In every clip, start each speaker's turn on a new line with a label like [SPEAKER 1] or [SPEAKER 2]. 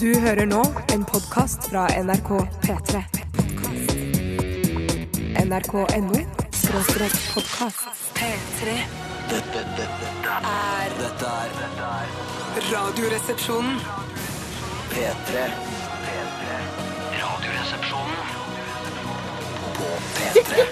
[SPEAKER 1] Du hører nå en podkast fra NRK P3. NRK.no skråstrek podkast. P3
[SPEAKER 2] Dette, dette,
[SPEAKER 1] er
[SPEAKER 2] dette er dette er
[SPEAKER 1] Radioresepsjonen.
[SPEAKER 2] P3. P3. Radioresepsjonen. På P3.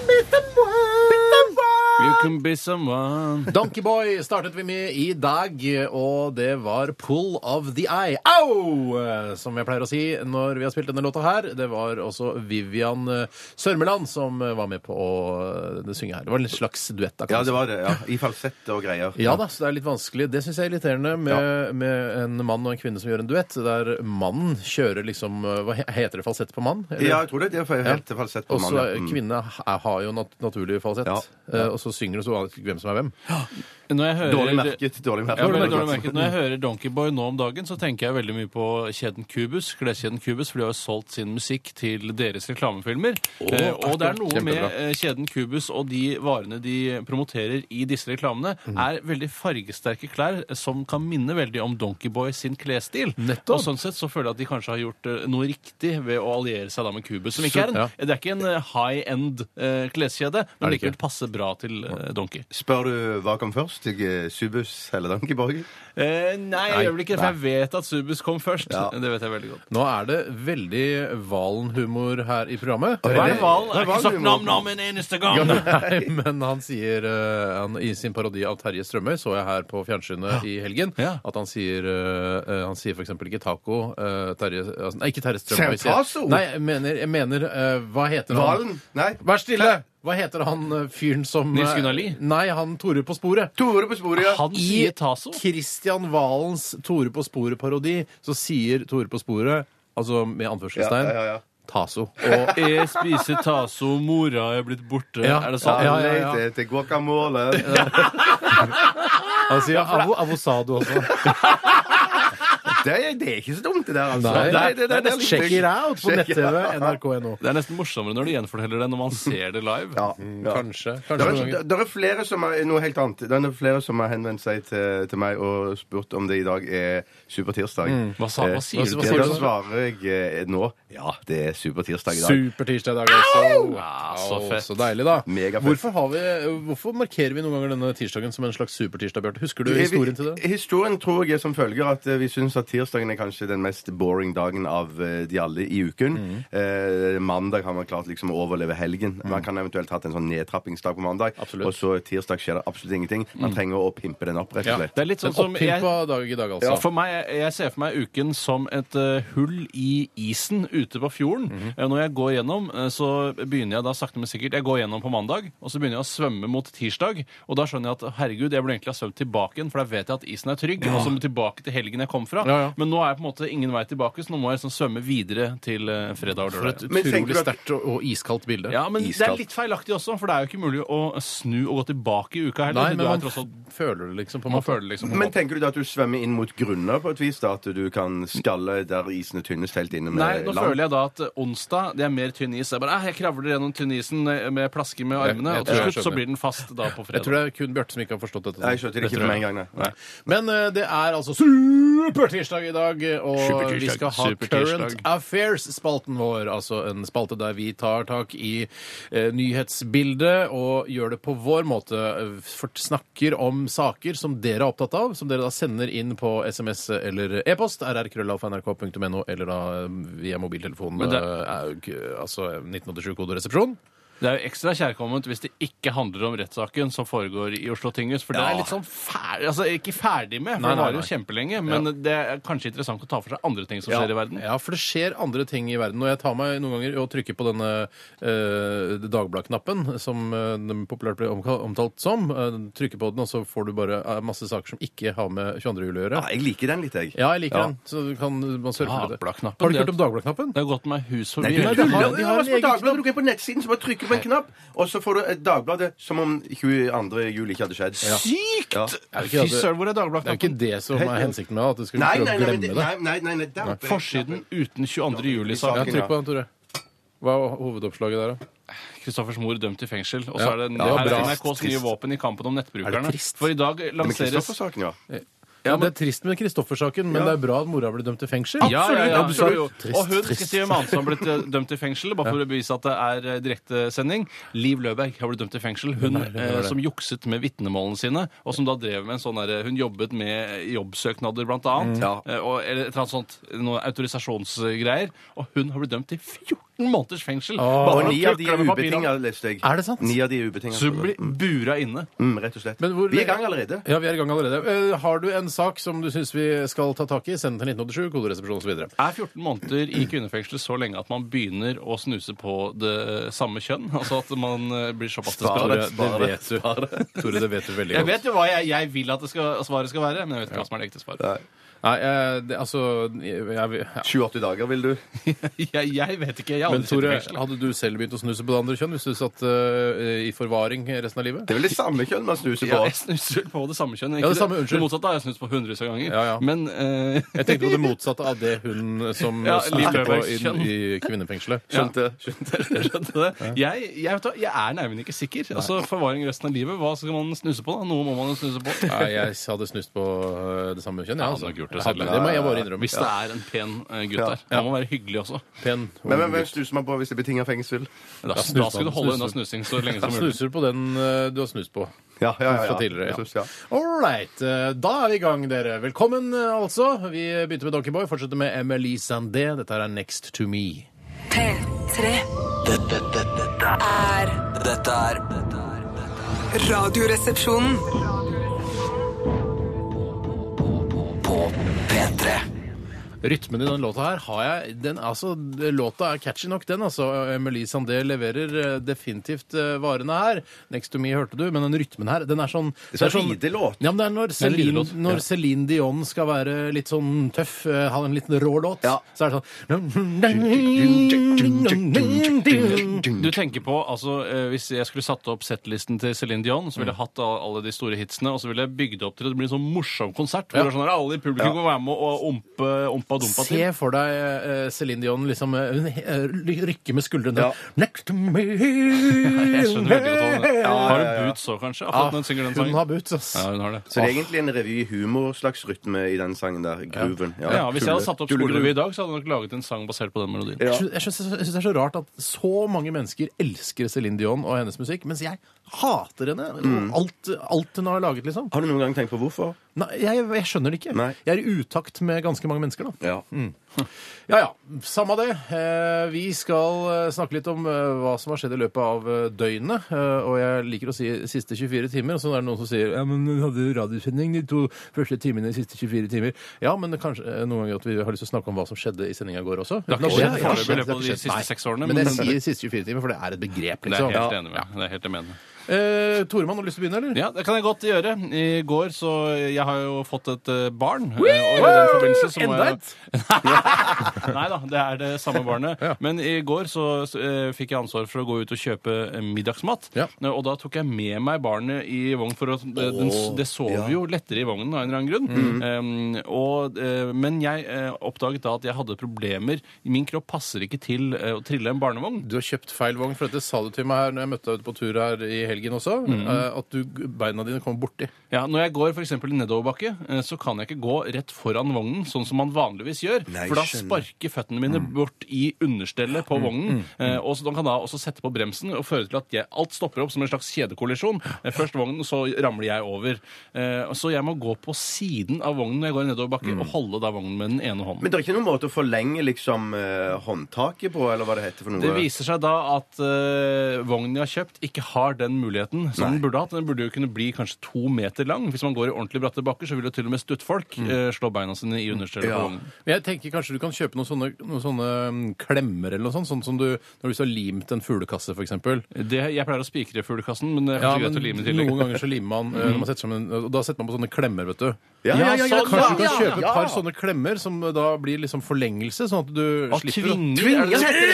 [SPEAKER 3] You can be someone
[SPEAKER 4] Donkeyboy startet vi med i dag, og det var Pull of the Eye. Au! Som jeg pleier å si når vi har spilt denne låta her. Det var også Vivian eh, Sørmeland som eh, var med på å eh, synge her. Det var en slags duett. da, kan
[SPEAKER 5] Ja,
[SPEAKER 4] man
[SPEAKER 5] det
[SPEAKER 4] si.
[SPEAKER 5] var det. ja. I falsett og greier.
[SPEAKER 4] Ja da, så det er litt vanskelig. Det syns jeg er irriterende med,
[SPEAKER 5] Ja.
[SPEAKER 4] med en mann og en kvinne som gjør en duett, der mannen kjører liksom eh, Hva he- heter det? Falsett på mann? eller?
[SPEAKER 5] Ja, jeg tror det. Det er helt falsett på
[SPEAKER 4] Og så
[SPEAKER 5] mann, ja. Mm.
[SPEAKER 4] kvinne ha- har jo nat naturlig falsett,
[SPEAKER 5] Ja.
[SPEAKER 4] Eh, og så synger du så vanlig hvem som er hvem.
[SPEAKER 3] Når jeg hører,
[SPEAKER 5] Dårlig merket. Dårlig merket.
[SPEAKER 3] Ja, veldig dårlig merket. Når jeg hører Donkeyboy nå om dagen, så tenker jeg veldig mye på kjeden Cubus, kleskjeden Cubus, for de har jo solgt sin musikk til deres reklamefilmer. eh, og det er noe med
[SPEAKER 5] Kjempebra.
[SPEAKER 3] eh, kjeden Cubus og de varene de promoterer i disse reklamene, er veldig fargesterke klær eh, som kan minne veldig om Donkeyboy sin klesstil.
[SPEAKER 4] Nettopp.
[SPEAKER 3] Og sånn sett så føler jeg at de kanskje har gjort eh, noe riktig ved å alliere seg da med Cubus, som
[SPEAKER 4] Så-
[SPEAKER 3] ikke er en,
[SPEAKER 4] ja.
[SPEAKER 3] det er ikke en eh, high-end eh, kleskjede, men
[SPEAKER 4] det ikke?
[SPEAKER 3] likevel passer bra til eh, Donkey.
[SPEAKER 5] Spør du hva kom først? Jeg, eh, Subus eller Donkeyborg?
[SPEAKER 3] Eh, nei, jeg gjør vel ikke det, for jeg vet at Subus kom først.
[SPEAKER 5] Ja.
[SPEAKER 3] Det vet jeg veldig godt.
[SPEAKER 4] Nå er det veldig Valen-humor her i programmet.
[SPEAKER 5] Hva
[SPEAKER 3] Hver
[SPEAKER 5] det-
[SPEAKER 3] hval er
[SPEAKER 5] hva er
[SPEAKER 3] ikke
[SPEAKER 5] det
[SPEAKER 3] sagt
[SPEAKER 5] vi må-
[SPEAKER 3] nam-nam en eneste gang.
[SPEAKER 4] Nei, men han sier eh, han, I sin parodi av Terje Strømøy så jeg her på fjernsynet i helgen
[SPEAKER 3] Ja.
[SPEAKER 4] at han sier eh, eh, Han sier f.eks. ikke taco eh, Terje, altså, Nei, ikke Terje Strømøy.
[SPEAKER 5] Ser
[SPEAKER 4] sier jeg.
[SPEAKER 5] Tasso?
[SPEAKER 4] Nei, jeg mener, jeg mener eh, Hva heter han?
[SPEAKER 5] Valen? Nei.
[SPEAKER 4] Vær stille! Hva heter han eh, fyren som
[SPEAKER 3] Nils
[SPEAKER 4] eh,
[SPEAKER 3] Gunnar Lie?
[SPEAKER 4] Nei, han Tore på sporet.
[SPEAKER 5] Tore på sporet, ja.
[SPEAKER 3] Han
[SPEAKER 4] I
[SPEAKER 3] sier Taso.
[SPEAKER 4] Christian Valens Tore på sporet-parodi så sier Tore på sporet, altså med anførselstegn,
[SPEAKER 5] Ja, ja, ja.
[SPEAKER 4] Taso. Og
[SPEAKER 3] Jeg E spiser Taso, mora er blitt borte.
[SPEAKER 4] Ja.
[SPEAKER 3] Er det
[SPEAKER 5] Ja,
[SPEAKER 3] sant?
[SPEAKER 4] Ja,
[SPEAKER 5] ja,
[SPEAKER 4] ja, ja.
[SPEAKER 5] Til guacamole.
[SPEAKER 4] han sier avo, avosado også.
[SPEAKER 5] Det, er- det er ikke så dumt, det der, altså.
[SPEAKER 4] Nei,
[SPEAKER 5] Nei, det, det, det er litt-
[SPEAKER 4] Check it out på
[SPEAKER 5] Check-
[SPEAKER 4] nett-TV nrk.no.
[SPEAKER 3] Det er nesten morsommere når du gjenforteller det når man ser det live.
[SPEAKER 5] Ja, ja.
[SPEAKER 4] Mm, Kanskje.
[SPEAKER 5] Det
[SPEAKER 4] kanskje
[SPEAKER 5] er,
[SPEAKER 4] noen ganger.
[SPEAKER 5] det er flere som har noe helt annet. Det er flere som har henvendt seg til, til meg og spurt om det i dag er supertirsdag.
[SPEAKER 4] Mm.
[SPEAKER 3] Hva sa- hva
[SPEAKER 5] Eh,
[SPEAKER 3] sier
[SPEAKER 4] du
[SPEAKER 5] da-
[SPEAKER 4] til
[SPEAKER 5] Da
[SPEAKER 4] det?
[SPEAKER 5] svarer jeg eh, nå ja, det er supertirsdag i dag.
[SPEAKER 4] Supertirsdag i dag også.
[SPEAKER 3] Ja,
[SPEAKER 4] Wow,
[SPEAKER 3] så fett.
[SPEAKER 4] Så deilig, da.
[SPEAKER 5] Megafett.
[SPEAKER 4] Hvorfor, har vi, hvorfor markerer vi noen ganger denne tirsdagen som en slags supertirsdag, Bjarte? Husker du
[SPEAKER 5] Vi-
[SPEAKER 4] historien til det?
[SPEAKER 5] Historien tror jeg er som følger at eh, vi syns at tirsdagen er kanskje den mest boring dagen av eh, de alle i uken. Eh, mandag har man klart liksom å overleve helgen. Man kan eventuelt hatt en sånn nedtrappingsdag på mandag.
[SPEAKER 4] Absolutt.
[SPEAKER 5] Og så tirsdag skjer det absolutt ingenting. Man trenger å pimpe den opp, rett
[SPEAKER 4] Ja.
[SPEAKER 5] og slett.
[SPEAKER 3] Det er litt sånn
[SPEAKER 4] En
[SPEAKER 3] som jeg,
[SPEAKER 4] opphimpa dag i dag, altså.
[SPEAKER 3] Ja, for meg, jeg- jeg ser for meg uken som et eh, hull i isen ute på fjorden.
[SPEAKER 4] Mhm.
[SPEAKER 3] Eh, Når jeg går gjennom, eh, så begynner jeg da sakte, men sikkert Jeg går gjennom på mandag, og så begynner jeg å svømme mot tirsdag. Og da skjønner jeg at herregud, jeg burde egentlig ha svømt tilbake igjen, for da vet jeg at isen er trygg. Og så tilbake til helgen jeg kom fra.
[SPEAKER 4] Ja, ja.
[SPEAKER 3] Men nå er jeg på en måte ingen vei tilbake, så nå må jeg liksom svømme videre til eh, fredag og
[SPEAKER 4] For
[SPEAKER 3] lørdag.
[SPEAKER 4] et
[SPEAKER 5] Men tenker
[SPEAKER 4] utrolig
[SPEAKER 5] du at-
[SPEAKER 4] sterkt og, og iskaldt bilde.
[SPEAKER 3] Ja, men det er
[SPEAKER 5] Iskaldt.
[SPEAKER 3] litt feilaktig også, for det er jo ikke mulig å snu og gå tilbake i uka heller.
[SPEAKER 4] Nei,
[SPEAKER 3] du
[SPEAKER 4] men
[SPEAKER 3] er
[SPEAKER 4] man
[SPEAKER 3] tross alt
[SPEAKER 4] f- føler det liksom på en
[SPEAKER 3] man
[SPEAKER 4] måte.
[SPEAKER 3] føler liksom på en
[SPEAKER 5] Men
[SPEAKER 3] måte-
[SPEAKER 5] tenker du da at du svømmer inn mot grunner på et vis? da At du kan skalle der isen er tynnest helt inne med
[SPEAKER 3] Nei, nå føler jeg da at eh, onsdag det er mer tynn is. Jeg bare, «Ah, jeg kravler gjennom tynnisen med plasker med
[SPEAKER 4] Jeg-
[SPEAKER 3] armene,
[SPEAKER 4] jeg
[SPEAKER 3] og til
[SPEAKER 4] tror jeg
[SPEAKER 3] slutt så
[SPEAKER 4] skjønner.
[SPEAKER 3] blir den fast da på
[SPEAKER 4] Jeg tror
[SPEAKER 3] fredag.
[SPEAKER 4] det er kun Bjarte som ikke har forstått dette.
[SPEAKER 5] Nei, jeg skjønte det ikke
[SPEAKER 4] tror jeg.
[SPEAKER 5] med en gang, nei. nei.
[SPEAKER 4] Men eh, det er altså supertirsdag i dag, eh, og
[SPEAKER 3] Supertirsdag,
[SPEAKER 4] vi skal ha
[SPEAKER 3] supertirsdag.
[SPEAKER 4] Current Affairs-spalten vår. Altså en spalte der vi tar tak i eh, nyhetsbildet og gjør det på vår måte. Eh, For snakker om saker som dere er opptatt av, som dere da sender inn på SMS eller e-post, rrkrøllalfa.nrk.no, eller da eh, via mobiltelefonen,
[SPEAKER 3] Men det-
[SPEAKER 4] eh, er jo ikke- altså 1987-koderesepsjon.
[SPEAKER 3] Det er jo ekstra kjærkomment hvis det ikke handler om rettssaken som foregår i Oslo tinghus, for det
[SPEAKER 4] Ja.
[SPEAKER 3] er litt sånn ferdig Altså ikke ferdig med, for
[SPEAKER 4] Nei,
[SPEAKER 3] det
[SPEAKER 4] nei,
[SPEAKER 3] varer jo kjempelenge, men det er kanskje interessant å ta for seg andre ting som skjer i verden.
[SPEAKER 4] Ja, for det skjer andre ting i verden. Og jeg tar meg noen ganger i å trykke på denne eh, Dagbladet-knappen, som eh, den populært blir omka- omtalt som. Eh, trykker på den, og så får du bare eh, masse saker som ikke har med 22. juli å gjøre.
[SPEAKER 5] Ja, jeg liker den litt, jeg.
[SPEAKER 4] Ja, jeg liker den. Så du kan man surfer med det. Har
[SPEAKER 3] Dagbladet-knappen,
[SPEAKER 4] du ikke
[SPEAKER 3] det-
[SPEAKER 4] hørt om Dagbladet-knappen?
[SPEAKER 3] Det har gått meg hus
[SPEAKER 5] Nei,
[SPEAKER 3] forbi.
[SPEAKER 5] du
[SPEAKER 4] Nei,
[SPEAKER 5] tuller.
[SPEAKER 4] de har-
[SPEAKER 5] Ja,
[SPEAKER 4] de
[SPEAKER 5] det
[SPEAKER 4] har
[SPEAKER 5] er
[SPEAKER 4] en
[SPEAKER 5] på
[SPEAKER 4] egen
[SPEAKER 5] Dagbladet. Du går inn på nettsiden, så bare trykker du på en knapp, og så får du et Dagbladet som om 22. juli ikke hadde skjedd.
[SPEAKER 3] Sykt!
[SPEAKER 5] Ja.
[SPEAKER 4] Er det
[SPEAKER 3] Fy
[SPEAKER 4] ikke det-
[SPEAKER 3] søren, hvor er
[SPEAKER 4] Det er jo ikke
[SPEAKER 3] Dagbladet-knappen?
[SPEAKER 4] det som er hensikten med det, at du skulle
[SPEAKER 5] Nei,
[SPEAKER 4] prøve
[SPEAKER 5] nei,
[SPEAKER 4] å
[SPEAKER 5] nei,
[SPEAKER 4] glemme
[SPEAKER 5] nei,
[SPEAKER 4] det.
[SPEAKER 5] nei, nei, nei, nei, der oppe.
[SPEAKER 3] Forsiden uten 22.
[SPEAKER 4] Ja,
[SPEAKER 3] juli-saken.
[SPEAKER 5] Saken,
[SPEAKER 4] trykk på den, Tore. Hva er hovedoppslaget der, da?
[SPEAKER 3] Kristoffers mor dømt til fengsel. Og så
[SPEAKER 4] Ja,
[SPEAKER 3] er det,
[SPEAKER 4] det var
[SPEAKER 3] her er
[SPEAKER 4] bra.
[SPEAKER 3] NRKs nye
[SPEAKER 5] Trist.
[SPEAKER 3] våpen i kampen om nettbrukerne.
[SPEAKER 5] Er det trist?
[SPEAKER 3] For i dag
[SPEAKER 5] Men
[SPEAKER 3] lanseres
[SPEAKER 5] Kristoffer-saken, ja.
[SPEAKER 4] Ja, Det er trist med Kristoffer-saken, men det er bra at mora ble dømt til fengsel.
[SPEAKER 3] Ja, ja, ja,
[SPEAKER 4] absolutt.
[SPEAKER 3] absolutt.
[SPEAKER 4] Trist,
[SPEAKER 3] og hun skal
[SPEAKER 4] trist.
[SPEAKER 3] si hvem annet som har blitt eh, dømt til fengsel, bare for å bevise at det er eh, direktesending. Liv Løberg har blitt dømt til fengsel. Hun
[SPEAKER 4] er det? Hvem er
[SPEAKER 3] eh,
[SPEAKER 4] det?
[SPEAKER 3] som jukset med vitnemålene sine, og som da drev med en sånn derre Hun jobbet med jobbsøknader, blant annet, eh, og, eller et eller annet sånt noe autorisasjonsgreier, og hun har blitt dømt til 14 måneders fengsel.
[SPEAKER 5] Og
[SPEAKER 3] Bare for å
[SPEAKER 5] ni av de
[SPEAKER 3] klukle
[SPEAKER 5] er
[SPEAKER 3] med papirene.
[SPEAKER 5] ubetinga, leste jeg.
[SPEAKER 4] Er det sant?
[SPEAKER 5] Ni av de er ubetinga.
[SPEAKER 3] Så hun blir bura inne.
[SPEAKER 5] Mm, rett og slett.
[SPEAKER 4] Men hvor-
[SPEAKER 5] Vi er i gang allerede.
[SPEAKER 4] Ja, vi er i gang allerede. Eh, Har du en sak som du syns vi skal ta tak i, send den til 1987, koderesepsjon osv.
[SPEAKER 3] Er 14 måneder i kvinnefengsel så lenge at man begynner å snuse på det samme kjønn? Altså at man eh, blir såpass til
[SPEAKER 4] Tore,
[SPEAKER 3] skade?
[SPEAKER 4] det vet du. Tore, det vet du veldig
[SPEAKER 3] Jeg
[SPEAKER 4] godt.
[SPEAKER 3] vet jo hva jeg, jeg vil at det skal, svaret skal være, men jeg vet ikke hva som er det ekte svaret.
[SPEAKER 4] Nei, eh, det, altså jeg, jeg, ja.
[SPEAKER 5] 28 dager, vil du?
[SPEAKER 3] Jeg, jeg vet ikke. Jeg har
[SPEAKER 4] Men
[SPEAKER 3] aldri sittet i
[SPEAKER 4] Tore,
[SPEAKER 3] fengsel.
[SPEAKER 4] hadde du selv begynt å snuse på det andre kjønn hvis du satt eh, i forvaring resten av livet?
[SPEAKER 5] Det er vel det samme kjønn man snuser
[SPEAKER 3] Ja,
[SPEAKER 5] på.
[SPEAKER 3] jeg snuser på det samme kjønn.
[SPEAKER 4] Ja, det
[SPEAKER 3] Ikke
[SPEAKER 4] samme, unnskyld.
[SPEAKER 3] det motsatte har jeg snust på hundrevis av ganger.
[SPEAKER 4] Ja, ja.
[SPEAKER 3] Men eh,
[SPEAKER 4] Jeg tenkte på det motsatte av det hun som
[SPEAKER 3] Ja, Liv
[SPEAKER 4] snuste på
[SPEAKER 3] Løbergs
[SPEAKER 4] i,
[SPEAKER 3] kjønn.
[SPEAKER 4] i kvinnefengselet. Sånn-
[SPEAKER 5] Skjønte.
[SPEAKER 3] skjønte det. Jeg, jeg, vet, hva, jeg er nærmere ikke sikker. Altså, Forvaring resten av livet, hva skal man snuse på? da? Noe må man jo snuse på.
[SPEAKER 4] Nei, jeg hadde snust på eh, det samme kjønn, jeg.
[SPEAKER 3] Ja,
[SPEAKER 4] altså.
[SPEAKER 3] han har gjort det
[SPEAKER 4] Jeg hadde-
[SPEAKER 3] selv.
[SPEAKER 4] må jeg bare innrømme.
[SPEAKER 3] Hvis det er en pen eh, gutt der. Han må være hyggelig også.
[SPEAKER 4] Pen, ung
[SPEAKER 5] Men hvem- hvem
[SPEAKER 4] gutt.
[SPEAKER 5] snuser man på hvis det er betinga fengsel?
[SPEAKER 3] Da,
[SPEAKER 4] snuser
[SPEAKER 3] da skal
[SPEAKER 4] man.
[SPEAKER 3] du holde unna
[SPEAKER 4] Snuser.
[SPEAKER 3] snusing så lenge
[SPEAKER 4] Da
[SPEAKER 3] som mulig.
[SPEAKER 4] snuser du på den eh, du har snust på.
[SPEAKER 5] Ja, ja, ja.
[SPEAKER 4] Fra
[SPEAKER 5] ja.
[SPEAKER 4] tidligere, ja.
[SPEAKER 5] Jeg synes, ja.
[SPEAKER 4] All right. eh, Da er vi i gang, dere. Velkommen, eh, altså. Vi begynte med Donkeyboy, fortsetter med Emily Sandé. Dette her er Next To Me.
[SPEAKER 1] P3
[SPEAKER 2] Dette, dette, dette er
[SPEAKER 1] er
[SPEAKER 2] Dette er dette er- dette er
[SPEAKER 1] Radioresepsjonen.
[SPEAKER 2] På P3
[SPEAKER 4] Rytmen i den låta her har jeg den, altså, Låta er catchy nok, den. altså. Emily Sandé leverer eh, definitivt eh, varene her. Next to me hørte du, men den rytmen her, den er sånn
[SPEAKER 5] Det er sånn ridelåt.
[SPEAKER 4] Ja, men det er når
[SPEAKER 3] er en
[SPEAKER 4] Celine,
[SPEAKER 3] ridelåt, ja.
[SPEAKER 4] når Celine Dion skal være litt sånn tøff, eh, ha en liten rå låt,
[SPEAKER 5] Ja.
[SPEAKER 4] så er det sånn
[SPEAKER 3] Du tenker på, altså eh, Hvis jeg skulle satt opp settlisten til Céline Dion, så ville
[SPEAKER 5] Mm.
[SPEAKER 3] jeg hatt all- alle de store hitsene, og så ville jeg bygd opp til at det blir en sånn morsom konsert. Hvor det er sånn at alle i publikum kan være med og ompe, ompa dumpa
[SPEAKER 4] Se
[SPEAKER 3] til.
[SPEAKER 4] for deg eh, Celine Dion liksom eh, hun eh, rykker med skuldrene.
[SPEAKER 5] Ja.
[SPEAKER 4] Next to me
[SPEAKER 3] Jeg skjønner veldig godt hva den er. Har
[SPEAKER 5] ja, Ah, ja.
[SPEAKER 3] hun boots òg, kanskje?
[SPEAKER 4] Ja,
[SPEAKER 3] Akkurat når hun synger den
[SPEAKER 4] Hun
[SPEAKER 3] sangen.
[SPEAKER 4] har boots, ass.
[SPEAKER 3] Ja, hun har det.
[SPEAKER 5] Så det er egentlig en revy-humor-slags rytme i den sangen der. Grooven.
[SPEAKER 3] Ja, Hvis jeg hadde satt opp skolerevy i
[SPEAKER 5] Tullerevy.
[SPEAKER 3] dag, så hadde jeg nok laget en sang basert på den melodien.
[SPEAKER 5] Ja.
[SPEAKER 4] Jeg syns- Jeg syns jeg syns det er så rart at så mange mennesker elsker Céline Dion og hennes musikk, mens jeg hater henne
[SPEAKER 5] Mm.
[SPEAKER 4] og alt, alt hun har laget, liksom.
[SPEAKER 5] Har du noen gang tenkt på hvorfor?
[SPEAKER 4] Nei, jeg, jeg skjønner det ikke.
[SPEAKER 5] Ah. Nei.
[SPEAKER 4] Jeg er i utakt med ganske mange mennesker, da.
[SPEAKER 5] Ja.
[SPEAKER 4] Ja ja, samme det. Eh, Vi skal eh, snakke litt om eh, hva som har skjedd i løpet av eh, døgnet. Eh, Og jeg liker å si siste 24 timer, og så er det noen som sier ja, men hun hadde radiosending de to første timene i siste 24 timer. Ja, men kanskje eh, noen ganger at vi har lyst til å snakke om hva som skjedde i sendinga i går også.
[SPEAKER 3] Det har ikke
[SPEAKER 4] Uten at- Ja,
[SPEAKER 3] skjedd foreløpig i
[SPEAKER 4] det har
[SPEAKER 3] løpet av
[SPEAKER 4] ikke
[SPEAKER 3] de
[SPEAKER 4] skjedd.
[SPEAKER 3] siste
[SPEAKER 4] Nei.
[SPEAKER 3] seks årene,
[SPEAKER 4] Men jeg
[SPEAKER 3] men-
[SPEAKER 4] sier siste 24 timer, for det er et begrep,
[SPEAKER 3] Det er
[SPEAKER 4] liksom.
[SPEAKER 3] jeg helt enig med. Det er jeg helt enig med.
[SPEAKER 4] Eh, Tore, man har du lyst til å begynne, eller?
[SPEAKER 3] Ja, det kan jeg godt gjøre. I går så Jeg har jo fått et eh, barn. eh, Og i den forbindelse så må
[SPEAKER 4] Enda
[SPEAKER 3] jeg Nei da, det er det samme barnet. Men i går så eh, fikk jeg ansvar for å gå ut og kjøpe eh, middagsmat.
[SPEAKER 4] Ja.
[SPEAKER 3] Eh, Og da tok jeg med meg barnet i vogn, for å, det, den,
[SPEAKER 5] Åh,
[SPEAKER 3] det sover
[SPEAKER 5] ja.
[SPEAKER 3] jo lettere i vognen av en eller annen grunn. Eh, og, eh, men jeg eh, oppdaget da at jeg hadde problemer. Min kropp passer ikke til eh, å trille en barnevogn.
[SPEAKER 4] Du har kjøpt feil vogn, for dette sa du til meg her når jeg møtte deg ute på tur her i helgen også,
[SPEAKER 3] Mm.
[SPEAKER 4] eh, at du, beina dine kom borti.
[SPEAKER 3] Ja, Når jeg går for eksempel i nedoverbakke, eh, så kan jeg ikke gå rett foran vognen, sånn som man vanligvis gjør.
[SPEAKER 5] Nei,
[SPEAKER 3] for da
[SPEAKER 5] skjønner. Mm.
[SPEAKER 3] sparker føttene mine bort i understellet på vognen. eh, Og så de kan da også sette på bremsen og føre til at jeg, alt stopper opp som en slags kjedekollisjon. Eh, Først vognen, så ramler jeg over. Eh, Så jeg må gå på siden av vognen når jeg går i nedoverbakke,
[SPEAKER 5] Mm.
[SPEAKER 3] og holde da vognen med den ene hånden.
[SPEAKER 5] Men det er ikke noen måte å forlenge liksom eh, håndtaket på, eller hva det heter for noe?
[SPEAKER 3] Det viser seg da at eh, vognen jeg har kjøpt, ikke har den muligheten som den burde hatt. Den burde jo kunne bli kanskje to meter lang. Hvis man går i ordentlig bratte bakker, så vil jo til og med stuttfolk eh, slå beina sine i understellet
[SPEAKER 5] Ja.
[SPEAKER 3] på vognen.
[SPEAKER 4] Men jeg tenker kanskje du kan kjøpe noen sånne, noen sånne mm, klemmer eller noe sånt, sånn som du, når du så har limt en fuglekasse, for eksempel.
[SPEAKER 3] Det, jeg pleier å spikre fuglekassen, men det er
[SPEAKER 4] Ja,
[SPEAKER 3] kanskje
[SPEAKER 4] men
[SPEAKER 3] greit å lime i tillegg.
[SPEAKER 4] noen ganger så limer man, eh, når man setter sammen, og da setter man på sånne klemmer, vet du. Sånn,
[SPEAKER 5] Ja, ja, ja,
[SPEAKER 4] Kanskje
[SPEAKER 5] ja,
[SPEAKER 4] du
[SPEAKER 5] ja,
[SPEAKER 4] kan
[SPEAKER 5] ja,
[SPEAKER 4] kjøpe
[SPEAKER 5] ja.
[SPEAKER 4] et par sånne klemmer som da blir liksom forlengelse, sånn at du
[SPEAKER 3] Og
[SPEAKER 4] slipper... å-
[SPEAKER 3] tvinger! er det det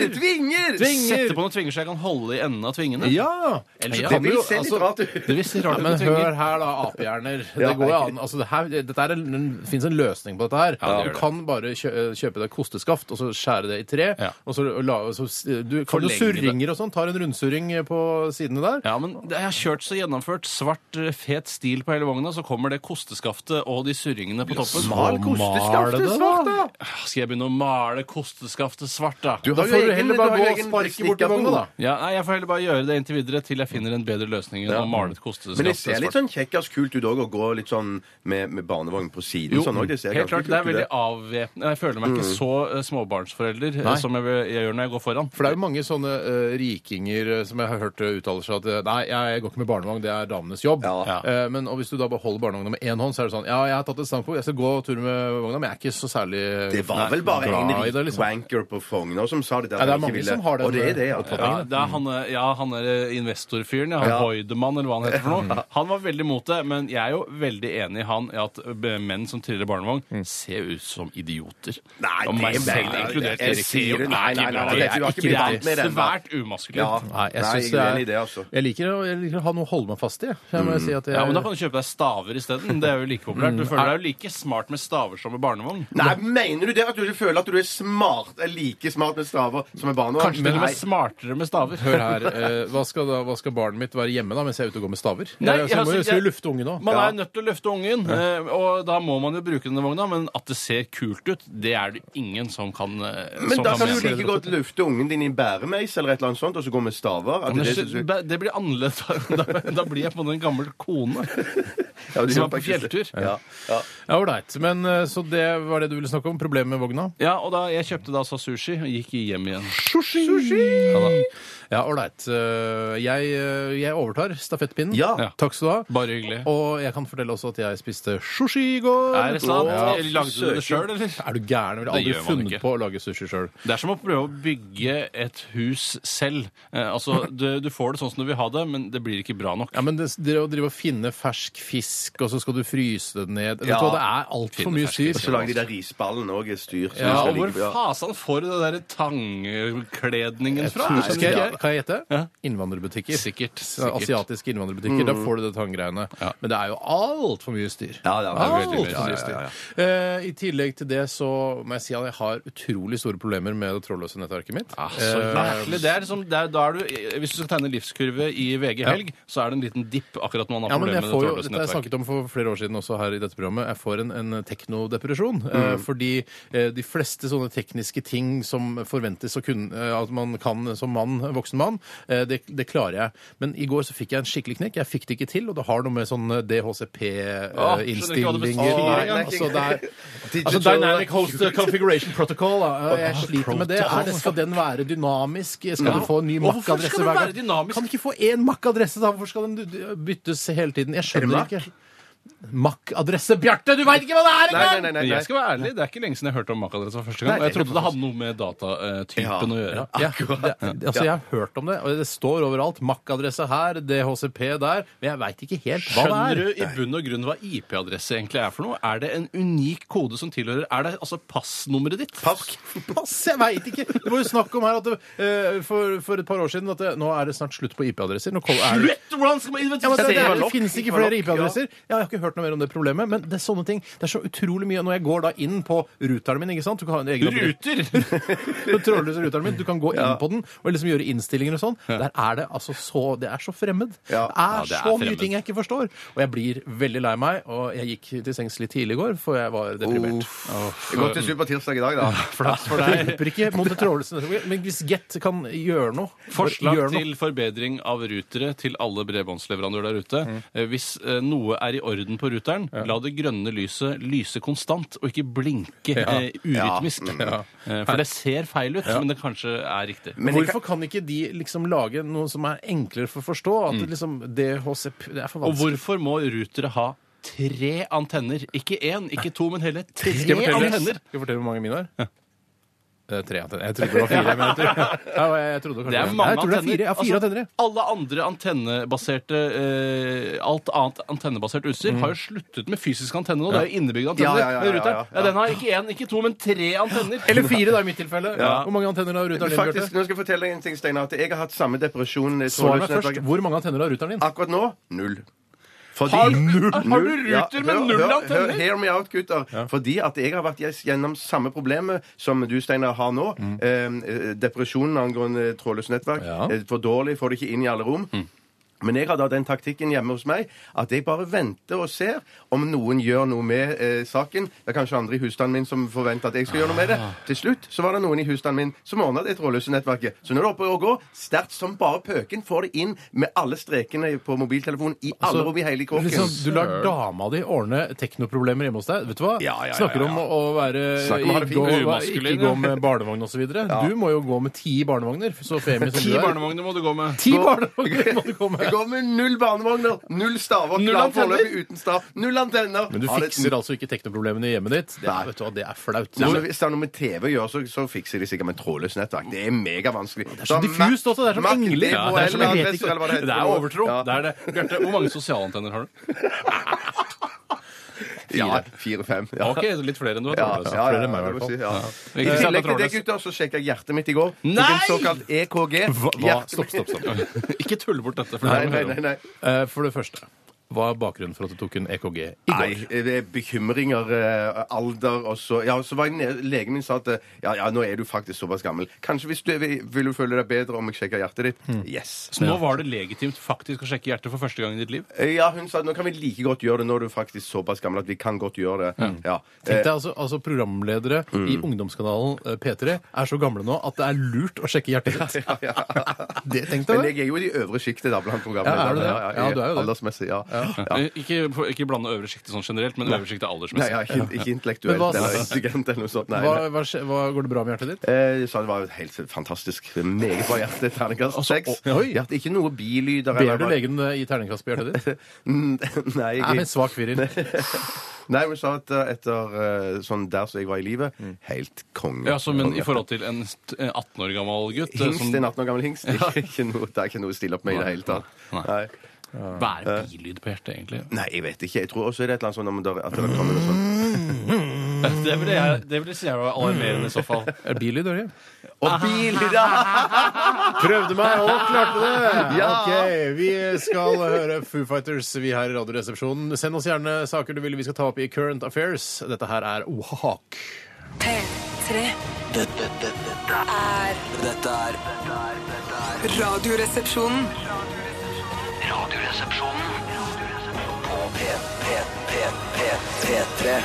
[SPEAKER 3] som heter?
[SPEAKER 5] Tvinger! Tvinger!
[SPEAKER 3] Sette på noen tvinger så jeg kan holde i enden av tvingene.
[SPEAKER 4] Ja! Ellers
[SPEAKER 3] Ja,
[SPEAKER 5] Det
[SPEAKER 4] kommer
[SPEAKER 5] vil
[SPEAKER 4] jo...
[SPEAKER 5] se litt
[SPEAKER 4] Altså,
[SPEAKER 5] rart ut.
[SPEAKER 3] Det visste
[SPEAKER 4] ja,
[SPEAKER 3] rart ut
[SPEAKER 4] men
[SPEAKER 3] med
[SPEAKER 4] hør
[SPEAKER 3] tvinger.
[SPEAKER 4] her da, apehjerner. Det
[SPEAKER 5] Ja.
[SPEAKER 4] går jo an. Altså, det her, dette er en, det finnes en løsning på dette her.
[SPEAKER 3] Ja, det
[SPEAKER 4] du
[SPEAKER 3] gjør det.
[SPEAKER 4] kan bare kjø, kjøpe deg kosteskaft og så skjære det i tre.
[SPEAKER 3] Ja.
[SPEAKER 4] Og så, la, så du kan jo
[SPEAKER 3] Forlenge det.
[SPEAKER 4] surringer og sånn. Tar en rundsurring på sidene der.
[SPEAKER 3] Ja, men det- Jeg har kjørt så gjennomført svart, eh, fet stil eh, på hele vogna, så kommer det osteskaftet og de surringene på toppen.
[SPEAKER 5] Mal
[SPEAKER 4] mal det,
[SPEAKER 5] kosteskaftet
[SPEAKER 4] da.
[SPEAKER 5] svart, da!
[SPEAKER 3] Skal jeg begynne å male kosteskaftet svart, da?
[SPEAKER 4] Du, da
[SPEAKER 5] Da får
[SPEAKER 4] får
[SPEAKER 5] du
[SPEAKER 4] du
[SPEAKER 5] egen-
[SPEAKER 4] heller bare
[SPEAKER 5] du har
[SPEAKER 4] gå og
[SPEAKER 5] egen
[SPEAKER 4] sparke bort til
[SPEAKER 5] stikkapel, da.
[SPEAKER 4] da.
[SPEAKER 3] Ja, nei, Jeg får heller bare gjøre det inntil videre til jeg finner en bedre løsning enn å male et kosteskaft
[SPEAKER 5] Men det ser litt
[SPEAKER 3] svart.
[SPEAKER 5] sånn kjekkas kult ut òg, å gå litt sånn med, med barnevogn på siden.
[SPEAKER 3] Jo,
[SPEAKER 5] sånn, også. det Mm. ser
[SPEAKER 3] helt klart.
[SPEAKER 5] ganske
[SPEAKER 3] Det er
[SPEAKER 5] kult ut,
[SPEAKER 3] veldig avvæpnet. Jeg føler meg ikke så eh, småbarnsforelder eh,
[SPEAKER 4] Nei.
[SPEAKER 3] som jeg, vil- jeg gjør når jeg går foran.
[SPEAKER 4] For det er jo mange sånne eh, rikinger eh, som jeg har hørt eh, uttaler seg at eh, nei, jeg går ikke med barnevogn, det er damenes jobb.
[SPEAKER 5] Ja.
[SPEAKER 4] Eh, men og hvis du da bare holder barnevogna med én hånd, så er det sånn ja, jeg har tatt et standpunkt, jeg skal gå tur med vogna, men jeg er ikke så særlig
[SPEAKER 5] Det var vel bare
[SPEAKER 4] Nei,
[SPEAKER 5] en
[SPEAKER 4] glad i det, liksom.
[SPEAKER 5] wanker på Frogner som sa det. der
[SPEAKER 4] Ja, det er
[SPEAKER 5] han ikke
[SPEAKER 4] mange
[SPEAKER 5] ville-
[SPEAKER 4] som har den- eh,
[SPEAKER 5] Og det er det, ja.
[SPEAKER 4] Ja.
[SPEAKER 3] Ja, det er han, eh, ja, han er eh, investorfyren. Ja, han
[SPEAKER 5] mm. Ja.
[SPEAKER 3] Hoidemann, eller hva han heter for noe. Han var veldig mot det, men jeg er jo veldig enig i han i at eh, menn som triller barnevogn, ser ut som idioter.
[SPEAKER 5] Mm. Nei,
[SPEAKER 3] Og meg
[SPEAKER 5] det-
[SPEAKER 3] selv
[SPEAKER 5] nei,
[SPEAKER 3] inkludert.
[SPEAKER 5] jeg
[SPEAKER 3] Erik
[SPEAKER 5] sier det.
[SPEAKER 3] Sier,
[SPEAKER 5] Nei, nei, nei,
[SPEAKER 3] bra.
[SPEAKER 5] nei, jeg tror ikke vi
[SPEAKER 3] det
[SPEAKER 5] vant med
[SPEAKER 3] er
[SPEAKER 5] den, da.
[SPEAKER 3] svært
[SPEAKER 5] Ja.
[SPEAKER 3] umaskulint.
[SPEAKER 4] Nei, jeg,
[SPEAKER 5] Nei,
[SPEAKER 4] synes
[SPEAKER 5] jeg
[SPEAKER 4] det
[SPEAKER 5] er
[SPEAKER 4] er,
[SPEAKER 5] uenig i det, altså. Mm.
[SPEAKER 4] jeg, liker, å- jeg liker å ha noe å holde meg fast i. jeg. Jeg må jo si at jeg,
[SPEAKER 3] Ja, men Da kan du kjøpe deg staver isteden. Det er jo like populært. Du føler deg jo like smart med staver som med barnevogn.
[SPEAKER 5] Nei, mener du det? At du ikke føler at du er smart, er like smart med staver som med barnevogn?
[SPEAKER 3] Kanskje til og
[SPEAKER 5] Nei.
[SPEAKER 3] med smartere med staver.
[SPEAKER 4] Hør her, eh, hva, skal da, hva skal barnet mitt være hjemme da mens jeg er ute og går med staver?
[SPEAKER 3] Nei,
[SPEAKER 4] jeg, så jeg må
[SPEAKER 3] altså,
[SPEAKER 4] jo så
[SPEAKER 3] jeg-
[SPEAKER 4] lufte ungen òg.
[SPEAKER 3] Man er nødt til å løfte ungen, eh, og da må man jo bruke denne vogna. Men at det ser kult ut, det er det ingen som kan eh,
[SPEAKER 5] Men
[SPEAKER 3] som
[SPEAKER 5] da kan
[SPEAKER 3] mene.
[SPEAKER 5] du like godt lufte ungen din i en bæremeis eller et eller annet sånt, og så gå med staver. At
[SPEAKER 3] Men
[SPEAKER 5] det,
[SPEAKER 3] det,
[SPEAKER 5] er det,
[SPEAKER 3] det- det blir annerledes. Da, da, da blir jeg på en måte en gammel kone
[SPEAKER 5] ja, det
[SPEAKER 3] som er på
[SPEAKER 5] faktisk det.
[SPEAKER 3] fjelltur.
[SPEAKER 5] Ja. Ja.
[SPEAKER 4] Ja, ålreit. Men eh, så det var det du ville snakke om? Problemet med vogna?
[SPEAKER 3] Ja, og da, Jeg kjøpte da altså sushi og gikk hjem igjen.
[SPEAKER 4] Ja da. Ja, ålreit. Eh, Jeg, eh, jeg overtar stafettpinnen.
[SPEAKER 5] Ja.
[SPEAKER 3] Ja.
[SPEAKER 4] Takk skal du ha.
[SPEAKER 3] Bare hyggelig.
[SPEAKER 4] Og jeg kan fortelle også at jeg spiste sushi i går.
[SPEAKER 3] Er det sant?
[SPEAKER 4] Ja.
[SPEAKER 3] Eller Lagde du det sjøl, eller?
[SPEAKER 4] Er du gæren? Jeg ville
[SPEAKER 3] Det
[SPEAKER 4] aldri
[SPEAKER 3] gjør man
[SPEAKER 4] funnet
[SPEAKER 3] ikke.
[SPEAKER 4] på å lage sushi sjøl.
[SPEAKER 3] Det er som å prøve å bygge et hus selv. Eh, altså, du, du får det sånn som du vil ha det, men det blir ikke bra nok.
[SPEAKER 4] Ja, men det, det å drive og finne fersk fisk, og så skal du fryse det ned Vet
[SPEAKER 5] Ja.
[SPEAKER 4] du hva, Det er altfor mye
[SPEAKER 3] fersk
[SPEAKER 4] styr.
[SPEAKER 5] Og så lager de der risballene òg i styr. så
[SPEAKER 4] Ja,
[SPEAKER 5] det
[SPEAKER 3] Ja,
[SPEAKER 5] skal
[SPEAKER 3] og hvor
[SPEAKER 5] ligge- ja.
[SPEAKER 3] fasan får du den der tangkledningen
[SPEAKER 4] Jeg
[SPEAKER 3] fra?
[SPEAKER 4] tror,
[SPEAKER 3] Er det
[SPEAKER 4] skal jeg,
[SPEAKER 3] ikke-
[SPEAKER 4] kan jeg gjette?
[SPEAKER 3] Ja.
[SPEAKER 4] Innvandrerbutikker.
[SPEAKER 3] Sikkert,
[SPEAKER 4] Så
[SPEAKER 3] sikkert.
[SPEAKER 4] Asiatiske innvandrerbutikker. Der får du det tanggreiene. Men det er jo altfor mye styr.
[SPEAKER 5] Mm. Ja, det er veldig
[SPEAKER 4] Alt
[SPEAKER 5] mye
[SPEAKER 4] for mye
[SPEAKER 5] styr. Ja, ja,
[SPEAKER 4] styr. Eh, I tillegg til det så må jeg si at jeg har utrolig store problemer med det trådløse nettverket mitt. Eh,
[SPEAKER 3] Ah, så jævlig. Det er liksom, det er, da er du, hvis du skal tegne livskurve i VG helg, så er det en liten dipp akkurat når man har
[SPEAKER 4] Ja, men jeg
[SPEAKER 3] problemer med det
[SPEAKER 4] får jo, dette
[SPEAKER 3] trådløse
[SPEAKER 4] har jeg
[SPEAKER 3] nettverket.
[SPEAKER 4] snakket om for flere år siden også her i dette programmet. Jeg får en, en teknodepresjon. Eh,
[SPEAKER 3] Mm.
[SPEAKER 4] fordi eh, de fleste sånne tekniske ting som forventes å kunne, eh, at man kan som mann, voksen mann, eh, det, det klarer jeg. Men i går så fikk jeg en skikkelig knekk. Jeg fikk det ikke til, og det har noe med sånn eh,
[SPEAKER 3] Åh, Ah, skjønner ikke hva det
[SPEAKER 4] DHCP-innstillinger
[SPEAKER 3] betyr.
[SPEAKER 4] altså, det er, altså
[SPEAKER 5] Digital-
[SPEAKER 4] Dynamic Host Configuration Protocol. Da. Eh, Jeg sliter med det. Er det. Skal den være dynamisk? Skal du få en ny
[SPEAKER 3] Og hvorfor skal
[SPEAKER 4] MAC-adresse
[SPEAKER 3] den
[SPEAKER 4] hver gang?
[SPEAKER 3] være dynamisk?
[SPEAKER 4] Kan du ikke få én MAC-adresse, da? Hvorfor skal den d- d- byttes hele tiden? Jeg skjønner
[SPEAKER 5] Mac?
[SPEAKER 4] ikke. MAC-adresse Bjarte, du veit ikke hva det er
[SPEAKER 5] Nei, nei,
[SPEAKER 4] engang!
[SPEAKER 5] nei, nei,
[SPEAKER 3] Men
[SPEAKER 5] nei.
[SPEAKER 3] jeg skal være ærlig, Det er ikke lenge siden jeg hørte om MAC-adressa første gang.
[SPEAKER 5] Nei,
[SPEAKER 3] og jeg trodde det hadde noe med datatypen
[SPEAKER 5] Ja.
[SPEAKER 3] å gjøre.
[SPEAKER 4] Ja, det, altså, jeg har hørt om det, og det står overalt. MAC-adresse her, DHCP der. Men jeg veit ikke helt hva det er.
[SPEAKER 3] Skjønner du i bunn og grunn hva IP-adresse egentlig er for noe? Er det en unik kode som tilhører Er det altså passnummeret ditt?
[SPEAKER 5] Pass.
[SPEAKER 4] Pass, jeg veit ikke! Det var jo snakk om her at det, eh, for, for et par år siden at det, nå er det snart slutt på IP-adresser. Nå kol- er det-
[SPEAKER 3] Slutt! Hvordan skal man
[SPEAKER 4] Ja, men det, det,
[SPEAKER 3] identifisere
[SPEAKER 4] er-
[SPEAKER 5] var
[SPEAKER 4] det
[SPEAKER 5] nok.
[SPEAKER 4] finnes ikke
[SPEAKER 5] Det var
[SPEAKER 4] flere
[SPEAKER 5] nok,
[SPEAKER 4] IP-adresser. Ja, jeg har ikke hørt noe mer om det problemet, men det er sånne ting. Det er så utrolig mye. Når jeg går da inn på ruteren min, ikke sant? Du kan ha en egen
[SPEAKER 3] ruter?
[SPEAKER 4] Den trådløse ruteren min, du kan gå inn på den og liksom gjøre innstillinger og sånn. Der er det altså så Det er så fremmed.
[SPEAKER 5] Ja.
[SPEAKER 4] Det er
[SPEAKER 3] Ja, det er
[SPEAKER 4] så
[SPEAKER 3] fremmed.
[SPEAKER 4] mye ting jeg ikke forstår. Og jeg blir veldig lei meg, og jeg gikk til sengs litt tidlig i går, for jeg var deprimert.
[SPEAKER 5] Det går til supertirsdag i dag, da.
[SPEAKER 3] Flaks for
[SPEAKER 4] Jeg
[SPEAKER 3] deg.
[SPEAKER 4] Hjelper ikke mot det trådløse nettverket, men hvis Get kan gjøre noe bare
[SPEAKER 3] Forslag
[SPEAKER 4] gjør noe.
[SPEAKER 3] til forbedring av rutere til alle bredbåndsleverandører der ute.
[SPEAKER 4] Mm.
[SPEAKER 3] Eh, Hvis eh, noe er i orden på ruteren, la det grønne lyset lyse konstant, og ikke blinke
[SPEAKER 4] Ja. Mm.
[SPEAKER 3] eh, urytmisk. Eh, For det ser feil ut, men det kanskje er riktig.
[SPEAKER 4] Hvorfor kan ikke de liksom lage noe som er enklere for å forstå? At det liksom DHCP Det er for
[SPEAKER 3] Og
[SPEAKER 4] vanskelig.
[SPEAKER 3] hvorfor må rutere ha tre antenner? Ikke én, ikke to, men hele tre
[SPEAKER 4] Skal jeg fortelle,
[SPEAKER 3] antenner!
[SPEAKER 4] Skal jeg fortelle hvor mange mine er? Det er tre antenner. Jeg trodde det var fire. Men jeg, tror, ja, jeg, jeg trodde kanskje
[SPEAKER 3] Det er
[SPEAKER 4] Nei,
[SPEAKER 3] mange
[SPEAKER 4] jeg tror det er fire. Jeg har fire
[SPEAKER 3] Altså,
[SPEAKER 4] antenner. jeg.
[SPEAKER 3] Alle andre antennebaserte eh, Alt annet antennebasert utstyr har jo sluttet med fysisk antenne nå. Det er jo innebygde antenner.
[SPEAKER 5] Ja, ja, ja,
[SPEAKER 3] med
[SPEAKER 5] ja,
[SPEAKER 3] ruteren.
[SPEAKER 5] ja, ja.
[SPEAKER 3] Ja, den har ikke én, ikke to, men tre antenner.
[SPEAKER 4] Eller fire, da, i mitt tilfelle. Hvor mange antenner har ruteren din,
[SPEAKER 5] Faktisk,
[SPEAKER 4] Bjarte?
[SPEAKER 5] nå skal jeg fortelle deg en ting, Steinar. At jeg har hatt samme depresjon i
[SPEAKER 4] Svar meg
[SPEAKER 5] trådløse
[SPEAKER 4] først.
[SPEAKER 5] nettverket.
[SPEAKER 4] Hvor mange antenner har ruteren din?
[SPEAKER 5] Akkurat nå null. Fordi-
[SPEAKER 3] Har du- har du
[SPEAKER 5] Ja,
[SPEAKER 3] ruter med
[SPEAKER 5] hør-
[SPEAKER 3] null
[SPEAKER 5] hør-
[SPEAKER 3] antenner?
[SPEAKER 5] Hør, hear me out, gutter. Fordi at jeg har vært gjennom samme problemet som du, Steinar, har nå.
[SPEAKER 3] Mm.
[SPEAKER 5] Eh, eh, depresjonen angående trådløse nettverk.
[SPEAKER 4] Ja.
[SPEAKER 3] Mm.
[SPEAKER 5] Eh, For dårlig, får det ikke inn i alle rom. Men jeg hadde hatt den taktikken hjemme hos meg at jeg bare venter og ser om noen gjør noe med eh, saken. Det er kanskje andre i husstanden min som forventer at jeg skal gjøre noe med
[SPEAKER 3] Ah.
[SPEAKER 5] det. Til slutt så var det noen i husstanden min som ordna det trådløse-nettverket. Så når det er oppe og går, sterkt som bare pøken, får det inn med alle strekene på mobiltelefonen i
[SPEAKER 3] Altså,
[SPEAKER 5] alle rom i hele kåken.
[SPEAKER 3] sånn
[SPEAKER 4] Liksom, du lar dama di ordne teknoproblemer hjemme hos deg. Vet du hva?
[SPEAKER 5] Ja, ja, ja,
[SPEAKER 4] Snakker
[SPEAKER 5] ja.
[SPEAKER 4] om å være
[SPEAKER 5] Snakker om å ha det
[SPEAKER 4] ikke
[SPEAKER 5] fint.
[SPEAKER 4] gå-
[SPEAKER 3] Umaskulin,
[SPEAKER 4] Ikke gå
[SPEAKER 3] ja.
[SPEAKER 4] med barnevogn osv. videre Du må jo gå med ti barnevogner, så femi som
[SPEAKER 3] Ti
[SPEAKER 4] du er.
[SPEAKER 3] barnevogner må du gå med.
[SPEAKER 4] Ti barnevogner må du gå
[SPEAKER 5] Jeg
[SPEAKER 4] med!
[SPEAKER 5] går med null barnevogner, null staver,
[SPEAKER 3] Null
[SPEAKER 5] klar
[SPEAKER 3] antenner.
[SPEAKER 5] foreløpig uten stav, null antenner.
[SPEAKER 4] Men du
[SPEAKER 5] Har det-
[SPEAKER 4] fikser altså ikke teknoproblemene i hjemmet ditt. Det
[SPEAKER 5] Nei.
[SPEAKER 4] er, vet du hva, det er flaut.
[SPEAKER 5] Nei, men hvis det har noe med TV å gjøre, så, så fikser de sikkert med trådløst nettverk. Det er megavanskelig. Det
[SPEAKER 4] er så diffust også, det er som engler.
[SPEAKER 3] Ja, det er som-
[SPEAKER 4] jeg vet ikke.
[SPEAKER 5] eller hva det heter.
[SPEAKER 3] Det er overtro.
[SPEAKER 5] Ja,
[SPEAKER 3] Det er det. Bjarte, hvor mange sosialantenner har du?
[SPEAKER 5] ja fire-fem. Ja.
[SPEAKER 3] Ok, litt flere enn du har.
[SPEAKER 5] Ja,
[SPEAKER 3] trådløse.
[SPEAKER 5] ja, ja,
[SPEAKER 4] Flere enn meg, i hvert
[SPEAKER 5] jeg må
[SPEAKER 4] fall.
[SPEAKER 5] si, ja.
[SPEAKER 3] Ja.
[SPEAKER 5] I
[SPEAKER 3] Ikke sant,
[SPEAKER 5] tillegg til det,
[SPEAKER 3] trådløst.
[SPEAKER 5] gutter, så sjekka jeg hjertet mitt i går. Tok
[SPEAKER 3] Nei!
[SPEAKER 5] en såkalt EKG.
[SPEAKER 4] Hva? hva-
[SPEAKER 5] Hjertet
[SPEAKER 4] Stopp,
[SPEAKER 5] mitt-
[SPEAKER 4] stopp, stopp.
[SPEAKER 3] Ikke tull bort dette. For det
[SPEAKER 5] Nei,
[SPEAKER 3] her må
[SPEAKER 5] nei,
[SPEAKER 3] vi
[SPEAKER 5] nei.
[SPEAKER 3] høre om.
[SPEAKER 5] nei.
[SPEAKER 4] Eh, For det første, hva er bakgrunnen for at du tok en EKG i
[SPEAKER 5] Nei,
[SPEAKER 4] går?
[SPEAKER 5] det er bekymringer, eh, alder og så Ja, så var jeg nede, legen min sa at eh, ja, ja, nå er du faktisk såpass gammel. Kanskje hvis du vil du føle deg bedre om jeg sjekker hjertet ditt?
[SPEAKER 4] Hmm.
[SPEAKER 5] Yes.
[SPEAKER 3] Så nå var det legitimt faktisk å sjekke hjertet for første gang i ditt liv?
[SPEAKER 5] Ja, hun sa at nå kan vi like godt gjøre det når du er faktisk såpass gammel at vi kan godt gjøre det. Ja.
[SPEAKER 4] Tenk deg altså, altså Programledere
[SPEAKER 5] Mm.
[SPEAKER 4] i ungdomskanalen eh, P3 er så gamle nå at det er lurt å sjekke hjertet ditt.
[SPEAKER 5] Eh, Ja, ja.
[SPEAKER 4] Det tenkte
[SPEAKER 5] Men
[SPEAKER 4] jeg.
[SPEAKER 5] jeg er jo i det øvre sjiktet da,
[SPEAKER 4] Ja, er
[SPEAKER 5] blant
[SPEAKER 4] du
[SPEAKER 5] programlederne.
[SPEAKER 4] det? Ja, du er jo det.
[SPEAKER 5] Aldersmessig, ja. ja.
[SPEAKER 3] Eh, Ikke, ikke blande øvre sjiktet sånn generelt, men øvre sjiktet
[SPEAKER 5] Nei,
[SPEAKER 3] aldersmessig.
[SPEAKER 5] ja, ikke, ikke intellektuelt
[SPEAKER 4] Men hva-
[SPEAKER 5] eller intelligent eller noe sånt. Nei,
[SPEAKER 4] Hva,
[SPEAKER 5] nei.
[SPEAKER 4] hva, skje- hva Går det bra med hjertet ditt?
[SPEAKER 5] Eh, Så det var helt fantastisk. Meget bra hjerte. Terningkast seks.
[SPEAKER 4] Altså, oi.
[SPEAKER 5] Hjerte- Ikke noe bilyder.
[SPEAKER 4] Ber du legen eh, gi terningkast på hjertet ditt? Nei,
[SPEAKER 5] Nei,
[SPEAKER 4] men
[SPEAKER 5] jeg,
[SPEAKER 4] svak viril.
[SPEAKER 5] nei, hun sa at eh, etter eh, sånn der som jeg var i livet, helt konge.
[SPEAKER 3] Mm. Ja, så, men i
[SPEAKER 5] Konge.
[SPEAKER 3] forhold til en st- en 18 år gammel gutt eh,
[SPEAKER 5] Hingst, en
[SPEAKER 3] som
[SPEAKER 5] 18 år gammel hingst. Ikke, ikke noe, det er ikke noe å stille opp med i det
[SPEAKER 3] Nei,
[SPEAKER 5] hele tatt.
[SPEAKER 3] nei.
[SPEAKER 5] Nei.
[SPEAKER 3] Hva er bilyd på hjertet, egentlig?
[SPEAKER 5] Nei, jeg vet ikke. Jeg tror også er det et eller annet sånn om der, at det kommer noe sånn
[SPEAKER 3] Det ville jeg, det ville si jeg var alarmerende i så fall.
[SPEAKER 4] Er bil i døra?
[SPEAKER 5] Og bil i dag!
[SPEAKER 4] Prøvde meg og klarte det!
[SPEAKER 5] Ja.
[SPEAKER 4] Ok, Vi skal høre Foo Fighters vi her i Radioresepsjonen. Send oss gjerne saker du vil vi skal ta opp i Current Affairs. Dette her er Ohak.
[SPEAKER 1] P3
[SPEAKER 2] Dette, dette, dette er
[SPEAKER 1] er
[SPEAKER 2] Dette er dette er- dette er
[SPEAKER 1] Radioresepsjonen.
[SPEAKER 2] Radioresepsjonen Radioresepsjonen. På P, P, P, P, P3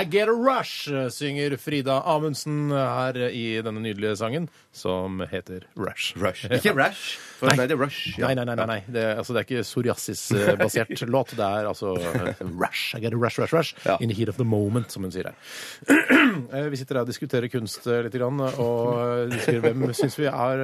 [SPEAKER 4] I Get A Rush synger Frida Amundsen her i denne nydelige sangen, som heter Rush.
[SPEAKER 5] Rush. Ikke Rash. For, nei. det er Rush. ja.
[SPEAKER 4] Nei, nei, nei. nei, nei. Det, er- altså, det er ikke psoriasis-basert låt. Det er altså eh, Rush. I get a rush, rush, rush.
[SPEAKER 5] Ja.
[SPEAKER 4] In the heat of the moment, som hun sier her. Eh, vi sitter her og diskuterer kunst eh, litt, grann, og diskuterer hvem syns vi er,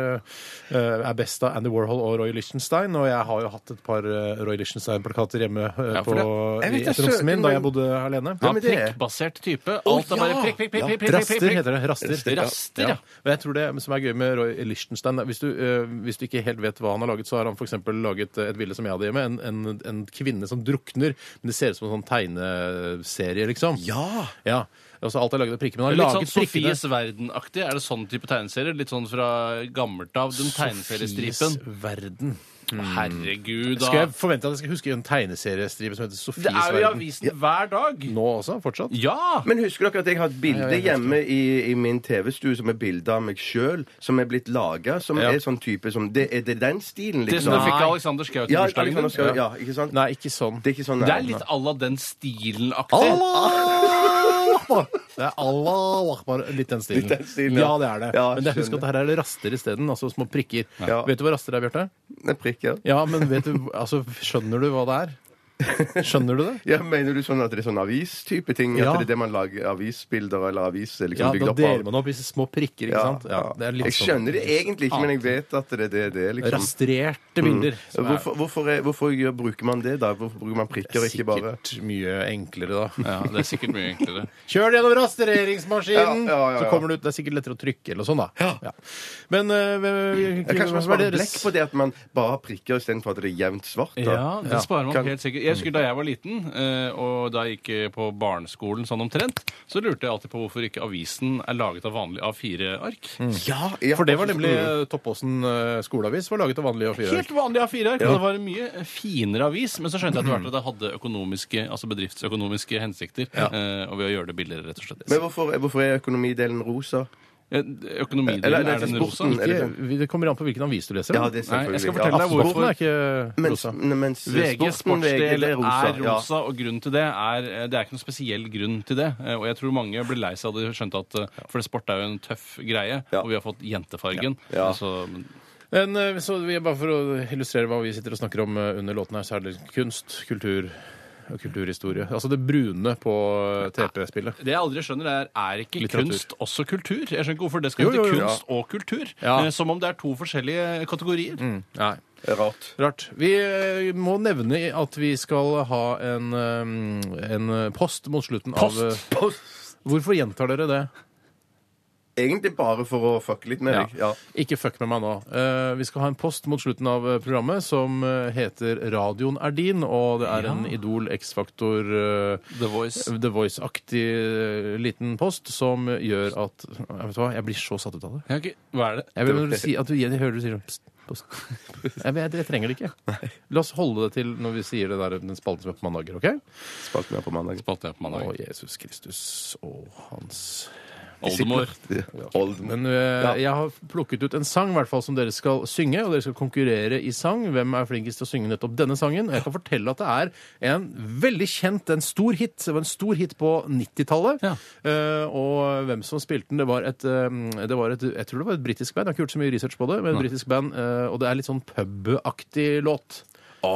[SPEAKER 4] eh, er best av Andy Warhol og Roy Lichtenstein. Og jeg har jo hatt et par eh, Roy Lichtenstein-plakater hjemme eh,
[SPEAKER 3] Ja, for
[SPEAKER 4] på,
[SPEAKER 5] det- jeg
[SPEAKER 4] i
[SPEAKER 5] vet det,
[SPEAKER 4] etteromsen min da jeg
[SPEAKER 5] søken,
[SPEAKER 4] bodde alene.
[SPEAKER 3] Ja,
[SPEAKER 5] Ja, men det er-
[SPEAKER 3] prikkbasert type. Alt er bare
[SPEAKER 4] ja!
[SPEAKER 3] prikk, prikk, prikk,
[SPEAKER 4] Ja,
[SPEAKER 3] prikk, prikk, prikk,
[SPEAKER 4] Raster
[SPEAKER 3] prikk.
[SPEAKER 4] heter det. Raster.
[SPEAKER 3] Raster, ja.
[SPEAKER 4] Og jeg tror det som er gøy med Roy Lichtenstein er- hvis, du, eh, hvis du ikke helt vet hva han har laget, så har han f.eks. laget eh, et bilde som jeg hadde hjemme, en, en, en kvinne som drukner, men det ser ut som en sånn tegneserie, liksom.
[SPEAKER 5] Ja!
[SPEAKER 4] Ja. Altså, alt er laget av prikker, men han har
[SPEAKER 3] Litt sånn
[SPEAKER 4] laget prikkene-
[SPEAKER 3] Sofies verden-aktig. Er det sånn type tegneserier? Litt sånn fra gammelt av, den tegneseriestripen.
[SPEAKER 4] Sofies verden.
[SPEAKER 3] Herregud,
[SPEAKER 4] Skal
[SPEAKER 3] da.
[SPEAKER 4] jeg forvente at jeg skal huske en tegneseriestripe som heter Sofies
[SPEAKER 3] Det er jo i
[SPEAKER 4] verden?
[SPEAKER 3] avisen hver dag.
[SPEAKER 4] Nå også? Fortsatt?
[SPEAKER 3] Ja!
[SPEAKER 5] Men husker dere at jeg har et bilde hjemme i, i min TV-stue som er bilde av meg sjøl, som er blitt laga, som
[SPEAKER 4] Ja.
[SPEAKER 5] er sånn type som Det er det den stilen,
[SPEAKER 3] Det som
[SPEAKER 5] liksom?
[SPEAKER 3] du fikk av
[SPEAKER 4] Nei.
[SPEAKER 3] Alexander Schou til
[SPEAKER 5] ja,
[SPEAKER 3] bursdagen
[SPEAKER 5] Alexander
[SPEAKER 3] din.
[SPEAKER 5] Schou, ja, ikke sant?
[SPEAKER 4] Nei, ikke sånn.
[SPEAKER 5] Det er ikke sånn
[SPEAKER 3] Det
[SPEAKER 5] nei,
[SPEAKER 3] er
[SPEAKER 5] nei.
[SPEAKER 3] litt à la den stilen-aktig.
[SPEAKER 4] Allah! Det er Allah akbar. Litt den stilen.
[SPEAKER 5] Litt den stilen,
[SPEAKER 4] ja.
[SPEAKER 5] ja.
[SPEAKER 4] det er det.
[SPEAKER 5] Ja,
[SPEAKER 4] men det, husk
[SPEAKER 5] skjønner.
[SPEAKER 4] at her er det raster isteden. Altså små prikker.
[SPEAKER 5] Ja.
[SPEAKER 4] Vet du hva raster er, Bjarte?
[SPEAKER 5] Det er prikker.
[SPEAKER 4] Ja, men vet du, altså, skjønner du hva det er? Skjønner du det?
[SPEAKER 5] Ja, Mener du sånn at det er sånn avistype ting?
[SPEAKER 4] Ja.
[SPEAKER 5] At det er det man lager avisbilder eller aviser
[SPEAKER 4] Ja,
[SPEAKER 5] liksom bygd
[SPEAKER 4] Da
[SPEAKER 5] opp
[SPEAKER 4] deler man opp i små prikker, ikke
[SPEAKER 5] Ja,
[SPEAKER 4] sant? Ja, det er litt
[SPEAKER 5] jeg skjønner det egentlig ikke, men jeg vet at det er det det er.
[SPEAKER 4] sånn
[SPEAKER 5] Liksom.
[SPEAKER 4] rastrerte bilder. som er
[SPEAKER 5] Hvorfor, hvorfor, er- hvorfor gjør, bruker man det, da? Hvorfor bruker man prikker og ikke bare
[SPEAKER 4] Sikkert mye enklere, da.
[SPEAKER 3] Ja, det er sikkert mye enklere.
[SPEAKER 4] Kjør det gjennom rastereringsmaskinen!
[SPEAKER 5] Ja, ja, ja, ja.
[SPEAKER 4] Så kommer det ut. Det er sikkert lettere å trykke eller sånn, da. Ja. Men eh, vi- vi-
[SPEAKER 5] Ja, Kanskje man
[SPEAKER 4] hva er
[SPEAKER 5] sparer blekk
[SPEAKER 4] deres-
[SPEAKER 5] på det at man bare har prikker istedenfor at det er jevnt svart? Da.
[SPEAKER 3] Ja, det sparer man
[SPEAKER 5] Kan-
[SPEAKER 3] helt sikkert. Jeg husker Da jeg var liten, eh, og da jeg gikk eh, på barneskolen sånn omtrent, så lurte jeg alltid på hvorfor ikke avisen er laget av vanlig A4-ark.
[SPEAKER 5] Ja, ja,
[SPEAKER 4] For det var
[SPEAKER 5] også-
[SPEAKER 4] nemlig eh, Toppåsen eh, skoleavis var laget av vanlige A4.
[SPEAKER 3] Helt vanlig A4-ark. og Det var en mye finere avis, men så skjønte jeg etter hvert at det hadde økonomiske, altså bedriftsøkonomiske hensikter. eh, Og ved å gjøre det billigere, rett og slett.
[SPEAKER 5] Men hvorfor, hvorfor er økonomidelen rosa?
[SPEAKER 3] Eh, Økonomidelen,
[SPEAKER 5] Eller- eller
[SPEAKER 3] er den rosa?
[SPEAKER 5] sporten.
[SPEAKER 3] Ikke-
[SPEAKER 5] Eller-
[SPEAKER 4] Ikke, det kommer an på hvilken avis du leser.
[SPEAKER 5] Ja,
[SPEAKER 4] da.
[SPEAKER 5] det er
[SPEAKER 3] Nei, jeg skal
[SPEAKER 5] selvfølgelig.
[SPEAKER 3] fortelle deg
[SPEAKER 5] Ja,
[SPEAKER 4] Aftenposten er ikke
[SPEAKER 5] Mens,
[SPEAKER 4] rosa.
[SPEAKER 5] mens
[SPEAKER 3] VG
[SPEAKER 5] sporten,
[SPEAKER 3] sportsdel er
[SPEAKER 5] det ja.
[SPEAKER 3] rosa, og grunnen til det er eh, Det er ikke noen spesiell grunn til det. eh, Og jeg tror mange blir lei seg av det, skjønte at eh, For sport er jo en tøff greie,
[SPEAKER 5] Ja.
[SPEAKER 3] og vi har fått jentefargen.
[SPEAKER 5] Ja.
[SPEAKER 3] Så, men-
[SPEAKER 4] Men eh, så vi, bare for å illustrere hva vi sitter og snakker om eh, under låten her, så er det kunst, kultur og kulturhistorie. Altså det brune på eh, TP-spillet.
[SPEAKER 3] det jeg aldri skjønner, er er ikke
[SPEAKER 4] Litteratur.
[SPEAKER 3] kunst også kultur? Jeg skjønner ikke hvorfor det skal
[SPEAKER 4] Jo, jo,
[SPEAKER 3] hete
[SPEAKER 4] jo.
[SPEAKER 3] kunst og kultur.
[SPEAKER 4] Ja.
[SPEAKER 3] eh, Som om det er to forskjellige kategorier.
[SPEAKER 4] Nei.
[SPEAKER 5] Rart.
[SPEAKER 4] Rart. Vi eh, må nevne at vi skal ha en, eh, en eh, post mot slutten
[SPEAKER 3] Post?
[SPEAKER 4] av eh, Hvorfor gjentar dere det?
[SPEAKER 5] Egentlig bare for å fucke litt med deg. Ja.
[SPEAKER 4] Ikke fuck med meg nå. Eh, vi skal ha en post mot slutten av eh, programmet som eh, heter Radioen er din, og det er en Idol X-faktor eh,
[SPEAKER 3] The Voice.
[SPEAKER 4] The Voice-aktig eh, liten post som gjør at jeg Vet du hva, jeg blir så satt ut av det.
[SPEAKER 3] Ja, ok. Hva er det?
[SPEAKER 4] Jeg vil, når du sier, at du, jeg hører du sier pst, post. Jeg, vet, jeg trenger det ikke. La oss holde det til når vi sier det der, den spalten som er på mandager, OK?
[SPEAKER 5] Spalt meg på mandag.
[SPEAKER 3] Spalte jeg på
[SPEAKER 4] Å,
[SPEAKER 3] mandag.
[SPEAKER 4] Jesus Kristus og hans
[SPEAKER 3] Oldemor.
[SPEAKER 5] Oldemor.
[SPEAKER 4] Men øh, jeg har plukket ut en sang i hvert fall som dere skal synge, og dere skal konkurrere i sang. Hvem er flinkest til å synge nettopp denne sangen? Og jeg kan fortelle at det er en veldig kjent, en stor hit. Det var en stor hit på 90-tallet.
[SPEAKER 3] Ja.
[SPEAKER 4] Eh, og hvem som spilte den, det var et, eh, det var et Jeg tror det var et britisk band. Jeg har ikke gjort så mye research på det, men et britisk band, eh, og det er litt sånn pubaktig låt.
[SPEAKER 5] Å,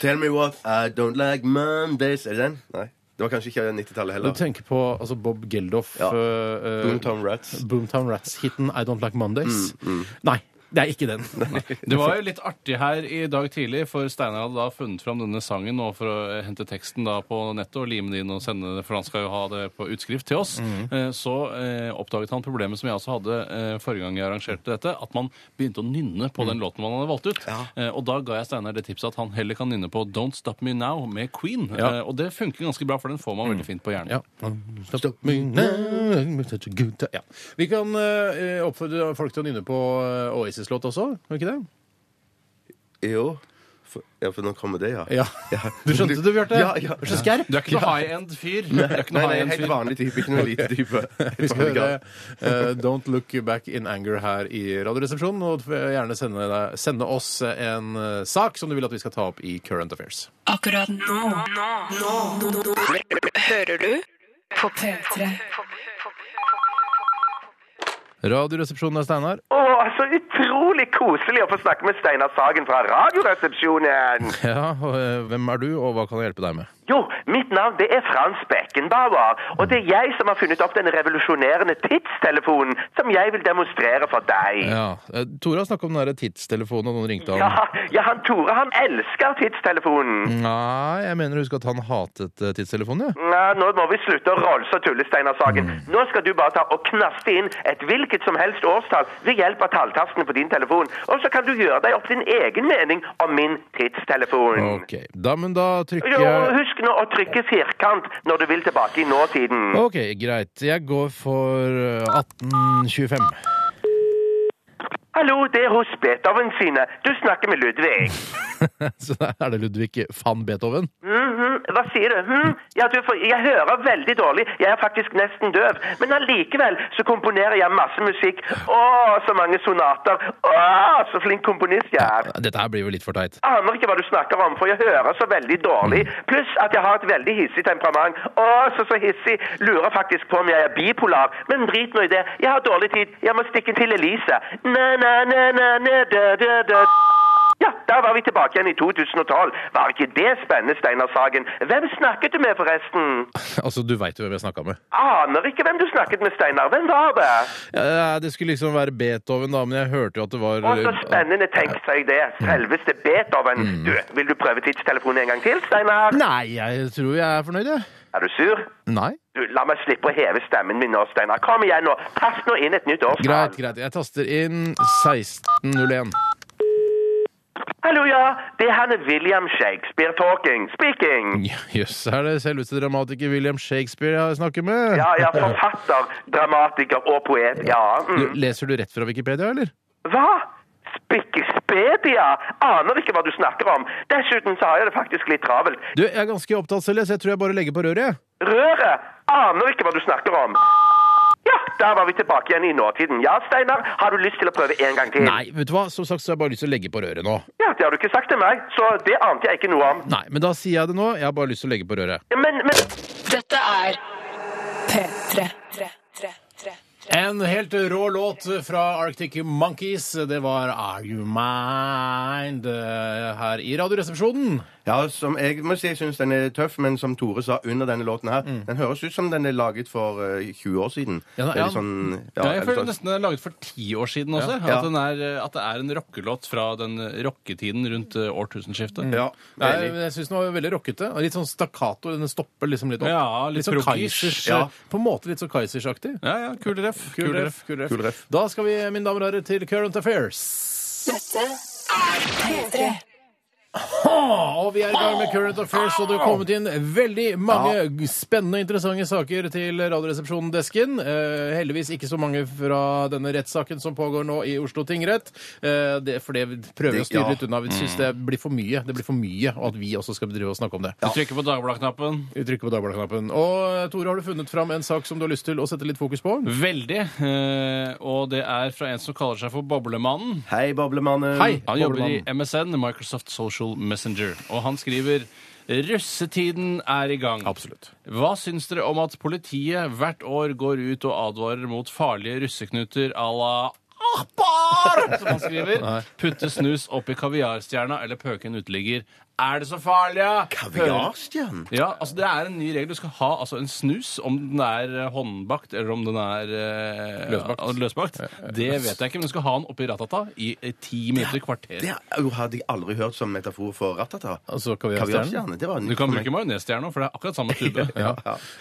[SPEAKER 5] Tell me what I don't like Mondays. Er det den? Nei. Det var kanskje ikke 90-tallet
[SPEAKER 4] Du
[SPEAKER 5] heller.
[SPEAKER 4] tenker på altså Bob Geldof.
[SPEAKER 5] Ja.
[SPEAKER 4] eh, eh,
[SPEAKER 5] Boomtown Rats. Mm,
[SPEAKER 4] Boomtown Rats-hiten I Don't Like Mondays. Nei, det er ikke den.
[SPEAKER 3] Det var jo litt artig her i dag tidlig, for Steinar hadde da funnet fram denne sangen nå for å eh, hente teksten da på nettet og lime det inn og sende det, for han skal jo ha det på utskrift til oss.
[SPEAKER 5] Mhm.
[SPEAKER 3] Eh, Så eh, oppdaget han problemet som jeg også hadde eh, forrige gang jeg arrangerte dette, at man begynte å nynne på
[SPEAKER 5] Mhm.
[SPEAKER 3] den låten man hadde valgt ut. Eh, Og da ga jeg Steinar det tipset at han heller kan nynne på Don't Stop Me Now med Queen.
[SPEAKER 4] Ja.
[SPEAKER 3] Eh, Og det funker ganske bra, for den får man veldig
[SPEAKER 5] Mm.
[SPEAKER 3] fint på hjernen.
[SPEAKER 4] Ja. Stop me now, such a good time. Ja. Vi kan eh, oppfordre folk til å nynne på eh, Oasis-låt også, kan vi ikke det?
[SPEAKER 5] Jo. For, ja, for nå kommer det, ja.
[SPEAKER 4] Ja. Du skjønte det, Bjarte?
[SPEAKER 5] Ja, ja.
[SPEAKER 4] Du er så skerp.
[SPEAKER 3] Du er ikke noe high-end fyr. Du er ikke
[SPEAKER 5] Nei,
[SPEAKER 3] noe
[SPEAKER 5] nei,
[SPEAKER 3] high-end
[SPEAKER 5] helt
[SPEAKER 3] fyr.
[SPEAKER 5] vanlig type, ikke noe lite type.
[SPEAKER 4] Vi skal høre eh, Don't Look Back In Anger her i Radioresepsjonen. Og gjerne sende, deg, sende oss en eh, sak som du vil at vi skal ta opp i Current Affairs.
[SPEAKER 6] Akkurat nå. Nå. Nå. Nå. Hører du på P3?
[SPEAKER 4] Radioresepsjonen er Steinar.
[SPEAKER 2] Å, så utrolig koselig å få snakke med Steinar Sagen fra Radioresepsjonen.
[SPEAKER 4] Ja, og, eh, hvem er du, og hva kan jeg hjelpe deg med?
[SPEAKER 2] Jo, mitt navn det er Frans Beckenbauer, og det er jeg som har funnet opp den revolusjonerende tidstelefonen som jeg vil demonstrere for deg.
[SPEAKER 4] Ja, eh, Tore har snakket om den der tidstelefonen, og noen ringte om
[SPEAKER 2] Ja, ja, han Tore han elsker
[SPEAKER 4] Mm.
[SPEAKER 2] tidstelefonen.
[SPEAKER 4] Nei, jeg mener å huske at han hatet eh, tidstelefonen, ja.
[SPEAKER 2] Nei, nå må vi slutte å rolse og tulle, Steinar Sagen.
[SPEAKER 4] Mm.
[SPEAKER 2] Nå skal du bare ta og knaste inn et hvilket som helst årstall ved hjelp av talltastene på din telefon. Og så kan du gjøre deg opp din egen mening om min tidstelefon.
[SPEAKER 4] Ok, da, men da trykker
[SPEAKER 2] Jo,
[SPEAKER 4] jeg
[SPEAKER 2] husk nå å trykke firkant når du vil tilbake i nåtiden.
[SPEAKER 4] Ok, greit. Jeg går for eh, 1825.
[SPEAKER 2] Hallo, det er hos Beethoven sine. Du snakker med Ludvig.
[SPEAKER 4] Så da er det Ludvig van Beethoven.
[SPEAKER 2] Mhm, Hva sier du? Hm? Ja, du, for jeg hører veldig dårlig. Jeg er faktisk nesten døv. Men allikevel så komponerer jeg masse musikk. Å, så mange sonater. Å, så flink komponist jeg er.
[SPEAKER 4] Dette her blir jo litt for teit.
[SPEAKER 2] Aner ikke hva du snakker om, for jeg hører så veldig dårlig.
[SPEAKER 4] Mm.
[SPEAKER 2] Pluss at jeg har et veldig hissig temperament. Å, så så hissig. Lurer faktisk på om jeg er bipolar. Men drit nå i det. Jeg har dårlig tid. Jeg må stikke til Elise. Na, na, na, na, na, da, da, da. Ja, der var vi tilbake igjen i 2012. Var ikke det spennende, Steinar Sagen? Hvem snakket du med, forresten?
[SPEAKER 4] Altså, du veit jo hvem jeg snakka med.
[SPEAKER 2] Aner ikke hvem du snakket med, Steinar. Hvem var det?
[SPEAKER 4] Ja, det skulle liksom være Beethoven, da, men jeg hørte jo at det Mm. var eh,
[SPEAKER 2] Å, så spennende. Tenk seg det. Selveste Beethoven. Du, vil du prøve tidstelefonen en gang til, Steinar?
[SPEAKER 4] Nei, jeg tror jeg er fornøyd, jeg.
[SPEAKER 2] Er du sur?
[SPEAKER 4] Nei.
[SPEAKER 2] Du, La meg slippe å heve stemmen min nå, Steinar. Kom igjen nå. Tast nå inn et nytt årstall.
[SPEAKER 4] Greit, greit. Jeg taster inn 1601.
[SPEAKER 2] Hallo, ja. Det er han William Shakespeare talking. Speaking.
[SPEAKER 4] Ja, Jøss, er det selveste dramatiker William Shakespeare jeg snakker med?
[SPEAKER 2] Ja, ja. Forfatter, dramatiker og poet. Ja.
[SPEAKER 4] L-
[SPEAKER 2] Mm.
[SPEAKER 4] Leser du rett fra Wikipedia, eller?
[SPEAKER 2] Hva? Spikkespedia? Aner ikke hva du snakker om. Dessuten så har jeg det faktisk litt travelt.
[SPEAKER 4] Du, jeg er ganske opptatt selv, jeg, så jeg tror jeg bare legger på røret. jeg.
[SPEAKER 2] Røret? Aner ikke hva du snakker om. Ja, Da var vi tilbake igjen i nåtiden. Ja, Steinar, har du lyst til å prøve en gang
[SPEAKER 5] Mm.
[SPEAKER 2] til?
[SPEAKER 4] Nei, vet du hva? Som sagt så har jeg bare lyst til å legge på røret nå.
[SPEAKER 2] Ja, det har du ikke sagt til meg, så det ante jeg ikke noe om.
[SPEAKER 4] Nei, men da sier jeg det nå. Jeg har bare lyst til å legge på røret.
[SPEAKER 2] Men, men
[SPEAKER 6] Dette er P3.
[SPEAKER 4] En helt rå låt fra Arctic Monkeys. Det var Are You Mind eh, her i Radioresepsjonen.
[SPEAKER 5] Ja, som jeg må si, jeg syns den er tøff, men som Tore sa under denne låten her, den høres ut som den er laget for eh, 20 år siden.
[SPEAKER 4] Mm. Ja, da-
[SPEAKER 5] Eller
[SPEAKER 4] ja.
[SPEAKER 5] sånn, ja,
[SPEAKER 3] Ja, jeg
[SPEAKER 5] eller
[SPEAKER 3] føler
[SPEAKER 5] sånn.
[SPEAKER 3] nesten den er laget for ti år siden også.
[SPEAKER 5] Ja.
[SPEAKER 3] At, den er, eh, at det er en rockelåt fra den rocketiden rundt eh, årtusenskiftet.
[SPEAKER 5] Ja,
[SPEAKER 4] Nei,
[SPEAKER 5] enig.
[SPEAKER 4] men jeg syns den var veldig rockete. og Litt sånn stakkato. Den stopper liksom litt opp.
[SPEAKER 3] Ja, litt
[SPEAKER 4] sånn
[SPEAKER 3] proggish.
[SPEAKER 4] Kaizers,
[SPEAKER 5] Ja.
[SPEAKER 4] På en måte litt sånn Kaizers-aktig.
[SPEAKER 3] Ja, ja, kul ref.
[SPEAKER 4] Kul ref, kul ref. Da skal vi, mine damer og herrer, til Current Affairs. Ah, Og vi er i gang med Current Affairs, og det har kommet inn veldig mange spennende interessante saker til Radioresepsjonen-desken. Eh, heldigvis ikke så mange fra denne rettssaken som pågår nå i Oslo tingrett. Eh, det, for det prøver vi å
[SPEAKER 5] Det- ja. Mm.
[SPEAKER 4] styre litt unna. Vi syns det blir for mye. Det blir for mye, og at vi også skal drive og snakke om det.
[SPEAKER 3] Du trykker på Dagbladet-knappen.
[SPEAKER 4] Vi trykker på Dagbladet-knappen. Og eh, Tore, har du funnet fram en sak som du har lyst til å sette litt fokus
[SPEAKER 5] Mm.
[SPEAKER 4] på?
[SPEAKER 3] Veldig. eh, Og det er fra en som kaller seg for Boblemannen.
[SPEAKER 5] Hei, boblemannen.
[SPEAKER 4] Hei!
[SPEAKER 3] Han jobber i
[SPEAKER 4] Boblemannen.
[SPEAKER 3] MSN, Microsoft Social Messenger, og han skriver Russetiden er i gang.
[SPEAKER 4] Absolutt.
[SPEAKER 3] Hva syns dere om at politiet hvert år går ut og advarer mot farlige russeknuter à la Akbar, som han skriver. Putte snus oppi kaviarstjerna eller pøke en uteligger. Er det så farlig? ja?
[SPEAKER 5] Kaviarstjerne?
[SPEAKER 3] Ja, altså Det er en ny regel. Du skal ha altså, en snus, om den er eh, håndbakt eller om den er eh,
[SPEAKER 4] Løsbakt.
[SPEAKER 3] ja, løsbakt. Det vet jeg ikke, men du skal ha den oppi ratata i eh, ti minutter, kvarter.
[SPEAKER 5] Det er- jo, hadde jeg aldri hørt som metafor for ratata.
[SPEAKER 4] Altså kaviarstjernen.
[SPEAKER 5] Kaviarstjerne. Det var nytt
[SPEAKER 3] Du kan
[SPEAKER 5] for meg.
[SPEAKER 3] bruke majonesstjerna, for det er akkurat samme tube.
[SPEAKER 4] Ja.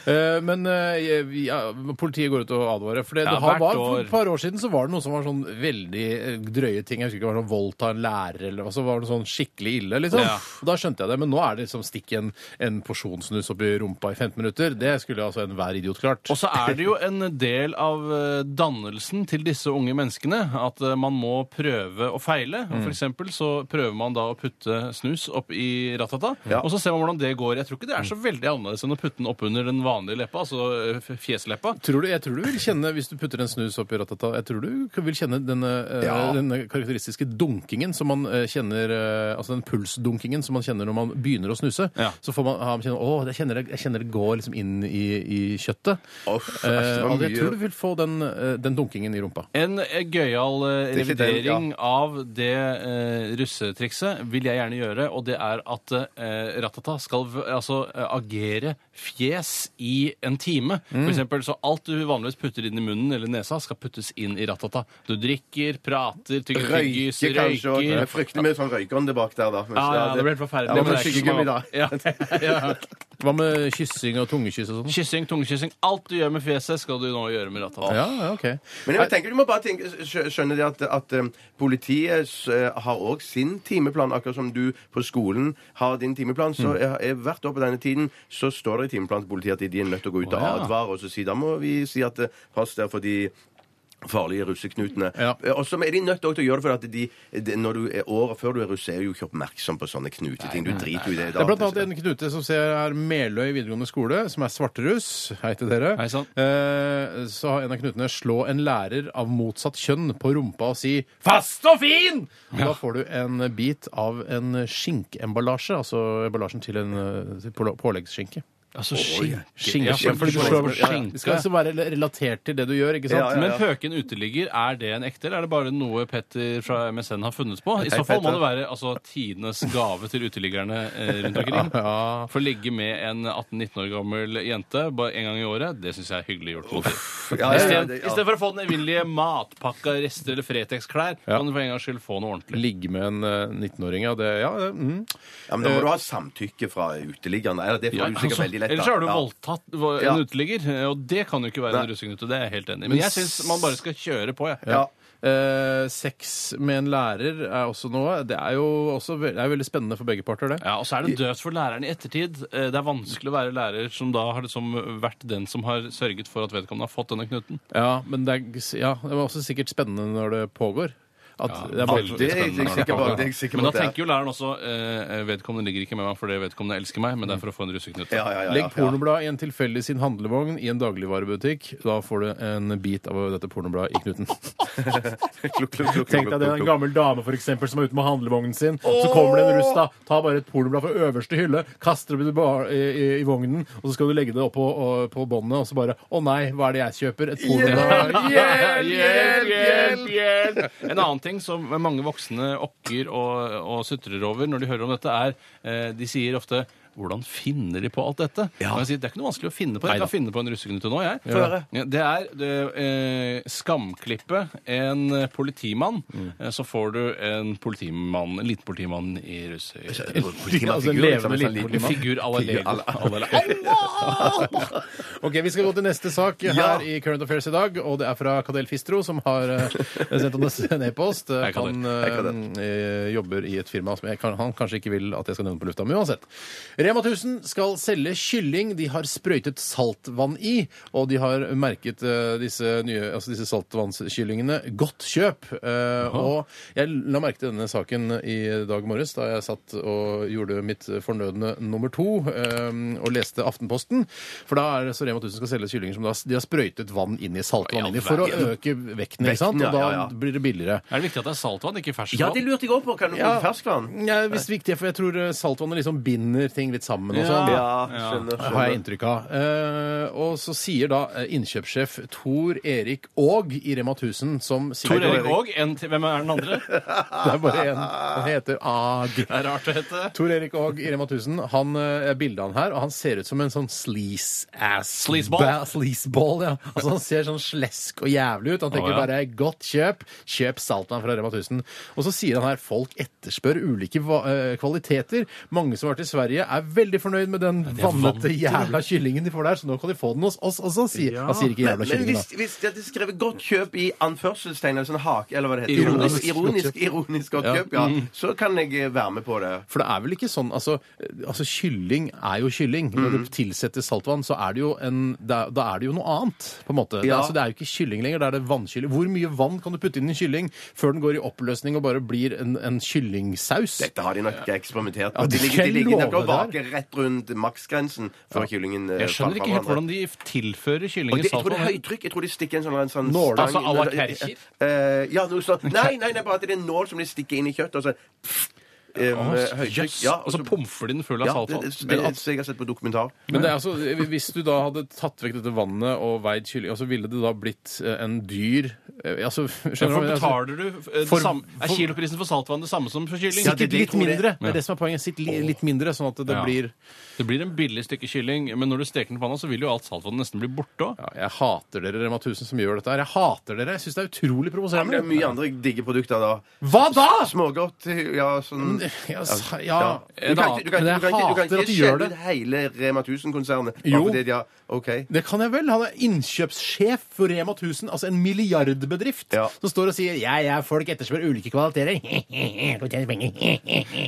[SPEAKER 4] Eh, Men eh, jeg- vi- ja, politiet går ut og advarer. For det,
[SPEAKER 3] Ja,
[SPEAKER 4] det har
[SPEAKER 3] hvert
[SPEAKER 4] var,
[SPEAKER 3] år.
[SPEAKER 4] for et par år siden så var det noen som var sånn veldig eh, drøye ting. Jeg husker ikke, det var sånn voldta en lærer eller hva, så var det sånn skikkelig ille, liksom.
[SPEAKER 3] Ja.
[SPEAKER 4] Og da skjønte jeg det. Men nå er det liksom stikk en, en porsjon snus opp i rumpa i 15 minutter. Det skulle altså enhver idiot klart.
[SPEAKER 3] Og så er det jo en del av eh, dannelsen til disse unge menneskene at eh, man må prøve og feile. Og
[SPEAKER 5] Mm.
[SPEAKER 3] For eksempel så prøver man da å putte snus opp i ratata,
[SPEAKER 5] Ja.
[SPEAKER 3] og så ser man hvordan det går. Jeg tror ikke det er så veldig annerledes enn å putte den oppunder den vanlige leppa, altså eh, f- fjesleppa.
[SPEAKER 4] Tror du, jeg tror du vil kjenne, hvis du putter en snus opp i ratata, jeg tror du vil kjenne denne, eh,
[SPEAKER 5] Ja.
[SPEAKER 4] denne karakteristiske dunkingen som man eh, kjenner, eh, altså den pulsdunkingen som man kjenner når man begynner å snuse.
[SPEAKER 3] Ja.
[SPEAKER 4] Så får man, ha- man kjenne, å, jeg kjenner, det- jeg kjenner det går liksom inn i, i kjøttet.
[SPEAKER 5] Uff,
[SPEAKER 4] Eh,
[SPEAKER 5] æsj, det var
[SPEAKER 4] og jeg
[SPEAKER 5] mye.
[SPEAKER 4] tror du vil få den, eh, den dunkingen i rumpa.
[SPEAKER 3] En eh, gøyal eh,
[SPEAKER 5] Det er ikke den,
[SPEAKER 3] revidering av det eh, russetrikset vil jeg gjerne gjøre, og det er at eh, Ratata skal v- altså, eh, agere fjes i en time. For eksempel, så alt du vanligvis putter inn i munnen eller nesa, skal puttes inn i Ratata. Du drikker, prater, tygger tyggis,
[SPEAKER 5] Røyke, kanskje. og- Det er
[SPEAKER 3] røyker
[SPEAKER 5] Fryktelig mye sånn røykeånde bak der, da. Men
[SPEAKER 3] ja,
[SPEAKER 5] så-
[SPEAKER 3] ja, det blir helt forferdelig.
[SPEAKER 5] Ja,
[SPEAKER 3] men
[SPEAKER 5] men
[SPEAKER 3] det er ikke
[SPEAKER 5] skyggegummi, da.
[SPEAKER 3] smak. Ja, ja.
[SPEAKER 4] Hva med kyssing og tungekyss og sånn?
[SPEAKER 3] Kyssing, tungekyssing. Alt du gjør med fjeset, skal du nå gjøre med Ratata.
[SPEAKER 4] Ja, ja, ok.
[SPEAKER 5] Men jeg tenker du må bare tenke, skjø- skjønne det at, at um, politiet eh, har òg sin timeplan, akkurat som du på skolen har din timeplan. Så jeg, jeg, hvert år på denne tiden så står det i timeplanen til politiet at de er nødt til å gå ut og
[SPEAKER 4] ja.
[SPEAKER 5] advare, og så si, da må vi si at eh, pass der for de farlige russeknutene.
[SPEAKER 4] Ja.
[SPEAKER 5] Eh, Og så er de nødt til å gjøre det, for at de, de, når du er året før du er russ, er du jo ikke oppmerksom på sånne knuteting. Du driter jo i det.
[SPEAKER 4] Det er blant annet en knute som ser her Meløy videregående skole, som er svarteruss. Hei til dere.
[SPEAKER 3] Hei sann.
[SPEAKER 4] Eh, så har en av knutene slå en lærer av motsatt kjønn på rumpa og si 'fast og fin'! Og Da får du en bit av en skinkemballasje, altså emballasjen til en eh, til pål- påleggsskinke.
[SPEAKER 3] Altså, skink,
[SPEAKER 4] Skinke.
[SPEAKER 3] ja, fordi du slår på skinka.
[SPEAKER 4] Det skal altså være relatert til det du gjør, ikke sant?
[SPEAKER 5] Ja, ja,
[SPEAKER 3] Men pøken uteligger, er det en ekte, eller er det bare noe Petter fra MSN har funnet på? I
[SPEAKER 5] Hei,
[SPEAKER 3] så fall må
[SPEAKER 5] Petter.
[SPEAKER 3] det være altså, tidenes gave til uteliggerne eh, rundt omkring. For å ligge med en 18-19 år gammel jente bare en gang i året, det syns jeg er hyggelig gjort. mot dem.
[SPEAKER 5] Ja, ja, ja, det- ja.
[SPEAKER 3] Istedenfor å få den evinnelige matpakka, rester eller Fretex-klær, kan du for en gangs skyld få noe ordentlig.
[SPEAKER 4] Ligge med en eh, 19-åring, ja. Det, ja det, mm.
[SPEAKER 5] Ja, men da må du ha samtykke fra uteliggerne. Eller det får du sikkert veldig lett. da.
[SPEAKER 3] Altså, Ellers så har du
[SPEAKER 5] Ja.
[SPEAKER 3] voldtatt vo-
[SPEAKER 5] Ja.
[SPEAKER 3] en uteligger, og det kan jo ikke være en
[SPEAKER 5] Nei.
[SPEAKER 3] russeknute. Det er jeg helt enig i. Men jeg syns man bare skal kjøre på, jeg.
[SPEAKER 5] Ja.
[SPEAKER 4] Eh, sex med en lærer er også noe. Det er jo også ve det er veldig spennende for begge parter, det.
[SPEAKER 3] Ja, og så er det dødt for læreren i ettertid. Eh, Det er vanskelig å være lærer som da har liksom vært den som har sørget for at vedkommende har fått denne knuten.
[SPEAKER 4] Ja, men det er, ja, det var også sikkert spennende når det pågår. At
[SPEAKER 3] Ja,
[SPEAKER 4] det er bare,
[SPEAKER 3] veldig
[SPEAKER 5] Det er jeg
[SPEAKER 3] spennende.
[SPEAKER 5] sikker på. Det er jeg sikker
[SPEAKER 3] Men
[SPEAKER 5] på
[SPEAKER 3] da
[SPEAKER 5] at det er.
[SPEAKER 3] tenker jo læreren også eh, vedkommende ligger ikke med meg fordi vedkommende elsker meg, men det er for å få en russeknut.
[SPEAKER 5] Ja, ja, ja,
[SPEAKER 4] Legg
[SPEAKER 5] ja, ja.
[SPEAKER 4] pornoblad i en tilfeldig sin handlevogn i en dagligvarebutikk. Da får du en bit av dette pornobladet i knuten.
[SPEAKER 5] Klukk, klukk, klukk,
[SPEAKER 4] Tenk deg det er en
[SPEAKER 5] klukk, klukk.
[SPEAKER 4] gammel dame for eksempel, som er ute med handlevognen sin. Så kommer det en russ, da. Ta bare et pornoblad fra øverste hylle, kaster det i, bar- i, i, i vognen, og så skal du legge det opp på, og- på båndet, og så bare Å nei, hva er det jeg kjøper? Et pornoblad?
[SPEAKER 3] Hjelp, hjelp, hjelp, hjelp! En annen ting som mange voksne okker og, og sutrer over når de hører om dette, er eh, de sier ofte hvordan finner de på alt dette? Og jeg sier, det er ikke noe vanskelig å finne på. Jeg kan finne på en russeknute nå, jeg. Ja, Det er det, eh, skamklippet en eh, politimann, eh, så får du en politimann, en liten politimann i russe...
[SPEAKER 4] Altså en levende liten
[SPEAKER 3] En figur à la Lego. à la-
[SPEAKER 4] Ok, Vi skal gå til neste sak her
[SPEAKER 5] Ja.
[SPEAKER 4] i Current Affairs i dag. og Det er fra Kadel Fistro, som har eh, sendt oss en e-post. Eh,
[SPEAKER 3] Hei, Kadel.
[SPEAKER 4] Han eh, eh, jobber i et firma som jeg, kan- han kanskje ikke vil at jeg skal nevne på lufta, men uansett. Rema 1000 skal selge kylling de har sprøytet saltvann i. Og de har merket eh, disse, nye, altså disse saltvannskyllingene godt kjøp. Eh, og jeg la merke til denne saken i dag morges da jeg satt og gjorde mitt fornødne nummer to eh, og leste Aftenposten. For da er det så Rema 1000 skal selge kyllinger som da, de har sprøytet vann inn i saltvann inn i for å øke vekten, ikke sant?
[SPEAKER 5] ja,
[SPEAKER 4] Og
[SPEAKER 5] ja, ja.
[SPEAKER 4] da blir det billigere.
[SPEAKER 3] Er det viktig at det er saltvann, ikke ferskvann?
[SPEAKER 5] Ja, det lurte jeg òg på. Kan du få ferskvann?
[SPEAKER 4] Ja, hvis det er viktig, for jeg tror eh, saltvannet liksom binder ting litt sammen og
[SPEAKER 3] Ja.
[SPEAKER 4] sånn.
[SPEAKER 5] Ja, skjønner.
[SPEAKER 4] Har jeg
[SPEAKER 5] skjønner.
[SPEAKER 4] inntrykk av. Eh, og så sier da eh, innkjøpssjef Tor Erik Aag i Rema 1000 som
[SPEAKER 3] Tor
[SPEAKER 4] sikkert
[SPEAKER 3] Erik Aag. en til- Hvem er den andre?
[SPEAKER 4] Det er bare en. Han heter Aag.
[SPEAKER 3] Det er rart å hete.
[SPEAKER 4] Tor Erik Aag i Rema 1000, han eh, er bildet av han her, og han ser ut som en sånn sleaze-ass.
[SPEAKER 3] Sleazeball.
[SPEAKER 4] Ba- Sleazeball, ja. Altså Han ser sånn slesk og jævlig ut. Han tenker
[SPEAKER 3] Å, ja.
[SPEAKER 4] bare 'godt kjøp', kjøp saltvann fra Rema 1000. Og så sier han her folk etterspør ulike va eh, kvaliteter. Mange som har vært i Sverige, er veldig fornøyd med den vannete jævla kyllingen de får der, så nå kan de få den hos oss også, sier Han sier ikke
[SPEAKER 5] Men,
[SPEAKER 4] jævla
[SPEAKER 5] men
[SPEAKER 4] kyllingen, da.
[SPEAKER 5] hvis, hvis det er skrevet 'godt kjøp' i anførselstegn, eller sånn hake, eller hva det heter
[SPEAKER 3] Ironisk.
[SPEAKER 5] Ironisk, ironisk, ironisk godt
[SPEAKER 4] Ja. Mm.
[SPEAKER 5] kjøp, ja, så kan jeg eh, være med på det.
[SPEAKER 4] For det er vel ikke sånn Altså, altså kylling er jo kylling. Når
[SPEAKER 5] Mhm.
[SPEAKER 4] du tilsetter saltvann, så er det jo en Da, da er det jo noe annet, på en måte. Det,
[SPEAKER 5] Ja.
[SPEAKER 4] er- altså, det er jo ikke kylling lenger, det er det vannkylling. Hvor mye vann kan du putte inn i en kylling før den går i oppløsning og bare blir en, en kyllingsaus?
[SPEAKER 5] Dette har de nok ikke eksperimentert
[SPEAKER 4] Ja,
[SPEAKER 5] med. De
[SPEAKER 4] det
[SPEAKER 5] ligger, de
[SPEAKER 4] skal jeg
[SPEAKER 5] ligger nok og
[SPEAKER 4] love
[SPEAKER 5] vaker rett rundt maksgrensen før kyllingen eh,
[SPEAKER 3] Jeg
[SPEAKER 5] faller
[SPEAKER 3] skjønner
[SPEAKER 5] fra
[SPEAKER 3] ikke helt
[SPEAKER 5] hverandre.
[SPEAKER 3] hvordan de tilfører
[SPEAKER 5] Og
[SPEAKER 3] kyllingen
[SPEAKER 5] det, jeg tror det er
[SPEAKER 3] saltvann.
[SPEAKER 5] høytrykk. Jeg tror de stikker en sånn, en sånn
[SPEAKER 4] Nål,
[SPEAKER 5] stang
[SPEAKER 3] altså à la
[SPEAKER 5] under-
[SPEAKER 3] Kercher?
[SPEAKER 5] Eh, ja, noe sånt. Nei, nei, nei, bare at det er en nål som de stikker inn i kjøttet, og så pff, eh, med høytrykk.
[SPEAKER 3] Jøss.
[SPEAKER 5] Ja,
[SPEAKER 3] Og så pumfer de Altså, den full av
[SPEAKER 5] ja, det,
[SPEAKER 3] saltvann.
[SPEAKER 5] det, det, det, jeg har sett på dokumentar.
[SPEAKER 4] Men det er altså, hvis du da hadde tatt vekk dette vannet og veid kylling, altså ville det da blitt eh, en dyr eh, altså,
[SPEAKER 3] Ja,
[SPEAKER 4] Skjønner du? hva
[SPEAKER 3] for
[SPEAKER 4] jeg mener? Altså,
[SPEAKER 3] betaler du eh, det
[SPEAKER 4] For-
[SPEAKER 3] samme- Er
[SPEAKER 4] for-
[SPEAKER 3] kiloprisen for saltvann det samme som for kylling?
[SPEAKER 5] Ja,
[SPEAKER 4] Sikkert
[SPEAKER 5] det- det
[SPEAKER 4] litt
[SPEAKER 5] tror jeg.
[SPEAKER 4] mindre. Det
[SPEAKER 3] Ja.
[SPEAKER 4] er det som er poenget. Sitt li, litt mindre, sånn at det
[SPEAKER 3] Ja.
[SPEAKER 4] blir
[SPEAKER 3] Det blir en billig stykke kylling, men når du steker den på panna, så vil jo alt saltvannet nesten bli borte òg.
[SPEAKER 4] ja, Jeg hater dere, Rema 1000, som gjør dette her. Jeg hater dere. Jeg syns det er utrolig
[SPEAKER 5] Men det
[SPEAKER 4] provoserende.
[SPEAKER 5] er mye andre digge produkter da.
[SPEAKER 4] Hva da?!
[SPEAKER 5] Smågodt, ja, sånn
[SPEAKER 4] Ja, sa-
[SPEAKER 5] Ja.
[SPEAKER 4] ja.
[SPEAKER 5] Du kan ikke- du
[SPEAKER 4] Men jeg
[SPEAKER 5] kan ikke- du kan ikke- du kan
[SPEAKER 4] hater at
[SPEAKER 5] ikke
[SPEAKER 4] de gjør
[SPEAKER 5] skjelle
[SPEAKER 4] det.
[SPEAKER 5] ut hele Rema 1000-konsernet.
[SPEAKER 4] Jo.
[SPEAKER 5] Fordi de har, OK.
[SPEAKER 4] Det kan jeg vel. Han er innkjøpssjef for Rema 1000, altså en milliardbedrift,
[SPEAKER 5] Ja.
[SPEAKER 4] som står og sier 'jeg er folk etterspør ulike kvaliteter'. Kan tjene penger.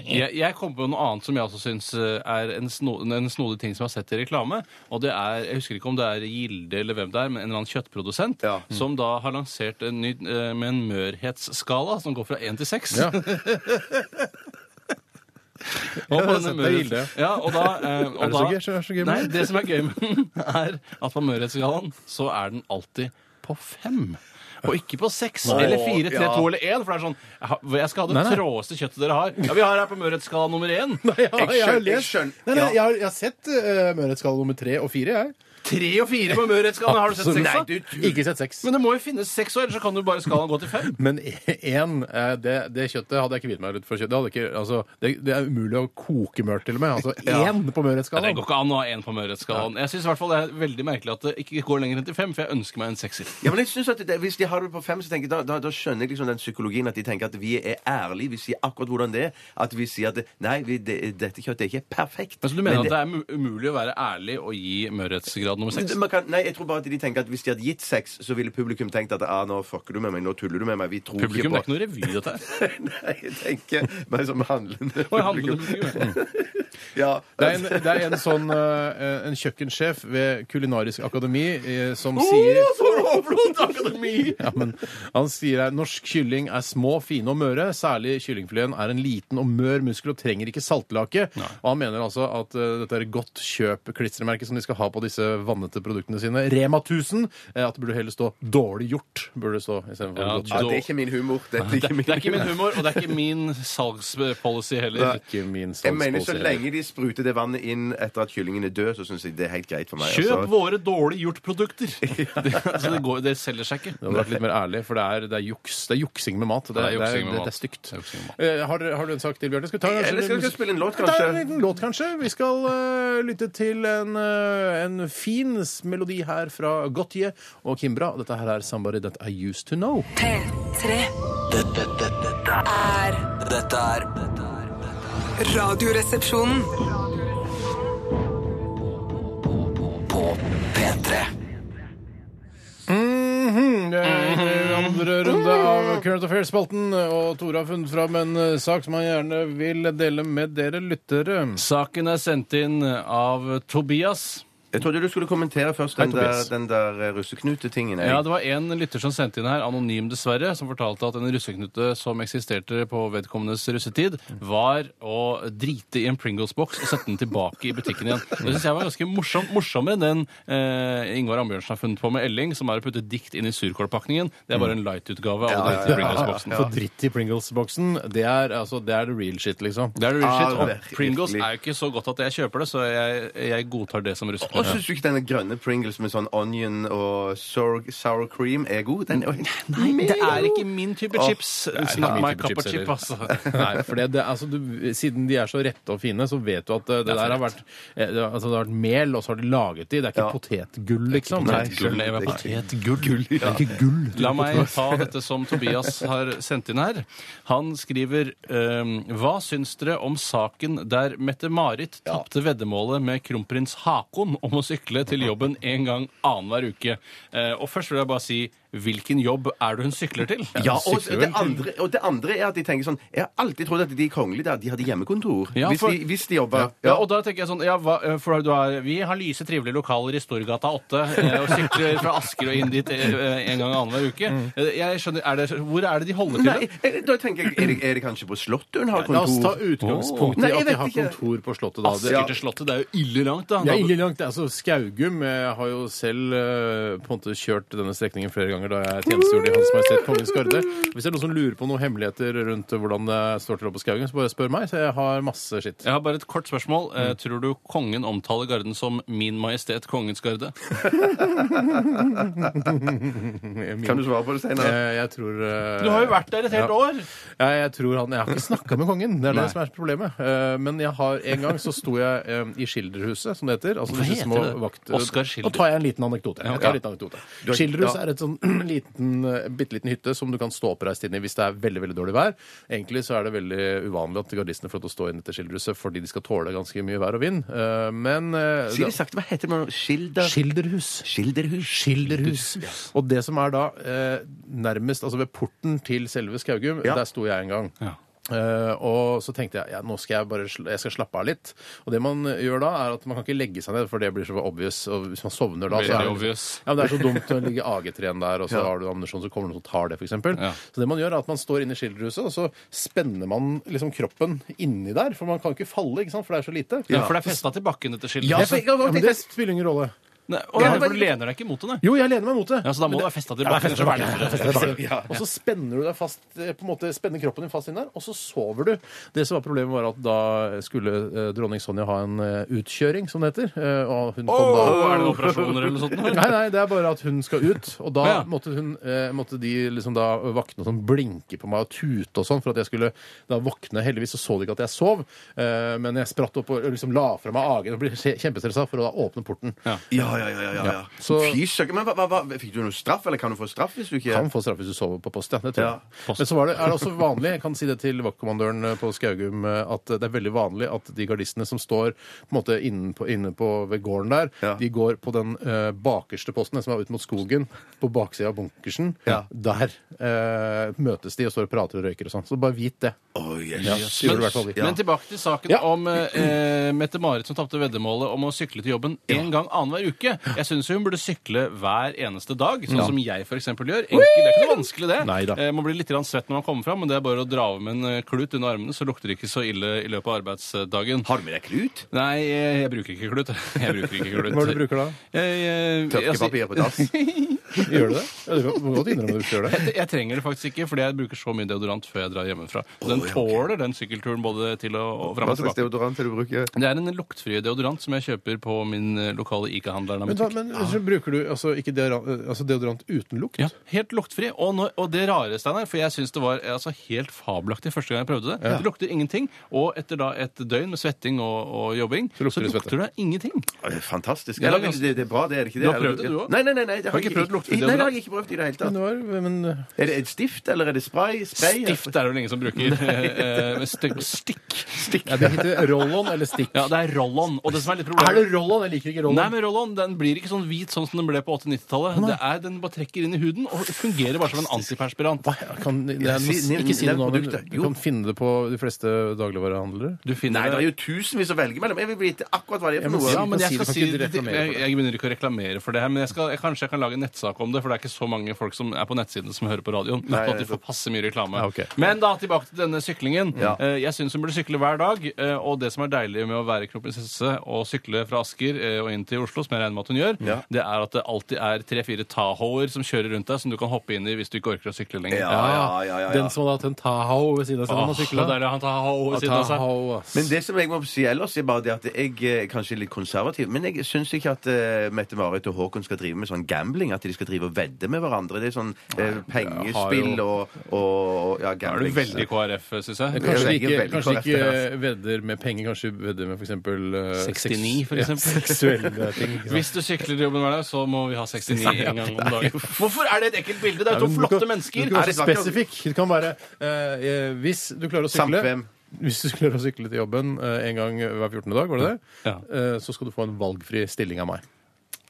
[SPEAKER 3] Jeg, jeg kom på noe annet som jeg også syns er en, sno, en snodig ting som jeg har sett i reklame. Og det er, Jeg husker ikke om det er Gilde eller hvem det er, men en eller annen kjøttprodusent
[SPEAKER 5] Ja.
[SPEAKER 3] som da har lansert en ny eh, med en mørhetsskala som går fra én til seks.
[SPEAKER 4] Ja.
[SPEAKER 3] Og, på
[SPEAKER 4] Ja,
[SPEAKER 3] denne
[SPEAKER 4] det er
[SPEAKER 3] mørhet-
[SPEAKER 4] Gilde.
[SPEAKER 3] ja, og da, eh, og
[SPEAKER 4] Er det
[SPEAKER 3] da,
[SPEAKER 4] så gøy? Er det så gøy med
[SPEAKER 3] Nei,
[SPEAKER 4] det?
[SPEAKER 3] det som er gøy med den, er at på mørhetsskalaen så er den alltid på fem. Og ikke på seks eller fire, tre,
[SPEAKER 5] ja.
[SPEAKER 3] to eller én. For det er sånn Jeg har- jeg skal ha det
[SPEAKER 4] Nei, nei.
[SPEAKER 3] tråeste kjøttet dere har. Ja, Vi har her på mørhetsskala nummer én.
[SPEAKER 4] Ja, jeg har
[SPEAKER 5] skjønner- jeg
[SPEAKER 4] lest.
[SPEAKER 5] skjønner.
[SPEAKER 4] Nei, nei,
[SPEAKER 5] Ja.
[SPEAKER 4] jeg har, jeg har sett uh, Mørhetsskala nummer tre og fire, jeg.
[SPEAKER 3] Tre og fire på mørhetsskalaen. Har du sett seks,
[SPEAKER 5] Nei,
[SPEAKER 3] da?
[SPEAKER 5] du
[SPEAKER 4] Ikke sett seks.
[SPEAKER 3] Men det må jo finnes seks år, ellers så kan du bare skalaen gå til fem.
[SPEAKER 4] Men én, eh, det, det kjøttet hadde jeg ikke hvilt meg ut for kjøtt. Det, hadde ikke, altså, det, det er umulig å koke mørt til og med. Altså én på
[SPEAKER 3] Det
[SPEAKER 4] mørhetsskalaen.
[SPEAKER 3] går ikke an å ha én på mørhetsskalaen. Jeg syns i hvert fall det er veldig merkelig at det ikke går lenger enn til fem, for jeg ønsker meg en sekser.
[SPEAKER 5] Ja, men jeg synes at det, Hvis de har det på fem, så tenker jeg, da, da, da skjønner jeg liksom den psykologien at de tenker at vi er ærlige. Vi sier akkurat hvordan det er. At vi sier at det- nei, vi, det, dette kjøttet er ikke perfekt.
[SPEAKER 3] Men så Altså, du mener at det er mu- umulig å være ærlig og gi mørhetsgrad nummer seks?
[SPEAKER 5] man kan, nei, jeg tror bare at de tenker at Hvis de hadde gitt seks, så ville publikum tenkt at ah, nå fucker du med meg, nå tuller du med meg. Vi tror
[SPEAKER 3] Publikum, det er
[SPEAKER 5] ikke
[SPEAKER 3] ikke noe revy, dette her.
[SPEAKER 5] på Nei, jeg tenker meg som handlende
[SPEAKER 3] Oi, handler det med publikum?
[SPEAKER 5] Ja.
[SPEAKER 4] Det er en, det er en sånn eh, en kjøkkensjef ved Kulinarisk akademi eh, som sier ja, men Han sier her norsk kylling er små, fine og møre. Særlig kyllingfileten er en liten og mør muskel og trenger ikke saltlake. Og han mener altså at eh, dette er et godt kjøp-klistremerke som de skal ha på disse vannete produktene sine. Rema 1000. eh, at det burde heller stå 'dårlig gjort'. burde det stå i stedet for
[SPEAKER 3] Ja,
[SPEAKER 4] godt
[SPEAKER 5] Ja,
[SPEAKER 4] kjøp.
[SPEAKER 5] det er ikke min humor. Dette er
[SPEAKER 3] Det,
[SPEAKER 5] ikke min
[SPEAKER 3] det er ikke min humor, og det er ikke min salgspolicy heller.
[SPEAKER 4] Ikke min
[SPEAKER 5] Jeg mener så
[SPEAKER 4] salgspose.
[SPEAKER 5] lenge de spruter det vannet inn etter at kyllingen er død, så syns jeg det er helt greit for meg.
[SPEAKER 3] Kjøp
[SPEAKER 5] altså.
[SPEAKER 3] våre dårlig gjort-produkter! Det, altså, det, går- det selger seg ikke.
[SPEAKER 4] Det hadde vært litt mer ærlig, for det er, det er juks. Det er juksing med mat. Det,
[SPEAKER 3] Ja,
[SPEAKER 4] er,
[SPEAKER 3] det er
[SPEAKER 4] det,
[SPEAKER 3] juksing
[SPEAKER 4] er,
[SPEAKER 3] med
[SPEAKER 4] det,
[SPEAKER 3] mat.
[SPEAKER 4] er stygt.
[SPEAKER 3] Det er juksing med mat.
[SPEAKER 4] Eh, Har, dere- har du en sak til, Bjørne? Skal vi ta kanskje-
[SPEAKER 5] Eller skal vi ikke spille en låt,
[SPEAKER 4] Vi tar
[SPEAKER 5] kanskje?
[SPEAKER 4] en liten låt, kanskje. Vi skal eh, lytte til en, eh, en fin melodi her fra Gotye og Kimbra. Dette her er 'Somebody That I Used To Know'.
[SPEAKER 6] P3
[SPEAKER 7] Dette, dette, dette,
[SPEAKER 6] er
[SPEAKER 7] er- dette er dette er-
[SPEAKER 6] Radioresepsjonen.
[SPEAKER 7] På P3
[SPEAKER 4] Mhm, det er Andre runde av Current Affairs-spalten. Og Tore har funnet fram en eh, sak som han gjerne vil dele med dere lyttere.
[SPEAKER 3] Saken er sendt inn av Tobias.
[SPEAKER 5] Jeg trodde du skulle kommentere først
[SPEAKER 4] Hei,
[SPEAKER 5] den der,
[SPEAKER 4] Tobias.
[SPEAKER 5] den der eh, russeknute-tingen. jeg.
[SPEAKER 3] Ja, det var en lytter som sendte inn her, anonym dessverre, som fortalte at en russeknute som eksisterte på vedkommendes russetid, var å drite i en Pringles-boks og sette den tilbake i butikken igjen. Det syns jeg var ganske morsom, morsommere enn den eh, Ingvar Ambjørnsen har funnet på med Elling, som er å putte dikt inn i surkålpakningen. Det er bare en light-utgave av å drite i Pringles-boksen.
[SPEAKER 4] For dritt i Pringles-boksen, det er altså, det er the real shit, liksom.
[SPEAKER 3] Det er real shit.
[SPEAKER 5] Ja,
[SPEAKER 3] Og Pringles
[SPEAKER 5] virkelig.
[SPEAKER 3] er jo ikke så godt at jeg kjøper det, så jeg, jeg godtar det som
[SPEAKER 5] Og
[SPEAKER 3] russeknute.
[SPEAKER 5] syns du ikke denne grønne Pringles med sånn onion og sour, sour cream er god? Den er jo helt
[SPEAKER 3] Det er ikke min type chips. It's
[SPEAKER 4] ikke
[SPEAKER 3] not
[SPEAKER 4] min
[SPEAKER 3] my
[SPEAKER 4] type
[SPEAKER 3] cup of
[SPEAKER 4] chips
[SPEAKER 3] chip,
[SPEAKER 4] heller.
[SPEAKER 3] altså.
[SPEAKER 4] Nei, for det, det, altså, du, Siden de er så rette og fine, så vet du at eh, det,
[SPEAKER 3] er
[SPEAKER 4] der
[SPEAKER 3] for
[SPEAKER 4] har vært, eh, det, altså, det har vært mel, og så har de laget de. Det er ikke
[SPEAKER 5] Ja.
[SPEAKER 4] potetgull, liksom.
[SPEAKER 5] Nei, potetgull.
[SPEAKER 3] Gull, Eva.
[SPEAKER 4] Potetgull. Det er ikke gull. til
[SPEAKER 3] La meg
[SPEAKER 4] potet.
[SPEAKER 3] ta dette som Tobias har sendt inn her. Han skriver ehm, Hva syns dere om saken der Mette-Marit tapte veddemålet med kronprins Hakon om å sykle til jobben en gang annenhver uke? Eh, og først vil jeg bare si hvilken jobb er det hun sykler til?
[SPEAKER 5] Ja, og det, andre, og det andre er at de tenker sånn Jeg har alltid trodd at de kongelige der, de hadde hjemmekontor.
[SPEAKER 3] Ja,
[SPEAKER 5] hvis,
[SPEAKER 3] for-
[SPEAKER 5] de, hvis de jobba.
[SPEAKER 3] Ja, og da tenker jeg sånn, ja, hva, eh, for du er, Vi har lyse, trivelige lokaler i Storgata 8 eh, og sykler fra Asker og inn dit eh, en gang annenhver uke. Eh, Jeg skjønner, er det, Hvor er det de holder til? da?
[SPEAKER 5] Nei, eh, da tenker jeg Er det, er det kanskje på Slottet hun har
[SPEAKER 4] La oss ta
[SPEAKER 5] kontor?
[SPEAKER 4] utgangspunkt
[SPEAKER 5] Nei,
[SPEAKER 4] i at
[SPEAKER 5] jeg
[SPEAKER 4] de
[SPEAKER 5] vet
[SPEAKER 4] har
[SPEAKER 5] ikke.
[SPEAKER 4] kontor på Slottet. Da. Det,
[SPEAKER 3] Asker til Slottet, det er jo ille langt, da.
[SPEAKER 4] Det er ille langt. Altså, Skaugum jeg har jo selv eh, på en måte kjørt denne strekningen flere ganger da jeg tjenestegjorde i Hans Majestet Kongens Garde. Hvis det er noen som lurer på noen hemmeligheter rundt hvordan det står til oppe på Skaugum, så bare spør meg. Så jeg har masse skitt.
[SPEAKER 3] Jeg har bare et kort spørsmål.
[SPEAKER 4] Mm.
[SPEAKER 3] Eh, tror du kongen omtaler garden som Min Majestet Kongens Garde?
[SPEAKER 5] Kan du svare på det
[SPEAKER 4] Eh,
[SPEAKER 5] senere?
[SPEAKER 4] Jeg tror eh,
[SPEAKER 3] der et
[SPEAKER 4] helt
[SPEAKER 3] år!
[SPEAKER 4] Ja, jeg tror han, jeg har ikke snakka med kongen. Det er
[SPEAKER 3] Nei.
[SPEAKER 4] det som er problemet. Eh, Men jeg har, en gang så sto jeg eh, i Skilderhuset, som det heter. Altså,
[SPEAKER 3] Hva
[SPEAKER 4] disse
[SPEAKER 3] heter
[SPEAKER 4] små
[SPEAKER 3] det?
[SPEAKER 4] vakt-
[SPEAKER 3] Oskar Schilder.
[SPEAKER 4] Nå tar jeg en liten anekdote. Jeg
[SPEAKER 3] ok.
[SPEAKER 4] tar en liten anekdote.
[SPEAKER 5] har-
[SPEAKER 4] Skilderhuset
[SPEAKER 5] ja.
[SPEAKER 4] er et sånn liten, eh, bitte liten hytte som du kan stå oppreist inn i hvis det er veldig veldig dårlig vær. Egentlig så er det veldig uvanlig at gardistene får lov til å stå inne til Skilderhuset fordi de skal tåle ganske mye vær og vind. Eh, Men eh,
[SPEAKER 5] Si det sakte. Hva heter det? nå? Skilder...
[SPEAKER 4] Skilderhus.
[SPEAKER 5] Skilderhus?
[SPEAKER 4] Skilderhus. Og det som er da eh, nærmest, altså ved porten til selve Skaugum,
[SPEAKER 5] Ja.
[SPEAKER 4] der sto jeg en gang.
[SPEAKER 3] Ja.
[SPEAKER 4] Eh, og så tenkte jeg ja, nå skal jeg bare sl jeg skal slappe av litt. Og det man gjør da, er at man kan ikke legge seg ned, for det blir så obvious. Og hvis man sovner da så er
[SPEAKER 3] Veldig
[SPEAKER 4] det-
[SPEAKER 3] obvious.
[SPEAKER 4] Ja, men Det er så dumt å ligge AG3-en der, og så har du ammunisjon, så kommer noen og tar det, f.eks.
[SPEAKER 3] Ja.
[SPEAKER 4] Så det man gjør, er at man står inne i skilderhuset, og så spenner man liksom kroppen inni der. For man kan ikke falle, ikke sant? for det er så lite.
[SPEAKER 3] Ja, for det er festa til bakken etter skiltet.
[SPEAKER 4] Ja,
[SPEAKER 3] Ja,
[SPEAKER 4] for- ja, men det spiller ingen rolle.
[SPEAKER 3] for du lener deg ikke mot det, nei.
[SPEAKER 4] Jo, jeg lener meg mot det.
[SPEAKER 3] Ja, så da må det være festa til
[SPEAKER 4] Ja,
[SPEAKER 3] bakken.
[SPEAKER 4] fester
[SPEAKER 3] ellers
[SPEAKER 4] bakken.
[SPEAKER 3] er det
[SPEAKER 4] Fester bakken. Og så spenner du deg fast, eh, på en måte spenner kroppen din fast inn der, og så sover du. Det som var problemet var at da skulle eh, dronning Sonja ha en eh, utkjøring, som det heter. eh, Og hun kom da...
[SPEAKER 3] Å, Er det operasjoner eller noe sånt? nå?
[SPEAKER 4] Nei, nei, det er bare at hun skal ut, og da
[SPEAKER 3] Ja.
[SPEAKER 4] måtte, hun, eh, måtte de liksom da vakne og sånn blinke på meg og tute og sånn for at jeg skulle da våkne. Heldigvis så så de ikke at jeg sov, eh, men jeg spratt opp og liksom la fra meg agen og ble kjempestressa for å da åpne porten.
[SPEAKER 3] Ja.
[SPEAKER 5] Ja, ja, ja, ja. ja, ja.
[SPEAKER 4] Ja, så-
[SPEAKER 5] Fy søkker, men hva, hva, hva, Fikk du noe straff, eller kan du få straff hvis du ikke
[SPEAKER 4] Kan få straff hvis du sover på post, ja. Det tror
[SPEAKER 5] Ja.
[SPEAKER 4] jeg. Men så var det, er det også vanlig, jeg kan si det til vaktkommandøren eh, på Skaugum, at det er veldig vanlig at de gardistene som står på en måte inne på, inne på ved gården der,
[SPEAKER 5] Ja.
[SPEAKER 4] de går på den eh, bakerste posten, den som er ut mot skogen, på baksida av bunkersen.
[SPEAKER 5] Ja.
[SPEAKER 4] Der eh, møtes de og står og prater og røyker og sånn. Så bare vit det.
[SPEAKER 5] Å, yes.
[SPEAKER 4] Det gjorde i hvert fall vi.
[SPEAKER 3] Men tilbake til saken
[SPEAKER 4] Ja.
[SPEAKER 3] om eh, Mette-Marit som tapte veddemålet om å sykle til jobben én gang annenhver uke. Jeg syns hun burde sykle hver eneste dag, sånn som jeg f.eks. gjør. Enkel, det er ikke noe vanskelig, det.
[SPEAKER 4] Neida.
[SPEAKER 3] Eh, man blir litt grann svett når man kommer fram, men det er bare å dra av med en eh, klut under armene, så lukter det ikke så ille i løpet av arbeidsdagen.
[SPEAKER 5] Har du med deg klut?
[SPEAKER 3] Nei, eh, jeg bruker ikke klut. Jeg bruker ikke klut.
[SPEAKER 4] Hva er det du bruker da?
[SPEAKER 3] Jeg, eh, jeg,
[SPEAKER 5] Tørkepapir på dass?
[SPEAKER 4] Gjør du det? Ja, du kan godt innrømme at du ikke gjør det.
[SPEAKER 3] jeg, jeg trenger det faktisk ikke, fordi jeg bruker så mye deodorant før jeg drar hjemmefra. Så den
[SPEAKER 5] Å, ja, ok.
[SPEAKER 3] tåler den sykkelturen både til og, og fram
[SPEAKER 5] Hva
[SPEAKER 3] og tilbake.
[SPEAKER 5] slags deodorant er det du bruker?
[SPEAKER 3] Det er en luktfri deodorant som jeg kjøper på min eh, lokale ICA-handler.
[SPEAKER 4] Men, da, men så bruker du altså, ikke deodorant, altså deodorant uten lukt?
[SPEAKER 3] Ja, helt luktfri. Og, nå- og det rare, Steinar, for jeg syns det var eh, altså, helt fabelaktig første gang jeg prøvde det. Det lukter ingenting. Og etter da et døgn med svetting og, og jobbing, så
[SPEAKER 4] lukter
[SPEAKER 3] lukter,
[SPEAKER 4] det
[SPEAKER 3] det, ingenting.
[SPEAKER 5] Å, Fantastisk.
[SPEAKER 3] Ja, det er
[SPEAKER 5] Eller,
[SPEAKER 3] ganske-
[SPEAKER 5] det, det er bra, det er det ikke det?
[SPEAKER 3] Du har
[SPEAKER 5] Eller-
[SPEAKER 3] prøvd det, du også?
[SPEAKER 5] Nei, nei, nei. nei det
[SPEAKER 3] Har ikke prøvd luktevideo,
[SPEAKER 5] Nei, det
[SPEAKER 3] da?
[SPEAKER 5] har jeg ikke prøvd i det hele
[SPEAKER 4] Men, øh,
[SPEAKER 5] tatt.
[SPEAKER 4] det var, men eh,
[SPEAKER 5] Er det et stift, eller er det spray? spray
[SPEAKER 3] Stift er det vel ingen som bruker. eh, eh, st- Stikk.
[SPEAKER 4] Ja, det heter roll-on eller stikk.
[SPEAKER 3] Ja, det er roll-on. Og det som er litt
[SPEAKER 4] Er det
[SPEAKER 3] problemet
[SPEAKER 4] roll-on? Jeg liker ikke
[SPEAKER 3] Nei,
[SPEAKER 4] roll-on.
[SPEAKER 3] men roll-on den blir ikke sånn hvit sånn som den ble på 80-90-tallet. Det er- Den bare trekker inn i huden og fungerer bare som en antiperspirant.
[SPEAKER 4] Hva? Jeg Kan, jeg,
[SPEAKER 5] Ja, si- nevn-
[SPEAKER 4] ikke si det
[SPEAKER 5] nevn
[SPEAKER 4] nå, men
[SPEAKER 5] produktet.
[SPEAKER 4] du
[SPEAKER 5] Jo.
[SPEAKER 4] kan finne det på de fleste dagligvarehandlere.
[SPEAKER 3] Du finner
[SPEAKER 5] Nei, det
[SPEAKER 3] det-
[SPEAKER 5] er jo tusenvis å velge mellom. Jeg vil vite akkurat hva det er
[SPEAKER 4] Ja,
[SPEAKER 5] for
[SPEAKER 4] men
[SPEAKER 5] noe.
[SPEAKER 4] si-
[SPEAKER 3] Ja, men
[SPEAKER 4] kan
[SPEAKER 3] jeg,
[SPEAKER 4] si
[SPEAKER 3] skal
[SPEAKER 4] det,
[SPEAKER 3] si,
[SPEAKER 4] kan ikke
[SPEAKER 3] det-
[SPEAKER 4] reklamere for
[SPEAKER 3] jeg,
[SPEAKER 4] det.
[SPEAKER 3] jeg begynner ikke å reklamere for det her, men jeg skal, jeg, kanskje jeg kan lage en nettsak om det, for det er ikke så mange folk som er på nettsiden som hører på radioen. så at de
[SPEAKER 5] nei,
[SPEAKER 3] får passe mye reklame.
[SPEAKER 4] Ja, ok.
[SPEAKER 3] Men da tilbake til denne syklingen.
[SPEAKER 5] Ja.
[SPEAKER 3] Eh, Jeg syns hun burde sykle hver dag, eh, og det som er deilig med å være kronprinsesse og sykle fra Asker eh, og inn til Oslo, som jeg regner med at hun gjør,
[SPEAKER 5] Ja.
[SPEAKER 3] det er at det alltid er tre-fire Tahoer som kjører rundt deg, som du kan hoppe inn i hvis du ikke orker å sykle lenger.
[SPEAKER 5] Ja, ja, ja, ja.
[SPEAKER 4] Den som hadde hatt en Tahoe ved siden av seg når
[SPEAKER 3] Åh,
[SPEAKER 4] man
[SPEAKER 3] så
[SPEAKER 4] sykla.
[SPEAKER 3] deilig å ha en Tahoe ved siden av seg.
[SPEAKER 4] Tahoe, ass.
[SPEAKER 5] Men det som jeg må si ellers, er bare det at jeg eh, kanskje er litt konservativ, men jeg syns ikke at eh, Mette-Marit og Håkon skal drive med sånn gambling, at de skal drive og vedde med hverandre. Det er sånn eh, pengespill og, og ja,
[SPEAKER 3] Da er du
[SPEAKER 5] gambling.
[SPEAKER 3] veldig KrF, syns jeg.
[SPEAKER 5] Jeg
[SPEAKER 4] Kanskje
[SPEAKER 5] velger
[SPEAKER 4] ikke,
[SPEAKER 5] veldig
[SPEAKER 4] kanskje
[SPEAKER 5] KrF,
[SPEAKER 4] ikke
[SPEAKER 5] det,
[SPEAKER 4] vedder med penger, kanskje vedder med f.eks.
[SPEAKER 3] 69, for eksempel.
[SPEAKER 4] Seksuelle ting. ikke sant?
[SPEAKER 3] Hvis du sykler til jobben hver dag, så må vi ha 69 en gang om dagen. Hvorfor er det et ekkelt bilde? Det er
[SPEAKER 4] Nei,
[SPEAKER 3] jo
[SPEAKER 4] men
[SPEAKER 3] to
[SPEAKER 4] du
[SPEAKER 3] flotte
[SPEAKER 4] kan-
[SPEAKER 3] mennesker.
[SPEAKER 4] Du kan
[SPEAKER 5] Er
[SPEAKER 4] være
[SPEAKER 5] det
[SPEAKER 4] så
[SPEAKER 5] snakk om-
[SPEAKER 4] spesifikk. Det kan være eh, eh, Hvis du klarer å sykle
[SPEAKER 5] Samkvem.
[SPEAKER 4] Hvis du klarer å sykle til jobben eh, en gang hver 14. dag, var det det?
[SPEAKER 3] Ja.
[SPEAKER 4] Eh, så skal du få en valgfri stilling av meg.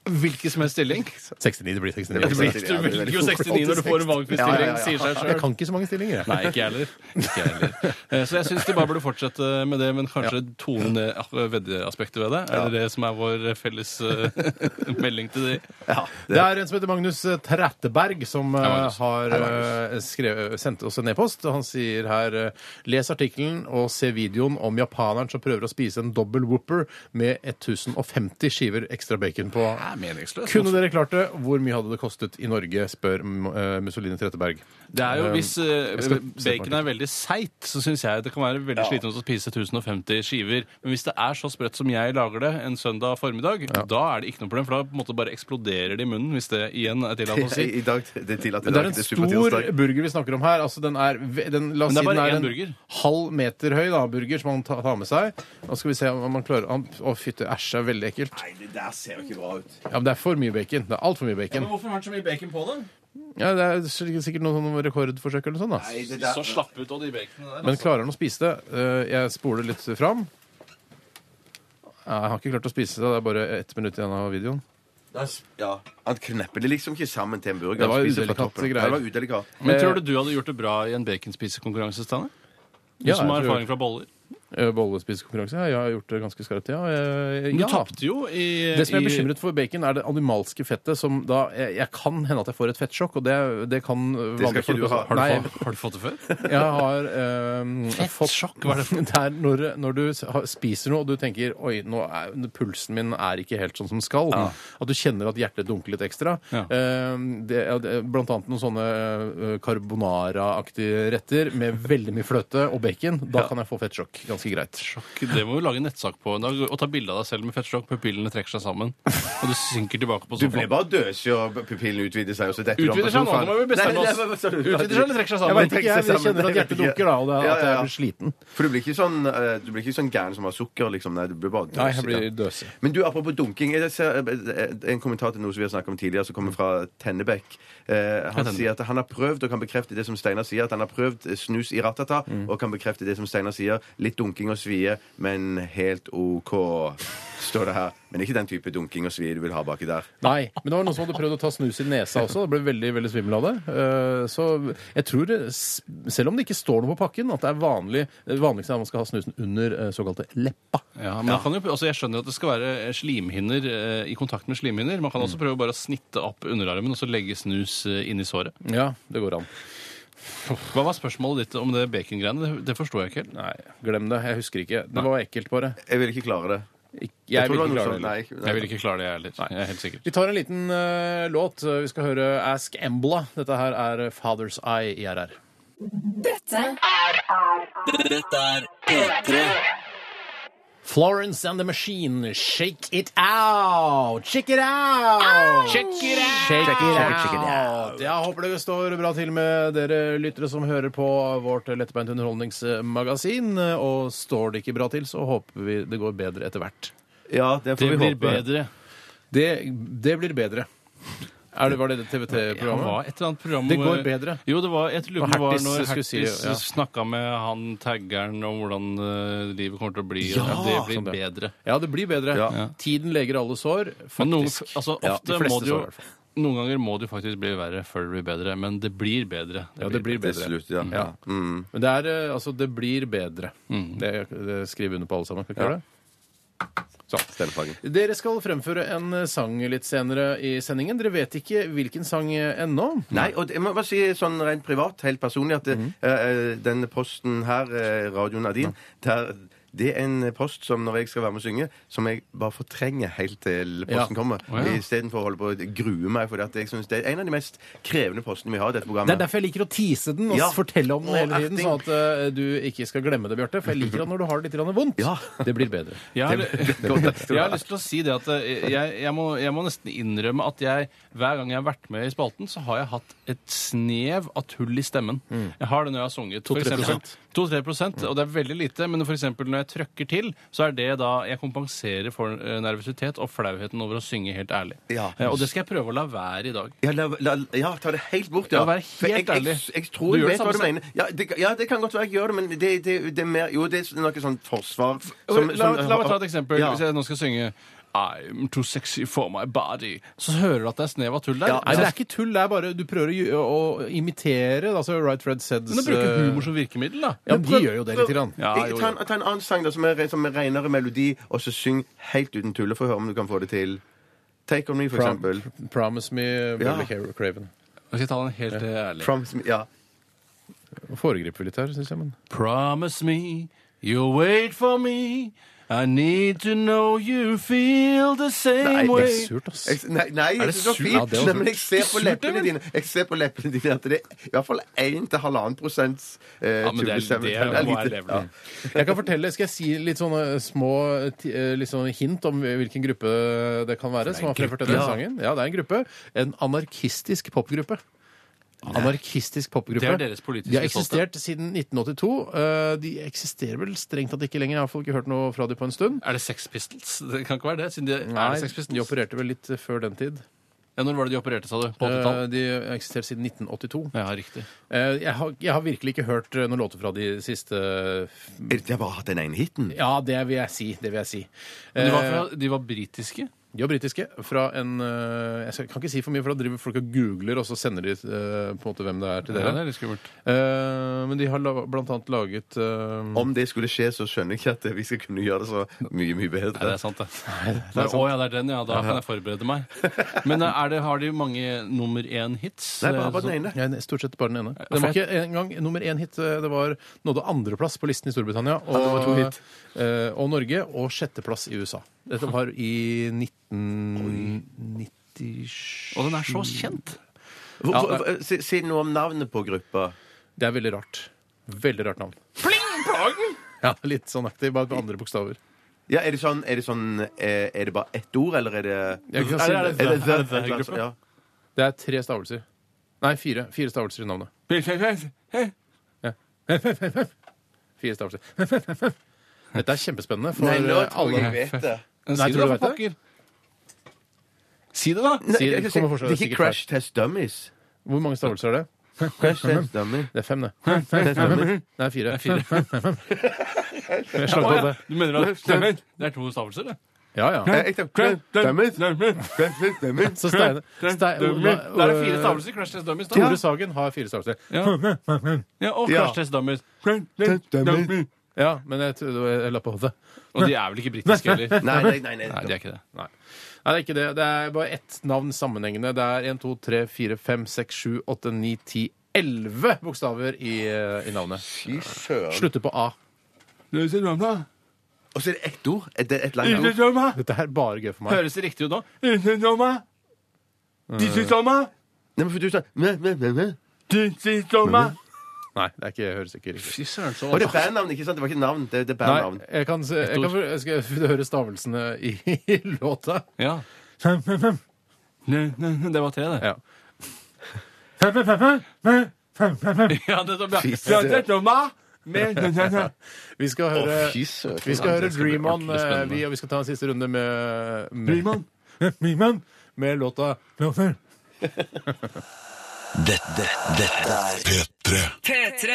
[SPEAKER 3] Hvilken som helst stilling.
[SPEAKER 4] 69, det blir 69.
[SPEAKER 5] Det
[SPEAKER 3] Du
[SPEAKER 5] blir 69, ja, det er
[SPEAKER 3] velger jo
[SPEAKER 5] veldig
[SPEAKER 3] 69 når du får en valgfri
[SPEAKER 5] Ja, ja,
[SPEAKER 3] stilling,
[SPEAKER 5] ja, ja.
[SPEAKER 3] sier seg
[SPEAKER 4] Jeg
[SPEAKER 3] sjøl.
[SPEAKER 4] kan ikke så mange stillinger, jeg.
[SPEAKER 3] Nei, ikke jeg heller. Ikke jeg heller. Eh, Så jeg syns de bare burde fortsette med det, men kanskje tone ned ak- veddeaspektet ved det. Er det det som er vår felles eh, melding til de?
[SPEAKER 5] Ja,
[SPEAKER 4] Det er en som heter Magnus Tretteberg, som eh,
[SPEAKER 3] Ja, Magnus.
[SPEAKER 4] har eh, skrevet, sendt oss en e-post. Han sier her eh, Les artikkelen og se videoen om japaneren som prøver å spise en dobbel whopper med 1050 skiver ekstra bacon på.
[SPEAKER 3] Det er meningsløst.
[SPEAKER 4] Kunne dere klart det? Hvor mye hadde det kostet i Norge, spør eh, Mussolini Tretteberg.
[SPEAKER 3] Det er jo,
[SPEAKER 4] Eh,
[SPEAKER 3] Hvis eh,
[SPEAKER 4] jeg skal se på
[SPEAKER 3] bacon er veldig seigt, så syns jeg det kan være veldig slitsomt å spise 1050 skiver. Men hvis det er så sprøtt som jeg lager det en søndag formiddag, da er det ikke noe problem, for da på en måte bare eksploderer det i munnen, hvis det igjen er tillatt å si.
[SPEAKER 5] I dag, det er tillatt i
[SPEAKER 4] Men det
[SPEAKER 5] dag.
[SPEAKER 4] er en
[SPEAKER 5] det er
[SPEAKER 4] stor
[SPEAKER 5] supertirsdag.
[SPEAKER 4] burger vi snakker om her. Altså den er, ve- den, la oss
[SPEAKER 3] Men
[SPEAKER 4] si den
[SPEAKER 3] det er bare
[SPEAKER 4] er
[SPEAKER 3] én
[SPEAKER 4] en
[SPEAKER 3] burger.
[SPEAKER 4] halv meter høy da, burger som man ta- tar med seg. Nå skal vi se om man klarer om- Å, fytte, æsj, det er veldig ekkelt.
[SPEAKER 5] Nei, det der ser jo ikke bra ut.
[SPEAKER 4] Ja, men det er for mye bacon. Det er altfor mye bacon.
[SPEAKER 3] hvorfor har han så mye bacon på det?
[SPEAKER 4] Ja, det er sikkert sikkert noen sånne rekordforsøk eller noe sånt. da.
[SPEAKER 5] Nei, det der...
[SPEAKER 3] Så slapp ut av de baconene der.
[SPEAKER 4] Men klarer han å spise det? Eh, Jeg spoler litt fram. Nei, Jeg har ikke klart å spise det. Det er bare ett minutt igjen av videoen.
[SPEAKER 5] der s- Ja. Han knepper det liksom ikke sammen til en burger.
[SPEAKER 4] Det var
[SPEAKER 5] Han spiser
[SPEAKER 4] udelikat
[SPEAKER 5] fra toppen.
[SPEAKER 4] greier.
[SPEAKER 5] Ja, Det var udelikat.
[SPEAKER 3] Men
[SPEAKER 4] Eh,
[SPEAKER 3] tror du du hadde gjort det bra i en baconspisekonkurranse, Steinar? Du
[SPEAKER 4] Ja,
[SPEAKER 3] som har
[SPEAKER 4] jeg tror-
[SPEAKER 3] erfaring fra boller.
[SPEAKER 4] Eh, Bollespisekonkurranse. Ja, jeg har gjort det ganske skarpt, ja. Eh,
[SPEAKER 3] Men du
[SPEAKER 4] ja.
[SPEAKER 3] tapte jo i
[SPEAKER 4] Det som jeg er
[SPEAKER 3] i-
[SPEAKER 4] bekymret for bacon, er det animalske fettet som da Jeg, jeg kan hende at jeg får et fettsjokk, og det, det kan vanlige
[SPEAKER 5] ikke
[SPEAKER 4] folk
[SPEAKER 5] du
[SPEAKER 4] også.
[SPEAKER 5] ha.
[SPEAKER 3] har du,
[SPEAKER 4] Nei,
[SPEAKER 3] fått, har du fått det før?
[SPEAKER 4] jeg har um,
[SPEAKER 3] Fettsjokk, hva er det for
[SPEAKER 4] Det er når, når du s- har- spiser noe og du tenker Oi, nå er, pulsen min er ikke helt sånn som skal. At du kjenner at hjertet dunker litt ekstra.
[SPEAKER 3] Ja.
[SPEAKER 4] Um, det, ja, det- blant annet noen sånne eh, uh, carbonara-aktige retter med veldig mye fløte og bacon. Da kan jeg få fettsjokk ganske ganske greit.
[SPEAKER 3] Det må vi lage en nettsak på en dag. Og ta bilde av deg selv med fettsjokk. Pupillene trekker seg sammen. Og du synker tilbake på
[SPEAKER 5] Du ble
[SPEAKER 3] sofaen.
[SPEAKER 5] bare døsig, og pupillen utvider seg. og så detter du om på
[SPEAKER 3] Utvider seg nå,
[SPEAKER 5] sofaen.
[SPEAKER 3] nå må vi bestemme
[SPEAKER 5] Nei, nei,
[SPEAKER 3] oss.
[SPEAKER 5] nei, hva sa du?
[SPEAKER 3] Utvider seg eller trekker
[SPEAKER 4] Jeg
[SPEAKER 3] seg sammen?
[SPEAKER 4] vet ikke, jeg, jeg kjenner at hjertet dunker da, og det,
[SPEAKER 5] Ja,
[SPEAKER 4] at
[SPEAKER 5] ja,
[SPEAKER 4] jeg
[SPEAKER 5] ja.
[SPEAKER 4] blir sliten.
[SPEAKER 5] For du blir ikke sånn, eh, du blir ikke sånn gæren som har sukker, liksom? Nei, du blir bare døsig. ja.
[SPEAKER 4] døsig.
[SPEAKER 5] Men du, apropos dunking. Jeg ser eh, en kommentar til noe som vi har snakket om tidligere, som kommer fra Tennebekk. Eh, han
[SPEAKER 3] Tennebekk.
[SPEAKER 5] sier at han har prøvd, og kan bekrefte det som Steinar sier, at han har prøvd eh, snus i ratata, og kan bekrefte det som Steinar sier. Litt dunking og svie, men helt OK, står det her. Men ikke den type dunking og svie du vil ha baki der.
[SPEAKER 4] Nei, men det var noen som hadde prøvd å ta snus i nesa også. Det ble veldig veldig svimmel av det. Eh, Så jeg tror, det- s- selv om det ikke står noe på pakken, at det er vanlig det vanligste er at man skal ha snusen under eh, såkalte leppa.
[SPEAKER 3] Ja, men man Kan jo, altså jeg skjønner at det skal være eh, slimhinner eh, i kontakt med slimhinner. Man kan
[SPEAKER 4] Mm.
[SPEAKER 3] også prøve bare å snitte opp underarmen og så legge snus eh, inn i såret.
[SPEAKER 4] Ja, det går an.
[SPEAKER 3] Hva var spørsmålet ditt om det bacongreiene? Det, det forstår jeg ikke helt.
[SPEAKER 4] Nei, glem det. Jeg husker ikke. Det var ekkelt, bare.
[SPEAKER 5] Jeg vil ikke klare det.
[SPEAKER 4] Ik- Jeg vil
[SPEAKER 5] tror det
[SPEAKER 4] ikke klare
[SPEAKER 5] var noe
[SPEAKER 4] det.
[SPEAKER 5] sånn-
[SPEAKER 4] heller.
[SPEAKER 5] nei,
[SPEAKER 3] Jeg vil ikke klare det, jeg heller. Jeg er helt sikker.
[SPEAKER 4] Vi tar en liten eh, låt. Vi skal høre Ask Embla. Dette her er Father's Eye i RR.
[SPEAKER 7] Dette er P3.
[SPEAKER 4] Florence and the Machine, shake it out! Check it out! Check it out! Jeg håper det står bra til med dere lyttere som hører på vårt lettbeint underholdningsmagasin. Og står det ikke bra til, så håper vi det går bedre etter hvert.
[SPEAKER 5] Ja, det får
[SPEAKER 3] Det
[SPEAKER 5] vi
[SPEAKER 3] blir
[SPEAKER 5] håpe.
[SPEAKER 3] bedre.
[SPEAKER 4] Det, det blir bedre. Er det, var det det
[SPEAKER 3] Ja, det var
[SPEAKER 4] TVT-programmet?
[SPEAKER 3] et eller annet program
[SPEAKER 4] Det
[SPEAKER 3] hvor-
[SPEAKER 4] går bedre.
[SPEAKER 3] Jo, det var, jeg lurer på
[SPEAKER 4] Og
[SPEAKER 3] det var
[SPEAKER 4] Hertis
[SPEAKER 3] når
[SPEAKER 4] skulle si-
[SPEAKER 3] Hertis
[SPEAKER 4] ja.
[SPEAKER 3] snakka med han taggeren om hvordan eh, livet kommer til å bli.
[SPEAKER 4] Ja,
[SPEAKER 3] og det blir
[SPEAKER 4] sånn det.
[SPEAKER 3] bedre.
[SPEAKER 4] Ja, det blir bedre.
[SPEAKER 5] Ja.
[SPEAKER 4] Tiden leger alle sår, faktisk.
[SPEAKER 3] Men noen, altså,
[SPEAKER 4] Ja,
[SPEAKER 3] ofte
[SPEAKER 4] de fleste
[SPEAKER 3] må det jo
[SPEAKER 4] sår, i hvert fall.
[SPEAKER 3] noen ganger må det jo faktisk bli verre før det blir bedre, men det blir bedre.
[SPEAKER 4] Ja, det blir
[SPEAKER 5] Til
[SPEAKER 4] bedre.
[SPEAKER 5] slutt, ja. Mm.
[SPEAKER 4] Ja. Men det er eh, Altså, det blir bedre. Det, det skriver under på alle sammen. Skal vi ikke gjøre det?
[SPEAKER 5] Sånn, Stellefagen.
[SPEAKER 4] Dere skal fremføre en eh, sang litt senere i sendingen. Dere vet ikke hvilken sang eh, ennå.
[SPEAKER 5] Nei, og det- jeg må bare si sånn rent privat, helt personlig, at det,
[SPEAKER 3] Mhm.
[SPEAKER 5] eh, eh, den posten her, eh, Radio Nadine, der, det er en post som når jeg skal være med og synge, som jeg bare fortrenger helt til posten
[SPEAKER 4] Ja.
[SPEAKER 5] kommer.
[SPEAKER 3] Å, ja.
[SPEAKER 5] Istedenfor å holde på å grue meg, for jeg synes det er en av de mest krevende postene vi har i dette programmet.
[SPEAKER 4] Det er derfor jeg liker å tease den og
[SPEAKER 5] Ja.
[SPEAKER 4] s- fortelle om den
[SPEAKER 5] Og
[SPEAKER 4] hele tiden,
[SPEAKER 5] acting.
[SPEAKER 4] sånn at eh, du ikke skal glemme det, Bjarte. For jeg liker at når du har det litt grann vondt,
[SPEAKER 5] Ja.
[SPEAKER 4] det blir bedre.
[SPEAKER 3] Jeg har,
[SPEAKER 5] Godt, takk
[SPEAKER 3] jeg
[SPEAKER 5] skal du ha.
[SPEAKER 3] har lyst til å si det at eh, jeg, jeg, må, jeg må nesten innrømme at jeg, hver gang jeg har vært med i spalten, så har jeg hatt et snev av tull i stemmen.
[SPEAKER 5] Mm.
[SPEAKER 3] Jeg har det når jeg har sunget. for
[SPEAKER 4] 2-3%.
[SPEAKER 3] eksempel- 2-3 prosent, og det er veldig lite, men for eksempel når jeg trøkker til, så er det da jeg kompenserer for eh, nervøsitet og flauheten over å synge helt ærlig.
[SPEAKER 5] Ja.
[SPEAKER 3] Eh, Og det skal jeg prøve å la være i dag.
[SPEAKER 5] Ja, la, la, ja, ta det helt bort, ja.
[SPEAKER 3] Ja, vær helt
[SPEAKER 5] For jeg, jeg,
[SPEAKER 3] ærlig.
[SPEAKER 5] jeg,
[SPEAKER 3] Du
[SPEAKER 5] tror jeg
[SPEAKER 3] gjør det
[SPEAKER 5] vet hva
[SPEAKER 3] samme
[SPEAKER 5] du
[SPEAKER 3] selv.
[SPEAKER 5] mener. Ja det, ja, det kan godt være jeg gjør det, men det, det, det er mer Jo, det er noe sånn forsvar som,
[SPEAKER 3] la, la meg ta et eksempel.
[SPEAKER 5] Ja.
[SPEAKER 3] Hvis jeg nå skal synge I'm too sexy for my body, så hører du at det er snev av tull der.
[SPEAKER 5] Ja,
[SPEAKER 4] Nei, det er ikke tull. Det er bare du prøver å, gjø- å imitere. Altså Right Fred Seds
[SPEAKER 3] Men å bruke
[SPEAKER 5] eh,
[SPEAKER 3] humor som virkemiddel, da.
[SPEAKER 4] Ja, de gjør jo det litt. Grann.
[SPEAKER 3] Ja, jo,
[SPEAKER 5] ta,
[SPEAKER 3] jo.
[SPEAKER 5] en, ta en annen sang da, som er, som er renere melodi, og så syng helt uten tulle for å høre om du kan få det til. Take On Me, for eksempel.
[SPEAKER 4] Prom Promise me, Beverly Car- Craven.
[SPEAKER 3] Jeg skal ta den helt eh, ærlig.
[SPEAKER 5] Promise me, ja.
[SPEAKER 4] Nå foregriper vi litt her, syns jeg. Men.
[SPEAKER 3] Promise me you'll wait for me. I need to know you feel the same
[SPEAKER 5] Nei,
[SPEAKER 4] Det
[SPEAKER 3] way.
[SPEAKER 4] er surt, ass.
[SPEAKER 5] Jeg, nei, nei,
[SPEAKER 4] Er
[SPEAKER 5] jeg
[SPEAKER 4] det
[SPEAKER 5] synes det var
[SPEAKER 4] surt?
[SPEAKER 5] fint.
[SPEAKER 4] Ja, det var
[SPEAKER 5] Nei,
[SPEAKER 4] surt.
[SPEAKER 5] men jeg ser på
[SPEAKER 3] Surt,
[SPEAKER 5] leppene
[SPEAKER 3] eller?
[SPEAKER 5] dine Jeg ser på leppene dine at det er i hvert fall 1-1,5 prosents eh,
[SPEAKER 3] Ja, men det er-
[SPEAKER 5] tullestemme.
[SPEAKER 3] det er-
[SPEAKER 5] Det er
[SPEAKER 3] må
[SPEAKER 5] lite.
[SPEAKER 3] være levelig.
[SPEAKER 4] Jeg kan fortelle, Skal jeg si litt sånne små ti- eh, litt sånne hint om hvilken gruppe det kan være? som har fremført denne sangen? Ja, det er en gruppe. En anarkistisk popgruppe. Anarkistisk popgruppe.
[SPEAKER 3] Det er deres politiske
[SPEAKER 4] De har eksistert siden 1982. Eh, De eksisterer vel strengt tatt ikke lenger. Jeg har i hvert fall ikke hørt noe fra dem på en stund.
[SPEAKER 3] Er det Sex Pistols? Det kan ikke være det. Siden de, er
[SPEAKER 4] Nei,
[SPEAKER 3] det Sex
[SPEAKER 4] de
[SPEAKER 3] Pistols?
[SPEAKER 4] opererte vel litt eh, før den tid.
[SPEAKER 3] Ja, når var det de opererte, sa du? På
[SPEAKER 4] Eh,
[SPEAKER 3] 80-tallet?
[SPEAKER 4] De har eksistert siden 1982.
[SPEAKER 3] Ja, riktig.
[SPEAKER 4] Eh, Jeg har, jeg har virkelig ikke hørt eh, noen låter fra de siste
[SPEAKER 5] Jeg har bare hatt den ene hiten.
[SPEAKER 4] Ja, det vil jeg si. Det vil jeg si.
[SPEAKER 3] Men de var,
[SPEAKER 4] Eh,
[SPEAKER 3] fra, de var britiske?
[SPEAKER 4] De er britiske. Fra en eh, Jeg skal- kan ikke si for mye, for da driver folk og googler, og så sender de eh, på en måte hvem det er til
[SPEAKER 3] Ja, det
[SPEAKER 4] dere.
[SPEAKER 3] er litt skummelt.
[SPEAKER 4] Eh, men de har la, blant annet laget eh,
[SPEAKER 5] Om det skulle skje, så skjønner jeg ikke at vi skal kunne gjøre det så mye,
[SPEAKER 3] Nei, det
[SPEAKER 5] mye bedre.
[SPEAKER 3] er sant, det. Å ja, det er den, ja. Da kan jeg forberede meg. Men eh, er det, har de mange nummer Eh, én-hits?
[SPEAKER 5] Nei, bare, bare den ene.
[SPEAKER 4] ja, ne- Stort sett bare den ene. Den var ikke engang nummer én hit. eh, Det var nådde andreplass på listen i Storbritannia
[SPEAKER 5] det var to
[SPEAKER 4] og,
[SPEAKER 5] hit.
[SPEAKER 4] eh, og Norge, og sjetteplass i USA. Dette var i 1997
[SPEAKER 3] Og den er så kjent!
[SPEAKER 5] Hvor-
[SPEAKER 4] Ja,
[SPEAKER 5] hvor-
[SPEAKER 4] nei.
[SPEAKER 5] hvor- Si si noe om navnet på gruppa.
[SPEAKER 4] Det er veldig rart. Veldig rart navn.
[SPEAKER 3] Pling! Plagen!
[SPEAKER 4] Ja, litt sånn aktig, bare med andre bokstaver.
[SPEAKER 5] Ja, er det sånn, er det, sånn eh, er det bare ett ord, eller er det
[SPEAKER 4] Jeg kan
[SPEAKER 3] Er
[SPEAKER 4] si det,
[SPEAKER 3] det- er
[SPEAKER 5] Er det
[SPEAKER 3] er det det i
[SPEAKER 5] altså,
[SPEAKER 3] gruppen?
[SPEAKER 5] ja.
[SPEAKER 4] det er tre stavelser. Nei, fire. Fire stavelser i navnet. Fire stavelser. Dette er kjempespennende for
[SPEAKER 5] Nei, nå
[SPEAKER 4] eh,
[SPEAKER 5] tror jeg jeg
[SPEAKER 4] alle.
[SPEAKER 5] vet det.
[SPEAKER 4] Nei,
[SPEAKER 3] Si
[SPEAKER 4] tror
[SPEAKER 3] det, da,
[SPEAKER 4] du
[SPEAKER 3] for
[SPEAKER 4] vet
[SPEAKER 3] pokker. Si det, da.
[SPEAKER 5] Nei,
[SPEAKER 4] Si-
[SPEAKER 5] jeg kan si-
[SPEAKER 4] kommer fortsatt
[SPEAKER 5] det er ikke
[SPEAKER 4] sikkert
[SPEAKER 5] Crash Test Dummies.
[SPEAKER 4] Hvor mange stavelser er det?
[SPEAKER 5] Crash Test Dummy.
[SPEAKER 4] Det er fem, det. Det er fire. Jeg slang på det.
[SPEAKER 3] Du mener at det er to stavelser, det?
[SPEAKER 4] Ja, ja.
[SPEAKER 5] Jeg tenkte Crash Test Dummies. Crash Test Dummies.
[SPEAKER 4] Så Steine Stein-
[SPEAKER 3] Da er det fire stavelser i Crash Test Dummies.
[SPEAKER 4] eh, Tore
[SPEAKER 3] Da.
[SPEAKER 4] Sagen har fire stavelser.
[SPEAKER 3] Ja. Ja, og
[SPEAKER 5] Ja.
[SPEAKER 3] Crash Test Dummies.
[SPEAKER 4] Ja, men jeg, tror- jeg la på det.
[SPEAKER 3] Og de er vel ikke britiske heller?
[SPEAKER 5] Nei, nei, nei.
[SPEAKER 3] Nei, de
[SPEAKER 5] nei.
[SPEAKER 3] er ikke det.
[SPEAKER 4] Nei. Nei, det er ikke det. Det er bare ett navn sammenhengende. Det er 1, 2, 3, 4, 5, 6, 7, 8, 9, 10, 11 bokstaver i, eh, i navnet.
[SPEAKER 5] Fy søren.
[SPEAKER 4] Slutter på A.
[SPEAKER 5] Og så er det ett ord. Et, et langt ord.
[SPEAKER 4] Dette er bare gøy for meg.
[SPEAKER 3] Høres det riktig ut nå?
[SPEAKER 5] Nei, men for du sa mæ, mæ, mæ, mæ.
[SPEAKER 4] Nei, det er ikke, høres ikke riktig ut.
[SPEAKER 3] Fy søren, så
[SPEAKER 5] Og det er bandnavn, ikke sant? Det var ikke navn. Det, det er
[SPEAKER 4] Nei,
[SPEAKER 5] bandnavn.
[SPEAKER 4] jeg kan, se- jeg kan for- jeg skal høre stavelsene i, i låta.
[SPEAKER 3] Ja. Det var tre, det.
[SPEAKER 4] Ja.
[SPEAKER 3] Ja, det er så bra.
[SPEAKER 5] Fy søren.
[SPEAKER 3] Ja, det er så bra. Men-
[SPEAKER 4] Vi skal høre,
[SPEAKER 5] Å, fy søren.
[SPEAKER 4] vi skal
[SPEAKER 3] Ja,
[SPEAKER 4] høre
[SPEAKER 3] det skal bli
[SPEAKER 4] Dream On,
[SPEAKER 3] ordentlig
[SPEAKER 4] eh,
[SPEAKER 3] spennende.
[SPEAKER 4] vi, og vi skal ta en siste runde med, med
[SPEAKER 3] Dream On.
[SPEAKER 4] Dream On. Med låta Lover.
[SPEAKER 7] Dette, dette er P3.
[SPEAKER 6] P3.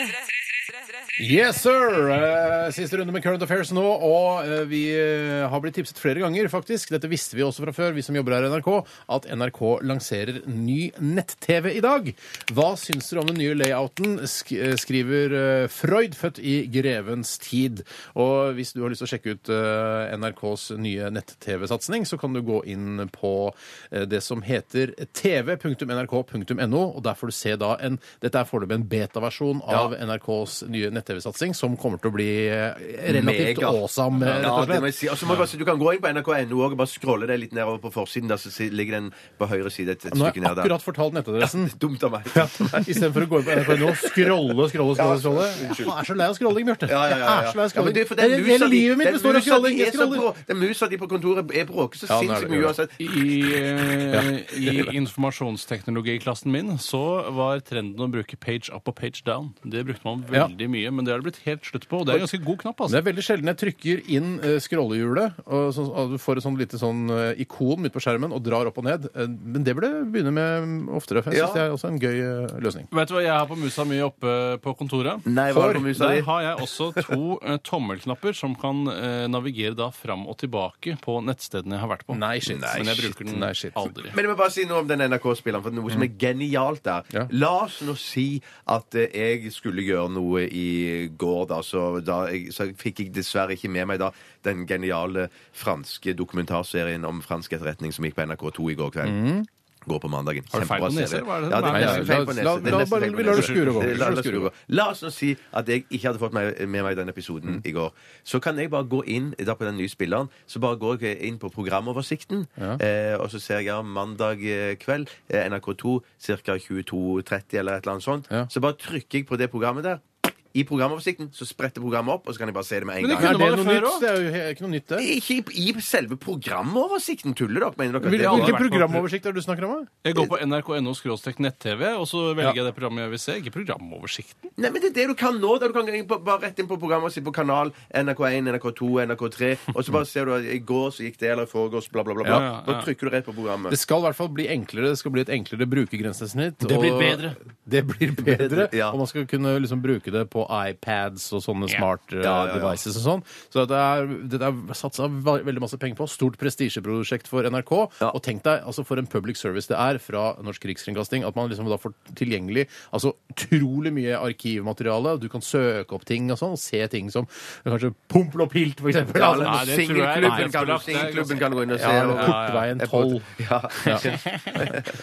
[SPEAKER 4] Yes, sir! Eh, Siste runde med Current Affairs nå, og eh, vi eh, har blitt tipset flere ganger, faktisk. Dette visste vi også fra før, vi som jobber her i NRK, at NRK lanserer ny nett-TV i dag. Hva syns dere om den nye layouten, sk eh, skriver eh, Freud, født i grevens tid. Og hvis du har lyst til å sjekke ut eh, NRKs nye nett-TV-satsing, så kan du gå inn på eh, det som heter tv.nrk.no, og der får du se da en Dette er foreløpig en beta-versjon av NRKs nye nett-TV-satsing, som kommer til å bli eh, relativt
[SPEAKER 5] Mega.
[SPEAKER 4] awesome, eh, rett
[SPEAKER 5] Ja,
[SPEAKER 4] og
[SPEAKER 5] det
[SPEAKER 4] slett.
[SPEAKER 5] må jeg si. Og så må jeg bare si, du kan gå inn på nrk.no og bare scrolle deg litt nedover på forsiden. Der så si- ligger den på høyre side et, et
[SPEAKER 4] Nå har
[SPEAKER 5] stykke
[SPEAKER 4] jeg
[SPEAKER 5] ned der.
[SPEAKER 4] akkurat fortalt nettadressen.
[SPEAKER 5] Dumt av meg.
[SPEAKER 4] Istedenfor å gå inn på NRK.no og scrolle, scrolle, scrolle. scrolle. Jeg er så lei av scrolling, Bjarte.
[SPEAKER 5] Ja, ja, ja, ja.
[SPEAKER 4] Jeg er så lei av
[SPEAKER 5] Ja, men
[SPEAKER 4] scrolling.
[SPEAKER 5] det er for den
[SPEAKER 4] Hele-
[SPEAKER 5] musa
[SPEAKER 4] Hele
[SPEAKER 5] di-
[SPEAKER 4] livet mitt
[SPEAKER 5] den
[SPEAKER 4] består av
[SPEAKER 5] musa di
[SPEAKER 4] scrolling.
[SPEAKER 5] er
[SPEAKER 4] Jeg
[SPEAKER 5] så
[SPEAKER 4] scroller.
[SPEAKER 5] brå- Den musa di på kontoret er bråker så
[SPEAKER 4] Ja, den er
[SPEAKER 5] sinnssykt
[SPEAKER 4] det,
[SPEAKER 5] mye
[SPEAKER 4] ja.
[SPEAKER 5] uansett.
[SPEAKER 3] I, eh, I informasjonsteknologiklassen min så var trenden å bruke page up og page down. Det brukte man
[SPEAKER 4] Ja.
[SPEAKER 3] veldig mye, men det har det blitt helt slutt på. Og det er en ganske god knapp,
[SPEAKER 4] Det
[SPEAKER 3] altså.
[SPEAKER 4] er veldig sjelden jeg trykker inn eh, scrollehjulet, og så, og du får et sånn lite sånn eh, ikon midt på skjermen og drar opp og ned. Eh, Men det burde jeg begynne med mm, oftere. for Jeg
[SPEAKER 5] Ja.
[SPEAKER 4] synes det er også en gøy eh, løsning.
[SPEAKER 3] Vet du hva jeg har på musa mi oppe på kontoret?
[SPEAKER 5] Nei, hva er det på musa di?
[SPEAKER 3] Der har jeg også to eh, tommelknapper som kan eh, navigere da fram og tilbake på nettstedene jeg har vært på.
[SPEAKER 4] Nei, shit.
[SPEAKER 3] Men jeg bruker den
[SPEAKER 4] Nei, shit.
[SPEAKER 3] aldri.
[SPEAKER 5] Men jeg må bare si noe om den NRK-spilleren, for noe som er genialt der.
[SPEAKER 4] Ja.
[SPEAKER 5] La oss nå si at eh, jeg skulle gjøre noe i går, da, så, da jeg, så fikk jeg dessverre ikke med meg da den geniale franske dokumentarserien om fransk etterretning som gikk på NRK2 i går kveld. Går på mandagen.
[SPEAKER 3] Har du feil
[SPEAKER 5] Kjempebra
[SPEAKER 3] på nese,
[SPEAKER 5] serie.
[SPEAKER 3] eller hva er det?
[SPEAKER 5] Ja, det
[SPEAKER 3] Nei,
[SPEAKER 5] er nesten
[SPEAKER 4] la-
[SPEAKER 5] feil på nese.
[SPEAKER 4] la-
[SPEAKER 5] Det er
[SPEAKER 4] la-
[SPEAKER 5] nesten
[SPEAKER 4] bare-
[SPEAKER 5] feil på
[SPEAKER 4] vi lar det
[SPEAKER 5] nese.
[SPEAKER 4] skure og gå.
[SPEAKER 5] Det-
[SPEAKER 4] Vi
[SPEAKER 5] La
[SPEAKER 4] lar det
[SPEAKER 5] det skure
[SPEAKER 4] skure
[SPEAKER 5] og
[SPEAKER 4] og
[SPEAKER 5] gå. La oss nå si at jeg ikke hadde fått meg, med meg den episoden i går. Så kan jeg bare gå inn da på den nye spilleren, så bare går jeg inn på programoversikten, eh, og så ser jeg ja, mandag eh, kveld, eh, NRK2, ca. 22.30 eller et eller annet sånt.
[SPEAKER 4] Ja.
[SPEAKER 5] Så bare trykker jeg på det programmet der. I programoversikten så spretter programmet opp, og så kan jeg bare se det med en
[SPEAKER 3] Men det
[SPEAKER 4] Er
[SPEAKER 5] gang.
[SPEAKER 3] kunne
[SPEAKER 4] det
[SPEAKER 3] man jo
[SPEAKER 4] noe
[SPEAKER 3] før
[SPEAKER 4] nytt?
[SPEAKER 3] også.
[SPEAKER 4] Det er jo he- ikke noe nytt, det.
[SPEAKER 5] Ikke i, i selve programoversikten, tuller dere? Mener dere at det
[SPEAKER 4] Hvilken
[SPEAKER 3] aldri
[SPEAKER 4] hvilken
[SPEAKER 3] vært på-
[SPEAKER 4] programoversikt er det du snakker om? da?
[SPEAKER 3] Jeg går på nrk.no nett-TV, og så
[SPEAKER 4] Ja.
[SPEAKER 3] velger jeg det programmet jeg vil se. Ikke programoversikten.
[SPEAKER 5] Nei, men det er det du kan nå. da Du kan gå inn på, bare rett inn på programmet og se på kanal NRK1, NRK2, NRK3. Og så bare ser du at i går så gikk det, eller i forgårs, bla, bla, bla. bla.
[SPEAKER 3] Ja, ja, ja.
[SPEAKER 5] Da trykker du rett på programmet.
[SPEAKER 4] Det skal i hvert fall bli enklere. Det skal bli et enklere brukergrensesnitt.
[SPEAKER 3] Det blir
[SPEAKER 4] og-
[SPEAKER 3] bedre.
[SPEAKER 4] Det blir bedre,
[SPEAKER 5] Ja.
[SPEAKER 4] Og man skal kunne liksom bruke det på iPads og sånne smart eh,
[SPEAKER 5] Ja, ja, ja.
[SPEAKER 4] devices og sånn. Så det er, det er satsa ve- veldig masse penger på. Stort prestisjeprosjekt for NRK.
[SPEAKER 5] Ja.
[SPEAKER 4] Og tenk deg altså for en public service det er fra Norsk Rikskringkasting at man liksom da får tilgjengelig altså utrolig mye arkivmateriale. og Du kan søke opp ting og sånn, og se ting som kanskje Pompel og Pilt, for eksempel.
[SPEAKER 5] Ja,
[SPEAKER 4] altså,
[SPEAKER 5] eller
[SPEAKER 3] Nei, det tror jeg- Nei,
[SPEAKER 5] singelklubben
[SPEAKER 3] jeg
[SPEAKER 5] kan,
[SPEAKER 3] tror
[SPEAKER 5] du-
[SPEAKER 3] at det er
[SPEAKER 5] singelklubben kan du gå inn og se.
[SPEAKER 4] ja,
[SPEAKER 5] og-
[SPEAKER 4] Portveien 12.
[SPEAKER 5] Ja.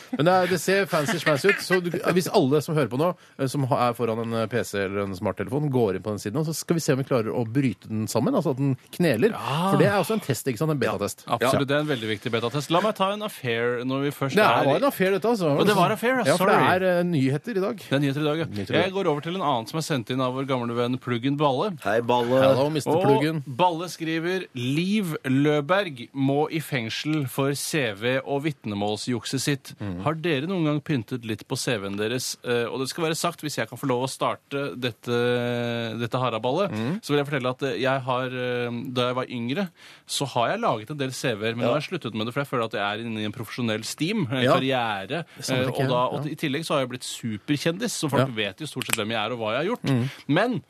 [SPEAKER 4] Men det, er, det ser fancy smash ut. Så du, hvis alle som hører på nå, eh, som ha- er foran en eh, PC eller en smarttelefonen, går inn på den siden, og så skal vi se om vi klarer å bryte den sammen, altså at den kneler. For det er også en test, ikke sant? En betatest.
[SPEAKER 3] Absolutt, Det er en veldig viktig betatest. La meg ta en affair når vi først
[SPEAKER 4] Det
[SPEAKER 3] er
[SPEAKER 4] var en affair, dette, altså.
[SPEAKER 3] Og det var affair, ja,
[SPEAKER 4] ja. For det
[SPEAKER 3] sorry.
[SPEAKER 4] er eh, nyheter i dag.
[SPEAKER 3] Det er nyheter i dag, ja.
[SPEAKER 4] Nyheter i dag.
[SPEAKER 3] Jeg går over til en annen som er sendt inn av vår gamle venn Pluggen Balle.
[SPEAKER 8] Hei, Balle.
[SPEAKER 4] Hello, Mr. Pluggen.
[SPEAKER 3] Og Balle skriver Liv Løberg må i fengsel for CV- og vitnemålsjukset sitt.
[SPEAKER 4] Mhm.
[SPEAKER 3] Har dere noen gang pyntet litt på CV-en deres? Eh, og det skal være sagt, hvis jeg kan få lov å starte dette, dette haraballet,
[SPEAKER 4] Mhm.
[SPEAKER 3] så vil jeg fortelle at eh, jeg har, eh, da jeg var yngre, så har jeg laget en del CV-er, men nå har jeg sluttet med det, for jeg føler at jeg er inne i en profesjonell steam, en
[SPEAKER 4] Ja.
[SPEAKER 3] karriere.
[SPEAKER 4] samme
[SPEAKER 3] eh,
[SPEAKER 4] tenker
[SPEAKER 3] og,
[SPEAKER 4] jeg,
[SPEAKER 3] da,
[SPEAKER 4] ja.
[SPEAKER 3] og i tillegg så har jeg blitt superkjendis, så
[SPEAKER 4] Ja.
[SPEAKER 3] folk
[SPEAKER 4] Mhm.
[SPEAKER 3] vet jo stort sett hvem jeg er og hva jeg har gjort. Men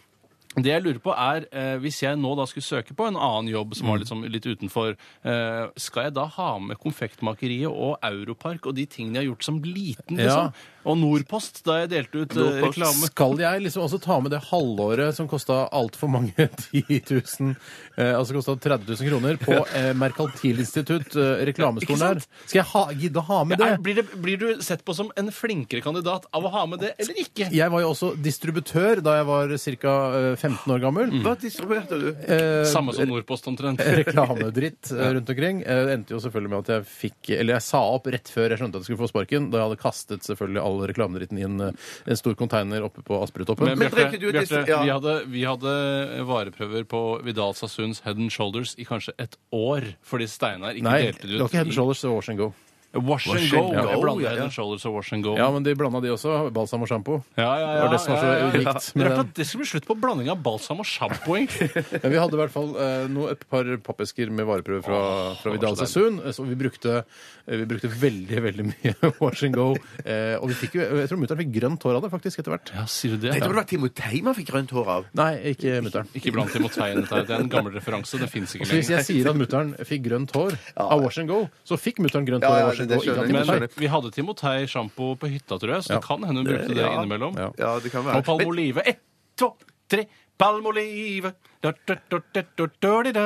[SPEAKER 3] det jeg lurer på er, eh, Hvis jeg nå da skulle søke på en annen jobb
[SPEAKER 4] Mm.
[SPEAKER 3] som var litt, sånn- litt utenfor, eh, skal jeg da ha med Konfektmakeriet og Europark og de tingene jeg har gjort som liten?
[SPEAKER 4] Ja.
[SPEAKER 3] liksom? Og Nordpost, da jeg delte ut eh, reklame.
[SPEAKER 4] Skal jeg liksom også ta med det halvåret som kosta altfor mange 10 000 eh, Altså kosta 30 000 kroner på eh, Merkantilinstitutt, eh,
[SPEAKER 3] Ikke
[SPEAKER 4] reklamestolen
[SPEAKER 3] sant?
[SPEAKER 4] her? Skal jeg ha, gidde å ha med
[SPEAKER 3] Er,
[SPEAKER 4] det?
[SPEAKER 3] blir, det, blir du sett på som en flinkere kandidat av å ha med det, eller ikke?
[SPEAKER 4] Jeg var jo også distributør da jeg var ca. 15 år gammel.
[SPEAKER 3] Mm.
[SPEAKER 5] Hva distribuerte du?
[SPEAKER 4] Eh,
[SPEAKER 3] Samme som Nordpost, omtrent.
[SPEAKER 4] reklamedritt eh, rundt omkring. Eh, Det endte jo selvfølgelig med at jeg fikk Eller jeg sa opp rett før jeg skjønte at jeg skulle få sparken, da jeg hadde kastet selvfølgelig all reklamedritten i en, eh, en stor container oppe på Asperutoppen.
[SPEAKER 3] Men
[SPEAKER 5] Men
[SPEAKER 3] Bjarte,
[SPEAKER 5] drikker du et
[SPEAKER 3] Bjarte,
[SPEAKER 5] disse- ja.
[SPEAKER 3] vi, hadde, vi hadde vareprøver på Vidal Sasunds Head and Shoulders i kanskje et år fordi Steinar ikke
[SPEAKER 4] Nei,
[SPEAKER 3] delte
[SPEAKER 4] det
[SPEAKER 3] det ut.
[SPEAKER 4] var ikke Head
[SPEAKER 3] i-
[SPEAKER 4] Shoulders, det var Wash and Go.
[SPEAKER 3] Wash and
[SPEAKER 5] Wash
[SPEAKER 3] go.
[SPEAKER 5] and
[SPEAKER 3] Ja,
[SPEAKER 5] go,
[SPEAKER 3] jeg blander
[SPEAKER 5] ja,
[SPEAKER 3] Head
[SPEAKER 5] ja.
[SPEAKER 3] and Shoulders og Wash and go.
[SPEAKER 4] Ja, men de blanda de også. Balsam og sjampo.
[SPEAKER 3] Ja, ja, ja,
[SPEAKER 4] Det var det som var så
[SPEAKER 3] ja, ja, ja.
[SPEAKER 4] unikt med
[SPEAKER 3] Det, er
[SPEAKER 4] den.
[SPEAKER 3] klart, det skal bli slutt på blanding av balsam og sjampo, egentlig.
[SPEAKER 4] Men vi hadde i hvert fall eh, noe, et par pappesker med vareprøver fra, fra Vidal Sassoon. eh, Så vi brukte, eh, vi brukte veldig veldig mye Wash and Go. Eh, og vi fikk jo, jeg tror mutter'n fikk grønt hår av det faktisk etter hvert.
[SPEAKER 3] Ja, sier du det?
[SPEAKER 5] Jeg tror det var Timotei man fikk grønt hår av.
[SPEAKER 4] Nei, ikke mutter'n.
[SPEAKER 3] Ikke blant Timoteien. dette her. Det er en gammel referanse. Det fins ikke
[SPEAKER 4] Så hvis
[SPEAKER 3] lenger.
[SPEAKER 4] jeg sier at mutter'n fikk grønt hår av Wash and Go, så fikk mutter'n grønt
[SPEAKER 5] Ja,
[SPEAKER 4] hår
[SPEAKER 5] ja,
[SPEAKER 4] av Wash and
[SPEAKER 5] det-
[SPEAKER 4] Go.
[SPEAKER 5] det
[SPEAKER 4] Ikke av
[SPEAKER 5] skjønner jeg,
[SPEAKER 4] Timotei.
[SPEAKER 3] Men vi hadde Timotei-sjampo på hytta, tror jeg, så det kan hende hun brukte det
[SPEAKER 5] ja.
[SPEAKER 3] innimellom.
[SPEAKER 4] Ja.
[SPEAKER 5] Ja, det kan være.
[SPEAKER 3] Og Palmolive. Ett, to, tre. Palmolive. Da, da, da, da, da, da, di, da.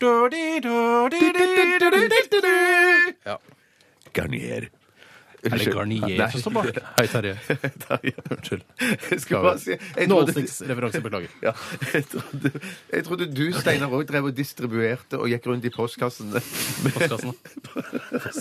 [SPEAKER 3] Da, di, da, di, di, di, di, di, di, di.
[SPEAKER 5] Garnier.
[SPEAKER 3] Er det Garnier som står bak? Hei, Terje.
[SPEAKER 5] Unnskyld. Jeg skulle bare si jeg trodde-
[SPEAKER 4] Nålestikkreferanse, beklager.
[SPEAKER 5] Ja, jeg, trodde, jeg trodde du, Steinar, òg drev og distribuerte og gikk rundt i postkassene med,
[SPEAKER 3] Postkassen.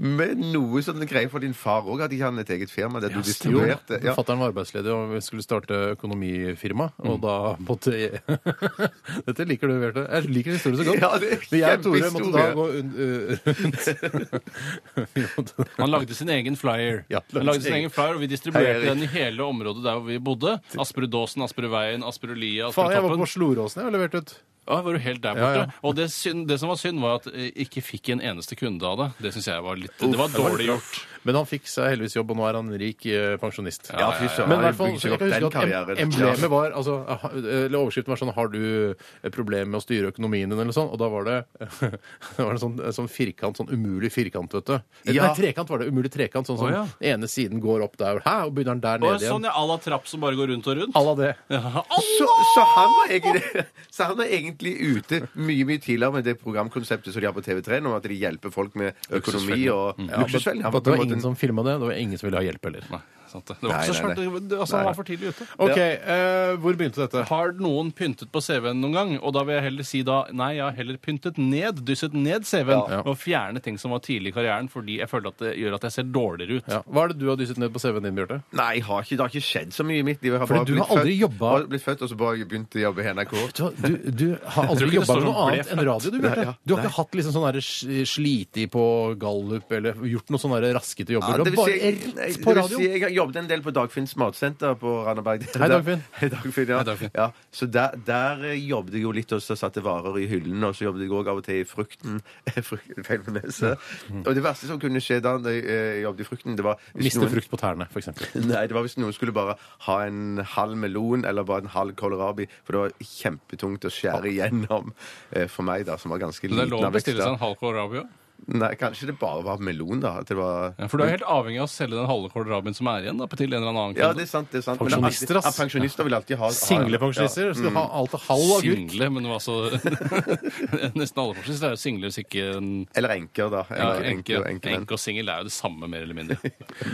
[SPEAKER 5] med noe sånn greier for din far òg. Hadde ikke han et eget firma der du
[SPEAKER 4] Jo,
[SPEAKER 5] distribuerte? Ja.
[SPEAKER 4] Fattern var arbeidsledig og vi skulle starte økonomifirma,
[SPEAKER 3] Mm.
[SPEAKER 4] og da måtte jeg Dette liker du, Bjarte. Jeg liker historien så godt.
[SPEAKER 5] Ja, det er
[SPEAKER 4] Men jeg og Tore måtte da
[SPEAKER 5] kjempehistorie.
[SPEAKER 4] gå un- uh, rundt Vi måtte-
[SPEAKER 3] Han lagde sin egen flyer.
[SPEAKER 4] Ja,
[SPEAKER 3] han lagde sin egen flyer, og Vi
[SPEAKER 5] Hei,
[SPEAKER 3] distribuerte
[SPEAKER 5] Erik.
[SPEAKER 3] den i hele området der hvor vi bodde. Asperudåsen, Asperudveien, Asperudlia,
[SPEAKER 4] Faen, jeg var
[SPEAKER 3] Asperudtoppen.
[SPEAKER 4] på Sloråsen jeg og leverte ut.
[SPEAKER 3] Ja, var du helt der borte?
[SPEAKER 4] Ja, ja.
[SPEAKER 3] Og det, synd, det som var synd, var at jeg ikke fikk en eneste kunde av det. Det syns jeg var litt Det var dårlig gjort.
[SPEAKER 4] Men han fikk seg heldigvis jobb, og nå er han en rik eh, pensjonist.
[SPEAKER 5] Ja, fy søren.
[SPEAKER 4] Men i
[SPEAKER 5] han
[SPEAKER 4] hvert fall,
[SPEAKER 5] bygde
[SPEAKER 4] så
[SPEAKER 5] seg
[SPEAKER 4] jeg
[SPEAKER 5] opp
[SPEAKER 4] kan huske
[SPEAKER 5] den
[SPEAKER 4] at em-
[SPEAKER 5] karrieren.
[SPEAKER 4] emblemet var altså, ha- eller Overskriften var sånn Har du et problem med å styre økonomien din? eller sånn, Og da var det, det var en sånn, en sånn firkant, sånn umulig firkant, vet du. Et-
[SPEAKER 5] Ja.
[SPEAKER 4] Nei, trekant var det. Umulig trekant. Sånn som
[SPEAKER 3] Å, ja.
[SPEAKER 4] den ene siden går opp der, hæ, og begynner den der
[SPEAKER 3] Og
[SPEAKER 4] nede
[SPEAKER 3] sånn
[SPEAKER 4] igjen.
[SPEAKER 3] ja, à la trapp som bare går rundt og rundt.
[SPEAKER 4] À la det.
[SPEAKER 3] Ja,
[SPEAKER 5] Så, så, han var egentlig, så han var egentlig ute mye mye tidligere med det programkonseptet som de har på TV3 nå, at de hjelper folk med økonomi og
[SPEAKER 4] Mm.
[SPEAKER 5] ja, luksusfellen. Han
[SPEAKER 4] For
[SPEAKER 5] var
[SPEAKER 4] at
[SPEAKER 5] på
[SPEAKER 4] det var
[SPEAKER 5] en måte
[SPEAKER 4] ingen
[SPEAKER 5] en-
[SPEAKER 4] som filma det. Det var ingen som ville ha hjelp heller.
[SPEAKER 3] Nei, sant det. Det var
[SPEAKER 5] Nei,
[SPEAKER 3] ikke så
[SPEAKER 5] nei,
[SPEAKER 3] smart. Det- det- Altså, han var for tidlig ute.
[SPEAKER 4] OK, eh, hvor begynte dette?
[SPEAKER 3] Har noen pyntet på CV-en noen gang? Og da vil jeg heller si da nei, jeg har heller pyntet ned, dysset ned CV-en,
[SPEAKER 4] Ja.
[SPEAKER 3] og fjerne ting som var tidlig i karrieren, fordi jeg føler at det gjør at jeg ser dårligere ut.
[SPEAKER 4] Ja. Hva er det du har dysset ned på CV-en din, Bjarte?
[SPEAKER 5] Nei, jeg har ikke, det har ikke skjedd så mye i mitt liv. Jeg har
[SPEAKER 4] Fordi
[SPEAKER 5] bare
[SPEAKER 4] du har
[SPEAKER 5] blitt født-
[SPEAKER 4] aldri jobbet-
[SPEAKER 5] bare Blitt født, og så bare begynt å jobbe i NRK.
[SPEAKER 4] Du, du, du har aldri
[SPEAKER 3] ikke det
[SPEAKER 4] jobba
[SPEAKER 3] står
[SPEAKER 4] med noe
[SPEAKER 3] sånn
[SPEAKER 4] annet enn radio, du, Bjarte. Du har ikke hatt liksom sånn derre sl- sliti på gallup eller gjort noe sånn derre raskete
[SPEAKER 5] Ja,
[SPEAKER 4] jobber.
[SPEAKER 5] det
[SPEAKER 4] du
[SPEAKER 5] vil
[SPEAKER 4] har
[SPEAKER 5] si,
[SPEAKER 4] bare
[SPEAKER 5] jeg, nei,
[SPEAKER 4] rett
[SPEAKER 5] det
[SPEAKER 4] på
[SPEAKER 5] vil
[SPEAKER 4] radio.
[SPEAKER 5] si, jeg har jobbet en del på Dagfinns matsenter på Randaberg.
[SPEAKER 4] Hei, Dagfinn.
[SPEAKER 5] Hei, Dagfinn, ja.
[SPEAKER 3] Hei, Dagfinn.
[SPEAKER 5] ja. Så der, der eh, jobbet jeg jo litt, og så satte jeg varer i hyllen, og så jobbet jeg også av og til i Frukten. Fruk- Feil med nese. Og det verste som kunne skje da jeg eh, jobbet i Frukten, det var hvis
[SPEAKER 4] Miste
[SPEAKER 5] noen-
[SPEAKER 4] frukt på tærne, for eksempel.
[SPEAKER 5] Nei, det var hvis noen skulle bare ha en halv melon eller bare en halv kålrabi, for det var kjempetungt å skjære igjennom eh, for meg, da, som var ganske
[SPEAKER 3] Men det
[SPEAKER 5] liten
[SPEAKER 3] er lov å
[SPEAKER 5] av vekst.
[SPEAKER 3] bestille seg
[SPEAKER 5] da.
[SPEAKER 3] en halv kålrabi òg.
[SPEAKER 5] Nei, kanskje det bare var melon, da. At det var
[SPEAKER 3] Ja, For du er helt avhengig av å selge den halve kålraben som er igjen, da, til en eller annen
[SPEAKER 5] Mm. Ja,
[SPEAKER 3] kunde.
[SPEAKER 5] det er sant. det er sant.
[SPEAKER 4] Pensjonister,
[SPEAKER 5] Men alltid-
[SPEAKER 4] ass.
[SPEAKER 5] Ja, pensjonister vil alltid ha ha-
[SPEAKER 4] Single pensjonister. Skal ha alt og halv agurk.
[SPEAKER 3] Single, men altså Nesten alle forskjellige er jo single, hvis ikke en
[SPEAKER 5] Ja. Eller enker, da.
[SPEAKER 3] ja, enke,
[SPEAKER 5] Enker, enker, enker,
[SPEAKER 3] enke og singel er jo det samme, mer eller mindre.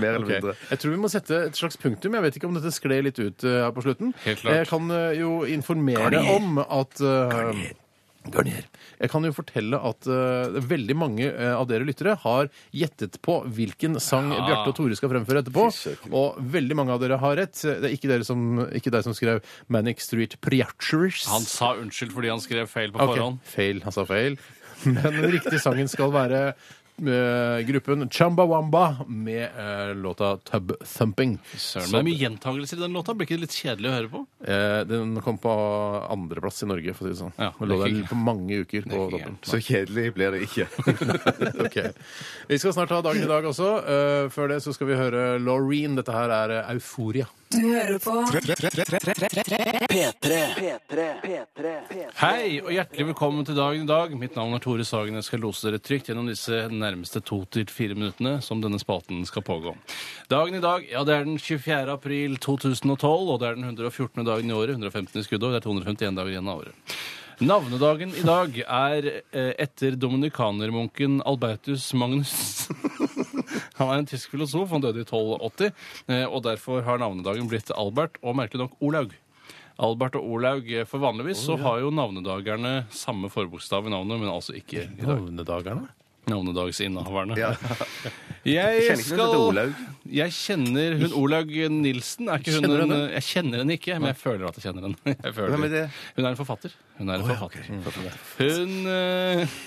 [SPEAKER 5] Mer eller
[SPEAKER 4] Ok.
[SPEAKER 5] mindre.
[SPEAKER 4] Jeg tror vi må sette et slags punktum. Jeg vet ikke om dette skled litt ut eh, her på slutten.
[SPEAKER 3] Helt klart.
[SPEAKER 4] Jeg kan eh, jo informere om at eh, Jeg kan jo fortelle at eh, veldig mange eh, av dere lyttere har gjettet på hvilken sang Bjarte og Tore skal fremføre etterpå. Og veldig mange av dere har rett. Det er ikke dere som, ikke deg som skrev Manic Street Preachers.
[SPEAKER 3] Han sa unnskyld fordi han skrev feil på
[SPEAKER 4] Ok,
[SPEAKER 3] forhånd.
[SPEAKER 4] Feil, han sa feil. Men den riktige sangen skal være eh, gruppen Chumbawamba med eh, låta Tub Thumping.
[SPEAKER 3] Søren,
[SPEAKER 4] Så,
[SPEAKER 3] men det er mye gjentagelser i den låta. Blir ikke det litt kjedelig å høre på?
[SPEAKER 4] eh, den kom på andreplass i Norge, for å si det sånn.
[SPEAKER 3] Ja,
[SPEAKER 4] den lå
[SPEAKER 3] det er
[SPEAKER 4] der
[SPEAKER 3] ikke-
[SPEAKER 4] på mange uker på
[SPEAKER 3] ikke
[SPEAKER 4] toppen.
[SPEAKER 5] Så kjedelig blir det ikke.
[SPEAKER 4] Ok. Vi skal snart ha dagen i dag også. Eh, før det så skal vi høre Laureen. Dette her er eh, Euforia.
[SPEAKER 6] Du hører på
[SPEAKER 3] Hei og hjertelig velkommen til dagen i dag. Mitt navn er Tore Sagen. Jeg skal lose dere trygt gjennom disse nærmeste to til fire minuttene som denne spalten skal pågå. Dagen i dag, ja det er den 24. april 2012, og det er den 114. dagen i året. 115 i skuddår. Det er 251 dager igjen av året. Navnedagen i dag er eh, etter dominikanermunken Albertus Magnus. Han er en tysk filosof, han døde i 1280, eh, og derfor har navnedagen blitt Albert og merkelig nok Olaug. Albert og Olaug, eh, for vanligvis så har jo navnedagerne samme forbokstav i navnet, men altså ikke i dag.
[SPEAKER 4] Navnedagerne?
[SPEAKER 3] Navnedagsinnehaverne.
[SPEAKER 5] Ja.
[SPEAKER 3] Jeg
[SPEAKER 5] Jeg kjenner ikke noe
[SPEAKER 3] skal
[SPEAKER 5] til Olaug.
[SPEAKER 3] Jeg kjenner hun Olaug Nilsen. Er ikke hun
[SPEAKER 4] Kjenner du
[SPEAKER 3] en-
[SPEAKER 4] henne?
[SPEAKER 3] Jeg kjenner henne ikke, men jeg føler at jeg kjenner henne. Jeg føler.
[SPEAKER 5] Hvem er det?
[SPEAKER 3] Hun er en forfatter. Hun er en forfatter. Mm. Hun eh,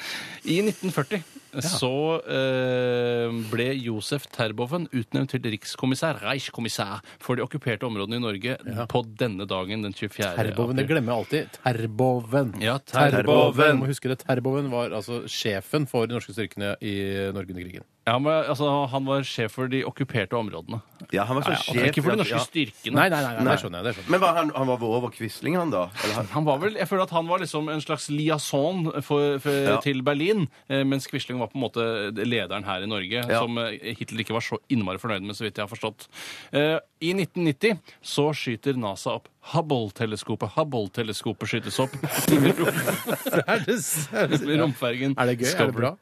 [SPEAKER 3] I 1940 så eh, ble Josef Terboven utnevnt til rikskommissær, Reichskommissær, for de okkuperte områdene i Norge på denne dagen, den 24.
[SPEAKER 4] Terboven. Det
[SPEAKER 3] april.
[SPEAKER 4] glemmer jeg alltid. Terboven.
[SPEAKER 3] Ja,
[SPEAKER 4] Terboven.
[SPEAKER 3] Terboven.
[SPEAKER 4] Må huske det. Terboven var altså sjefen for de norske styrkene i Norge under krigen.
[SPEAKER 3] Ja, men, altså, han var sjef for de okkuperte områdene.
[SPEAKER 5] Ja, han var så
[SPEAKER 3] Og ikke for de norske
[SPEAKER 5] ja.
[SPEAKER 3] styrkene.
[SPEAKER 4] Nei, nei, nei, nei, det skjønner jeg. Det skjønner jeg.
[SPEAKER 5] Men var han, han var vår over Quisling, han da? Eller han?
[SPEAKER 3] Han var vel, jeg føler at han var liksom en slags liaison for, for,
[SPEAKER 5] Ja.
[SPEAKER 3] til Berlin, eh, mens Quisling var på en måte lederen her i Norge,
[SPEAKER 5] Ja.
[SPEAKER 3] som eh, Hitler ikke var så innmari fornøyd med, så vidt jeg har forstått. Eh, I 1990 så skyter NASA opp Hubble-teleskopet. Hubble-teleskopet skytes opp.
[SPEAKER 4] Er det s-
[SPEAKER 3] Romfergen.
[SPEAKER 4] Er det gøy? Er det bra?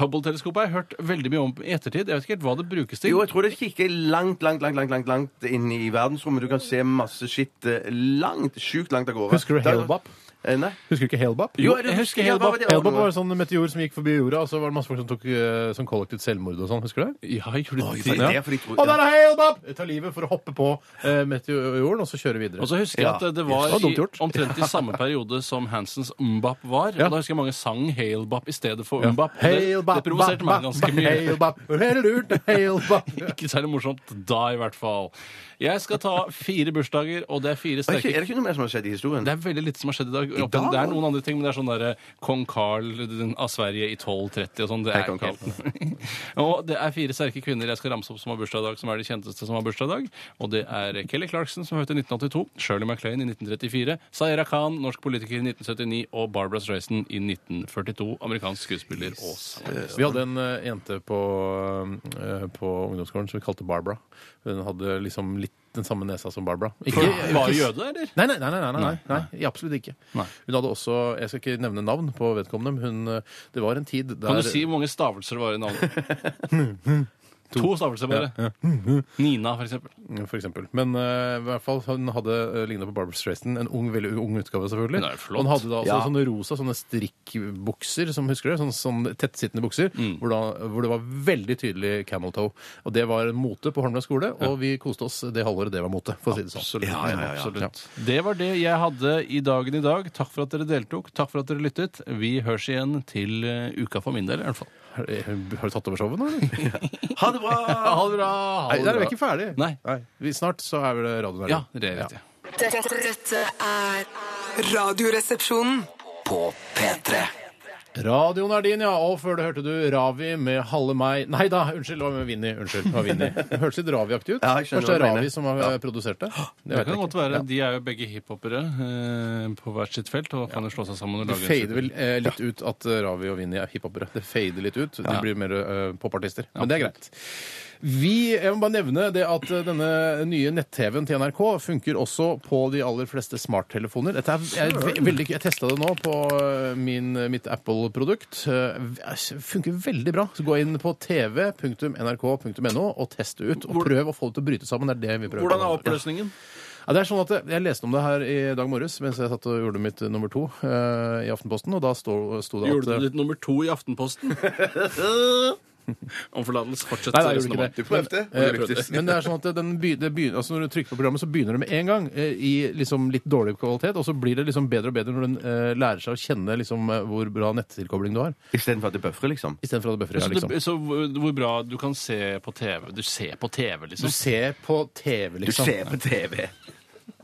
[SPEAKER 3] Hubble-teleskopet har jeg hørt veldig mye om i ettertid. Jeg vet ikke helt hva det brukes til.
[SPEAKER 5] Jo, jeg tror det kikker langt, langt, langt langt, langt, langt inn i verdensrommet. Du kan se masse skitt eh, langt, sjukt langt av gårde.
[SPEAKER 4] Husker du Halebop?
[SPEAKER 5] Eh, Nei.
[SPEAKER 4] Husker du ikke Halebop?
[SPEAKER 5] Jo,
[SPEAKER 3] jeg husker
[SPEAKER 5] ja, hva var det?
[SPEAKER 4] Halebop var en sånn meteor som gikk forbi jorda, og så var det masse folk som tok eh, sånn kollektivt selvmord og sånn. Husker du det?
[SPEAKER 3] Ja, jeg gjorde
[SPEAKER 5] Det
[SPEAKER 3] det.
[SPEAKER 5] er derfor de tror-
[SPEAKER 4] Og der er Halebop! Jeg tar livet for å hoppe på eh, meteoren, og så kjøre videre.
[SPEAKER 3] Og så husker jeg
[SPEAKER 5] Ja.
[SPEAKER 3] at det var
[SPEAKER 4] Det var dumt
[SPEAKER 3] i,
[SPEAKER 4] gjort.
[SPEAKER 3] omtrent i samme periode som Hansens Umbap var.
[SPEAKER 4] Ja.
[SPEAKER 3] Og da husker jeg mange sang Halebap i stedet for
[SPEAKER 4] Ja.
[SPEAKER 3] Umbap. Det,
[SPEAKER 4] Halebop,
[SPEAKER 3] det provoserte meg
[SPEAKER 4] bop,
[SPEAKER 3] ganske
[SPEAKER 4] bop,
[SPEAKER 3] mye.
[SPEAKER 4] Halebop, halelurt, halebop.
[SPEAKER 3] Ikke særlig morsomt da, i hvert fall. Jeg skal ta fire bursdager, og det er fire
[SPEAKER 5] Er det ikke- er
[SPEAKER 3] sterke
[SPEAKER 5] det ikke noe mer som har skjedd i historien?
[SPEAKER 3] det er veldig lite som har skjedd i dag.
[SPEAKER 5] dag?
[SPEAKER 3] Det er noen andre ting, men det er sånn derre kong Carl den- av Sverige i 1230 og sånn. Det
[SPEAKER 5] Hei,
[SPEAKER 3] er
[SPEAKER 5] kong
[SPEAKER 3] ikke helt Og det er fire sterke kvinner jeg skal ramse opp som har bursdag i dag, som er de kjenteste som har bursdag i dag. Og det er Kelly Clarkson, som er født i 1982, Shirley MacLaine i 1934, Sayera Khan, norsk politiker i 1979, og Barbara Streisand i 1942, amerikansk skuespiller og sanger.
[SPEAKER 4] Vi hadde en eh, jente på, eh, på ungdomsskolen som vi kalte Barbara. Hun hadde liksom litt den samme nesa som Barbara. Ikke,
[SPEAKER 3] Var jøde, eller?
[SPEAKER 4] Nei, nei, nei, nei, nei, nei, nei, absolutt ikke.
[SPEAKER 3] Nei.
[SPEAKER 4] Hun hadde også, jeg skal ikke nevne navn på vedkommende, men hun, eh, det var en tid der...
[SPEAKER 3] Kan du si hvor mange stavelser det var i navnet? To. stavelser bare. Nina, for eksempel.
[SPEAKER 4] For eksempel. Men eh, i hvert fall, hun hadde uh, lignet på Barbara Streisand, en ung, veldig ung utgave selvfølgelig.
[SPEAKER 3] Hun er jo flott.
[SPEAKER 4] Og Hun hadde da også
[SPEAKER 5] Ja.
[SPEAKER 4] sånne rosa, sånne strikkbukser, som husker du, sånne, sånne tettsittende bukser,
[SPEAKER 3] Mm.
[SPEAKER 4] hvor, da, hvor det var veldig tydelig camel toe. Og det var en mote på Holmland skole, og vi koste oss det halvåret det var mote, for å si det sånn.
[SPEAKER 3] Absolutt.
[SPEAKER 5] Ja, ja, ja, ja.
[SPEAKER 3] Absolutt. Det var det jeg hadde i dagen i dag. Takk for at dere deltok. Takk for at dere lyttet. Vi høres igjen til eh, uka for min del, i hvert fall.
[SPEAKER 4] Har, har du tatt over showet nå, eller?
[SPEAKER 5] Ha det bra!
[SPEAKER 4] Ha det bra! Nei, der er vi ikke ferdig.
[SPEAKER 3] Nei.
[SPEAKER 4] vi, snart så er vel radioen her.
[SPEAKER 3] Ja, det vet jeg.
[SPEAKER 8] Dette, dette er Radioresepsjonen.
[SPEAKER 7] På P3.
[SPEAKER 4] Radioen er din, ja. Og før det hørte du Ravi med Halle meg Nei da, unnskyld, det var med Vinni. Unnskyld, det var Vinni. Det hørtes litt Ravi-aktig ut.
[SPEAKER 5] Ja, jeg skjønner
[SPEAKER 4] Kanskje det er
[SPEAKER 5] hva du
[SPEAKER 4] Ravi
[SPEAKER 5] mener.
[SPEAKER 4] som har eh, produsert det? Det
[SPEAKER 3] Det
[SPEAKER 4] vet jeg
[SPEAKER 3] kan
[SPEAKER 4] ikke.
[SPEAKER 3] godt være.
[SPEAKER 4] Ja.
[SPEAKER 3] De er jo begge hiphopere eh, på hvert sitt felt og kan jo slå seg sammen og
[SPEAKER 4] Det
[SPEAKER 3] lage en
[SPEAKER 4] fader vel eh, litt ut at eh, Ravi og Vinni er hiphopere. Det fader litt ut. De blir mer eh, popartister. Men det er greit. Vi, jeg må bare nevne det at eh, denne nye nett-TV-en til NRK funker også på de aller fleste smarttelefoner. Dette er, jeg, er ve- veldig, jeg testa det nå på eh, min, mitt Apple-produkt. Eh, funker veldig bra. Så gå inn på tv.nrk.no og test det ut. Og prøv å få det til å bryte sammen. Det er det vi prøver.
[SPEAKER 3] Hvordan er
[SPEAKER 4] Ja.
[SPEAKER 3] oppløsningen?
[SPEAKER 4] Ja, det er sånn at jeg- Jeg leste om det her i dag morges mens jeg satt og gjorde mitt eh, nummer to eh, i Aftenposten. Og da sto, sto det at
[SPEAKER 3] Gjorde du ditt nummer to i Aftenposten? Om forlatelse. Fortsett.
[SPEAKER 4] Nei, nei, jeg gjorde ikke det.
[SPEAKER 5] Du prøvde, og det
[SPEAKER 4] Eh,
[SPEAKER 5] lyktes.
[SPEAKER 4] Men det er sånn at den by, det begyn- altså når du trykker på programmet, så begynner det med en gang eh, i liksom litt dårlig kvalitet, og så blir det liksom bedre og bedre når den eh, lærer seg å kjenne liksom eh, hvor bra nettilkobling du har.
[SPEAKER 5] Istedenfor at det bøfrer, liksom.
[SPEAKER 4] Istedenfor at det bøffer.
[SPEAKER 3] Så,
[SPEAKER 4] Ja, liksom.
[SPEAKER 3] det, så hvor hvor bra du kan se på TV. Du ser på TV,
[SPEAKER 4] Du
[SPEAKER 3] liksom.
[SPEAKER 4] ser på TV,
[SPEAKER 5] Du
[SPEAKER 4] liksom.
[SPEAKER 5] ser på TV.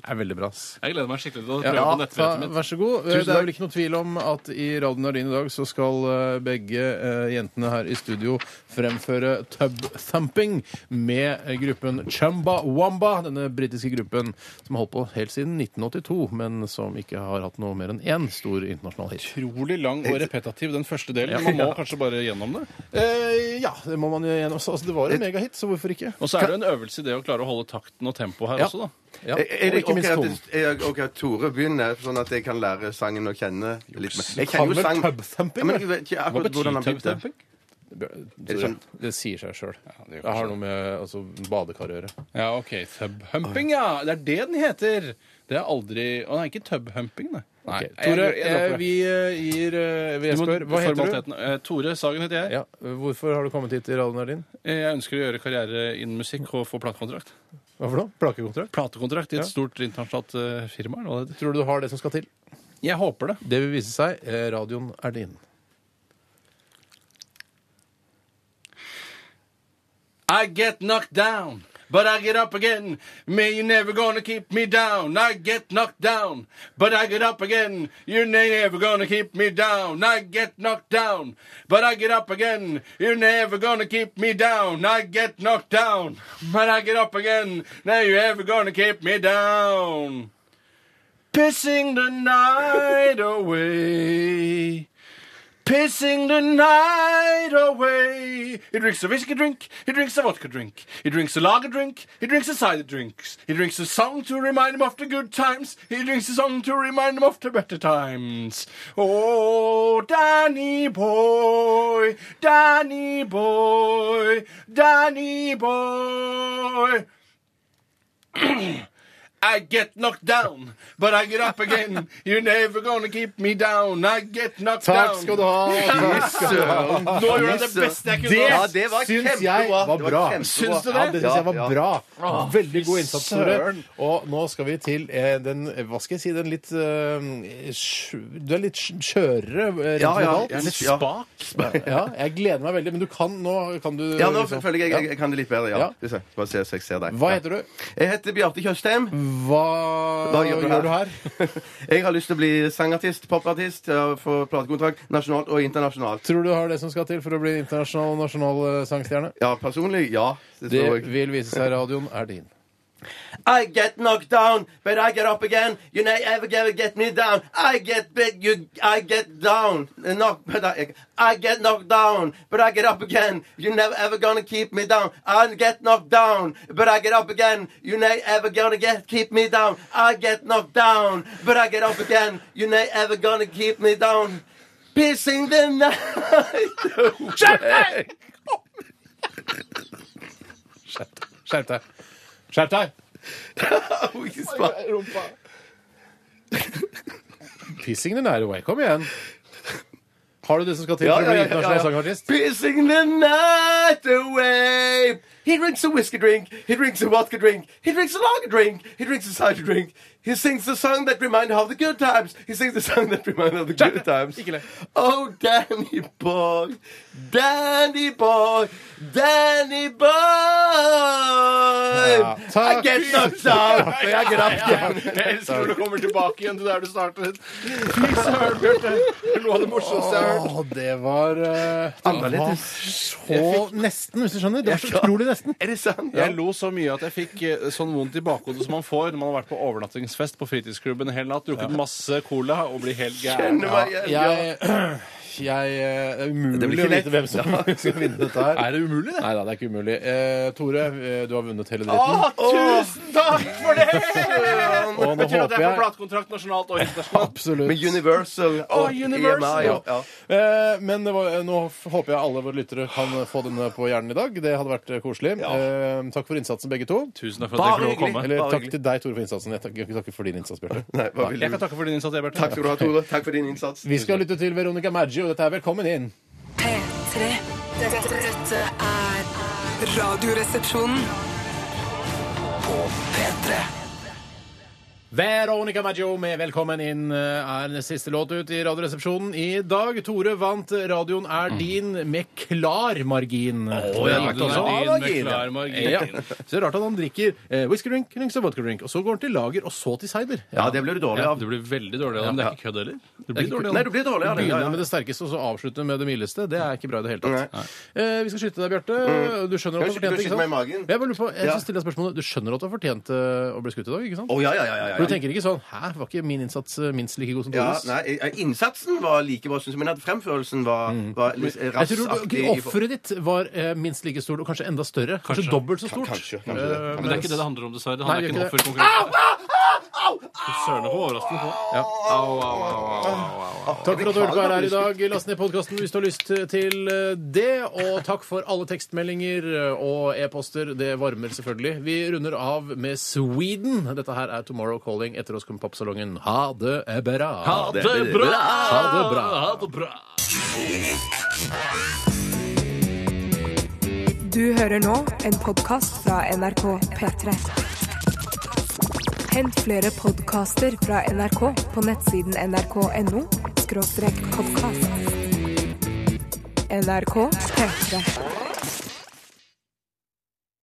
[SPEAKER 4] Det er veldig bra. ass.
[SPEAKER 3] Jeg gleder meg skikkelig til å prøve
[SPEAKER 4] Ja,
[SPEAKER 3] på
[SPEAKER 4] ta,
[SPEAKER 3] nettbrettet mitt.
[SPEAKER 4] vær så god. Eh,
[SPEAKER 5] Tusen
[SPEAKER 4] Det er
[SPEAKER 5] takk.
[SPEAKER 4] vel ikke noe tvil om at i Radio Nardin i dag så skal eh, begge eh, jentene her i studio fremføre Tub Thumping med eh, gruppen Chumba Wamba, denne britiske gruppen som har holdt på helt siden 1982, men som ikke har hatt noe mer enn én stor internasjonal hit.
[SPEAKER 3] Utrolig lang og repetativ, den første delen. Man må kanskje bare gjennom det.
[SPEAKER 4] Eh, ja, det må man jo igjen også. Altså, det var en megahit, så hvorfor ikke?
[SPEAKER 3] Og så er det jo en øvelse i det å klare å holde takten og tempoet her
[SPEAKER 4] Ja.
[SPEAKER 3] også, da.
[SPEAKER 4] Ja,
[SPEAKER 5] Er er
[SPEAKER 4] og
[SPEAKER 5] det
[SPEAKER 4] Eh, ikke
[SPEAKER 5] ok
[SPEAKER 4] minst
[SPEAKER 5] at,
[SPEAKER 4] kom.
[SPEAKER 5] er det ok at Tore begynner, sånn at jeg kan lære sangen å kjenne litt mer? Jeg
[SPEAKER 4] Kan
[SPEAKER 5] kjenner
[SPEAKER 4] vel
[SPEAKER 5] jo sang
[SPEAKER 4] tub thumping,
[SPEAKER 5] Ja, men jeg vet ikke
[SPEAKER 3] Hva
[SPEAKER 5] akkurat
[SPEAKER 3] betyr
[SPEAKER 5] hvordan han begynte.
[SPEAKER 3] tubtemping?
[SPEAKER 4] Det,
[SPEAKER 5] sånn-
[SPEAKER 4] det sier seg sjøl.
[SPEAKER 3] det gjør
[SPEAKER 4] Det har noe med altså, badekar å gjøre.
[SPEAKER 3] Ja, OK. Tubhumping, ja. Det er det den heter. Det er aldri Å nei, ikke tubhumping, nei. nei.
[SPEAKER 4] Ok, Tore,
[SPEAKER 3] jeg- jeg dropper
[SPEAKER 4] eh,
[SPEAKER 3] det.
[SPEAKER 4] vi eh, gir eh, vi
[SPEAKER 3] Du må-
[SPEAKER 4] spør, Hva heter du?
[SPEAKER 3] formaliteten. Eh, Tore Sagen heter jeg.
[SPEAKER 4] Ja, hvorfor har du kommet hit til radioen din?
[SPEAKER 3] Eh, Jeg ønsker å gjøre karriere innen musikk og få platekontrakt.
[SPEAKER 4] Hva for noe? Plakekontrakt?
[SPEAKER 3] Platekontrakt i
[SPEAKER 4] Ja.
[SPEAKER 3] et stort internasjonalt eh, firma? eller hva det heter.
[SPEAKER 4] Tror du du har det som skal til?
[SPEAKER 3] Jeg håper det.
[SPEAKER 4] Det vil vise seg. eh, Radioen er din.
[SPEAKER 3] I get knocked down, but I get up again. Man, you're never gonna keep me down. I get knocked down, but I get up again. You're never gonna keep me down. I get knocked down, but I get up again. You're never gonna keep me down. I get knocked down, but I get up again. Now you're ever gonna keep me down. Pissing the night away. Pissing the night away. He drinks a whiskey drink, he drinks a vodka drink, he drinks a lager drink, he drinks a cider drinks, he drinks a song to remind him of the good times, he drinks a song to remind him of the better times. Oh, Danny boy, Danny boy, Danny boy. I get knocked down, but I get up again. You're never gonna keep me down. I get knocked down.
[SPEAKER 4] ha!
[SPEAKER 5] Søren.
[SPEAKER 3] Nå gjorde jeg det beste jeg kunne.
[SPEAKER 5] Ja, det var
[SPEAKER 4] syns
[SPEAKER 5] kjempebra.
[SPEAKER 4] jeg var
[SPEAKER 5] Det var
[SPEAKER 4] bra.
[SPEAKER 5] kjempebra.
[SPEAKER 4] Syns du det? Ja, det syns jeg var
[SPEAKER 5] Ja, ja.
[SPEAKER 4] bra. Veldig god innsats, Tore.
[SPEAKER 3] Søren.
[SPEAKER 4] Og nå skal vi til eh, den eh, Hva skal jeg si, den litt eh, sj- Du er litt sj- skjørere, eh, rent
[SPEAKER 5] Ja, ja,
[SPEAKER 4] lokalt.
[SPEAKER 5] ja,
[SPEAKER 3] Litt
[SPEAKER 5] ja.
[SPEAKER 3] spak.
[SPEAKER 4] Ja, jeg gleder meg veldig. Men du kan nå kan du
[SPEAKER 5] Ja, nå
[SPEAKER 4] liksom-
[SPEAKER 5] føler jeg jeg,
[SPEAKER 4] Ja.
[SPEAKER 5] jeg kan det litt bedre.
[SPEAKER 4] Ja.
[SPEAKER 5] ja. Skal vi se. Bare se så jeg ser deg.
[SPEAKER 4] Hva heter du?
[SPEAKER 5] Ja. Jeg heter Bjarte Tjøstheim.
[SPEAKER 4] Hva,
[SPEAKER 5] Hva gjør du her?
[SPEAKER 4] her?
[SPEAKER 5] Jeg har lyst til å bli sangartist, popartist, og få platekontrakt nasjonalt og internasjonalt.
[SPEAKER 4] Tror du du har det som skal til for å bli internasjonal og nasjonal eh, sangstjerne?
[SPEAKER 5] Ja, personlig, ja. Det
[SPEAKER 4] Det
[SPEAKER 5] tror jeg.
[SPEAKER 4] vil vise seg. Radioen er din.
[SPEAKER 5] I get knocked down, but I get up again. You never ever gonna get me down. I get big, you, I get down. Uh, Knock, but I, I get knocked down, but I get up again. You never ever gonna keep me down. I get knocked down, but I get up again. You never ever gonna get keep me down. I get knocked down, but I get up again. You never ever gonna keep me down. Pissing the night. away.
[SPEAKER 4] Skjerp deg. Skjerp deg! Pissing the night away. Kom igjen. Har du det som skal til
[SPEAKER 5] Ja,
[SPEAKER 4] for å
[SPEAKER 5] ja,
[SPEAKER 4] bli
[SPEAKER 5] ja,
[SPEAKER 4] internasjonal
[SPEAKER 5] ja, ja.
[SPEAKER 4] sangartist?
[SPEAKER 5] Pissing the night away. He drinks a whiskey drink. He drinks a vodka drink. He drinks a lager drink. He drinks a cider drink. He sings a song that reminds her of the good times. He sings a song that reminds her of the good times.
[SPEAKER 4] Ikke le.
[SPEAKER 5] Oh, Danny boy, Danny boy, Danny boy. I
[SPEAKER 4] takk.
[SPEAKER 5] get no sound. I get up again.
[SPEAKER 4] Jeg elsker når du kommer tilbake igjen til der du startet. Fy søren, Bjarte. Noe av det morsomste jeg har hørt. Det var eh,
[SPEAKER 5] Annerledes.
[SPEAKER 4] så nesten, hvis du skjønner. Det var så utrolig nesten.
[SPEAKER 5] Er det sant?
[SPEAKER 3] Jeg lo så mye at jeg fikk eh, sånn vondt i bakhodet som man får når man har vært på overnattingsfest på fritidsklubben en hel natt, drukket masse cola og blir helt gæren.
[SPEAKER 5] Kjenner meg igjen. Ja.
[SPEAKER 4] jeg eh, Det er umulig
[SPEAKER 5] Det blir ikke
[SPEAKER 4] å vite
[SPEAKER 5] lett.
[SPEAKER 4] hvem som skal vinne dette her.
[SPEAKER 3] Er det umulig, det?
[SPEAKER 4] Nei da, det er ikke umulig. Eh, Tore, eh, du har vunnet hele dritten.
[SPEAKER 3] Å, tusen takk for det!
[SPEAKER 4] Og nå håper
[SPEAKER 3] Betyr at jeg får
[SPEAKER 4] jeg
[SPEAKER 3] platekontrakt nasjonalt og internasjonalt.
[SPEAKER 4] Absolutt.
[SPEAKER 5] Med Universal og
[SPEAKER 3] Universal.
[SPEAKER 5] EMI. Ja. Ja.
[SPEAKER 4] Eh, men det var, nå f- håper jeg alle våre lyttere kan få denne på hjernen i dag. Det hadde vært eh, koselig. Eh, takk for innsatsen, begge to.
[SPEAKER 3] Tusen takk for at jeg fikk lov å
[SPEAKER 5] hyggelig.
[SPEAKER 3] komme.
[SPEAKER 4] Eller
[SPEAKER 5] bare
[SPEAKER 4] takk
[SPEAKER 5] hyggelig.
[SPEAKER 4] til deg, Tore, for innsatsen. Jeg takker ikke for din innsats, Bjarte.
[SPEAKER 5] Nei, bare
[SPEAKER 3] Jeg
[SPEAKER 5] hyggelig.
[SPEAKER 3] kan takke for din innsats, Ebert.
[SPEAKER 5] Takk skal du ha, Tore. Takk for din innsats.
[SPEAKER 4] Vi skal lytte til Veronica Maggio, og dette er Velkommen inn.
[SPEAKER 6] P3. Dette, dette er
[SPEAKER 1] Radioresepsjonen.
[SPEAKER 4] Veronica Maggio med 'Velkommen inn' eh, er den siste låt ut i Radioresepsjonen i dag. Tore vant 'Radioen er
[SPEAKER 5] Mm.
[SPEAKER 4] din' med klar margin.
[SPEAKER 3] Og jeg
[SPEAKER 5] takk
[SPEAKER 3] lagde
[SPEAKER 5] også.
[SPEAKER 3] den
[SPEAKER 5] Ja,
[SPEAKER 3] inn med
[SPEAKER 5] Margine.
[SPEAKER 3] klar margin.
[SPEAKER 4] Ja. Så det er rart at han drikker eh, whisky drink, drinks og vodka drink, og så går han til lager, og så til cider.
[SPEAKER 5] Ja, det ble du dårlig
[SPEAKER 3] Ja,
[SPEAKER 5] av.
[SPEAKER 3] du blir veldig dårlig av det, men det er ikke kødd heller. Du blir dårlig av
[SPEAKER 5] Nei, du blir dårlig av det. Ja,
[SPEAKER 4] Begynne med
[SPEAKER 5] ja.
[SPEAKER 4] det sterkeste og så avslutte med det mildeste. Det er ikke bra i det hele tatt. Eh, vi skal skyte deg, Bjarte. Du skjønner at du
[SPEAKER 5] Kan Mm. du skyte-
[SPEAKER 4] fortjente
[SPEAKER 5] skyte meg i magen?
[SPEAKER 4] Jeg bare lurer på, jeg
[SPEAKER 5] Ja.
[SPEAKER 4] skal stille deg spørsmålet. Du skjønner at du har fortjent eh, å bli skutt i dag, ikke sant?
[SPEAKER 5] Å, ja, ja, ja, ja, ja.
[SPEAKER 4] For du tenker ikke sånn Hæ, var ikke min innsats eh, minst like god som
[SPEAKER 5] Ja,
[SPEAKER 4] Tores?
[SPEAKER 5] nei, eh, Innsatsen var like bra, synes jeg, men at fremførelsen var, var litt
[SPEAKER 4] Mm. jeg tror du-
[SPEAKER 5] rassaktig. i for-
[SPEAKER 4] Offeret ditt var eh, minst like stort, og kanskje enda større. Kanskje,
[SPEAKER 3] Kanskje.
[SPEAKER 4] dobbelt så stort. Eh,
[SPEAKER 5] Kanskje, kanskje det.
[SPEAKER 3] Men det er ikke det det handler om, dessverre. Han
[SPEAKER 4] Nei,
[SPEAKER 3] er
[SPEAKER 4] det er
[SPEAKER 3] ikke en
[SPEAKER 4] ikke det.
[SPEAKER 3] offerkonkurrent. Fy søren, det var overraskende på.
[SPEAKER 4] Takk for at du hørte på her i dag. Last ned podkasten hvis du har lyst til det. Og takk for alle tekstmeldinger og e-poster. Det varmer selvfølgelig. Vi runder av med Sweden. Dette her er Tomorrow Calling. Etter oss kommer Pappsalongen. Ha det bra.
[SPEAKER 3] Ha det bra!
[SPEAKER 4] Ha det bra.
[SPEAKER 3] Ha det bra.
[SPEAKER 1] Du hører nå en podkast fra NRK P3. Hent flere podkaster fra NRK på nettsiden nrk.no podkast. NRK P3.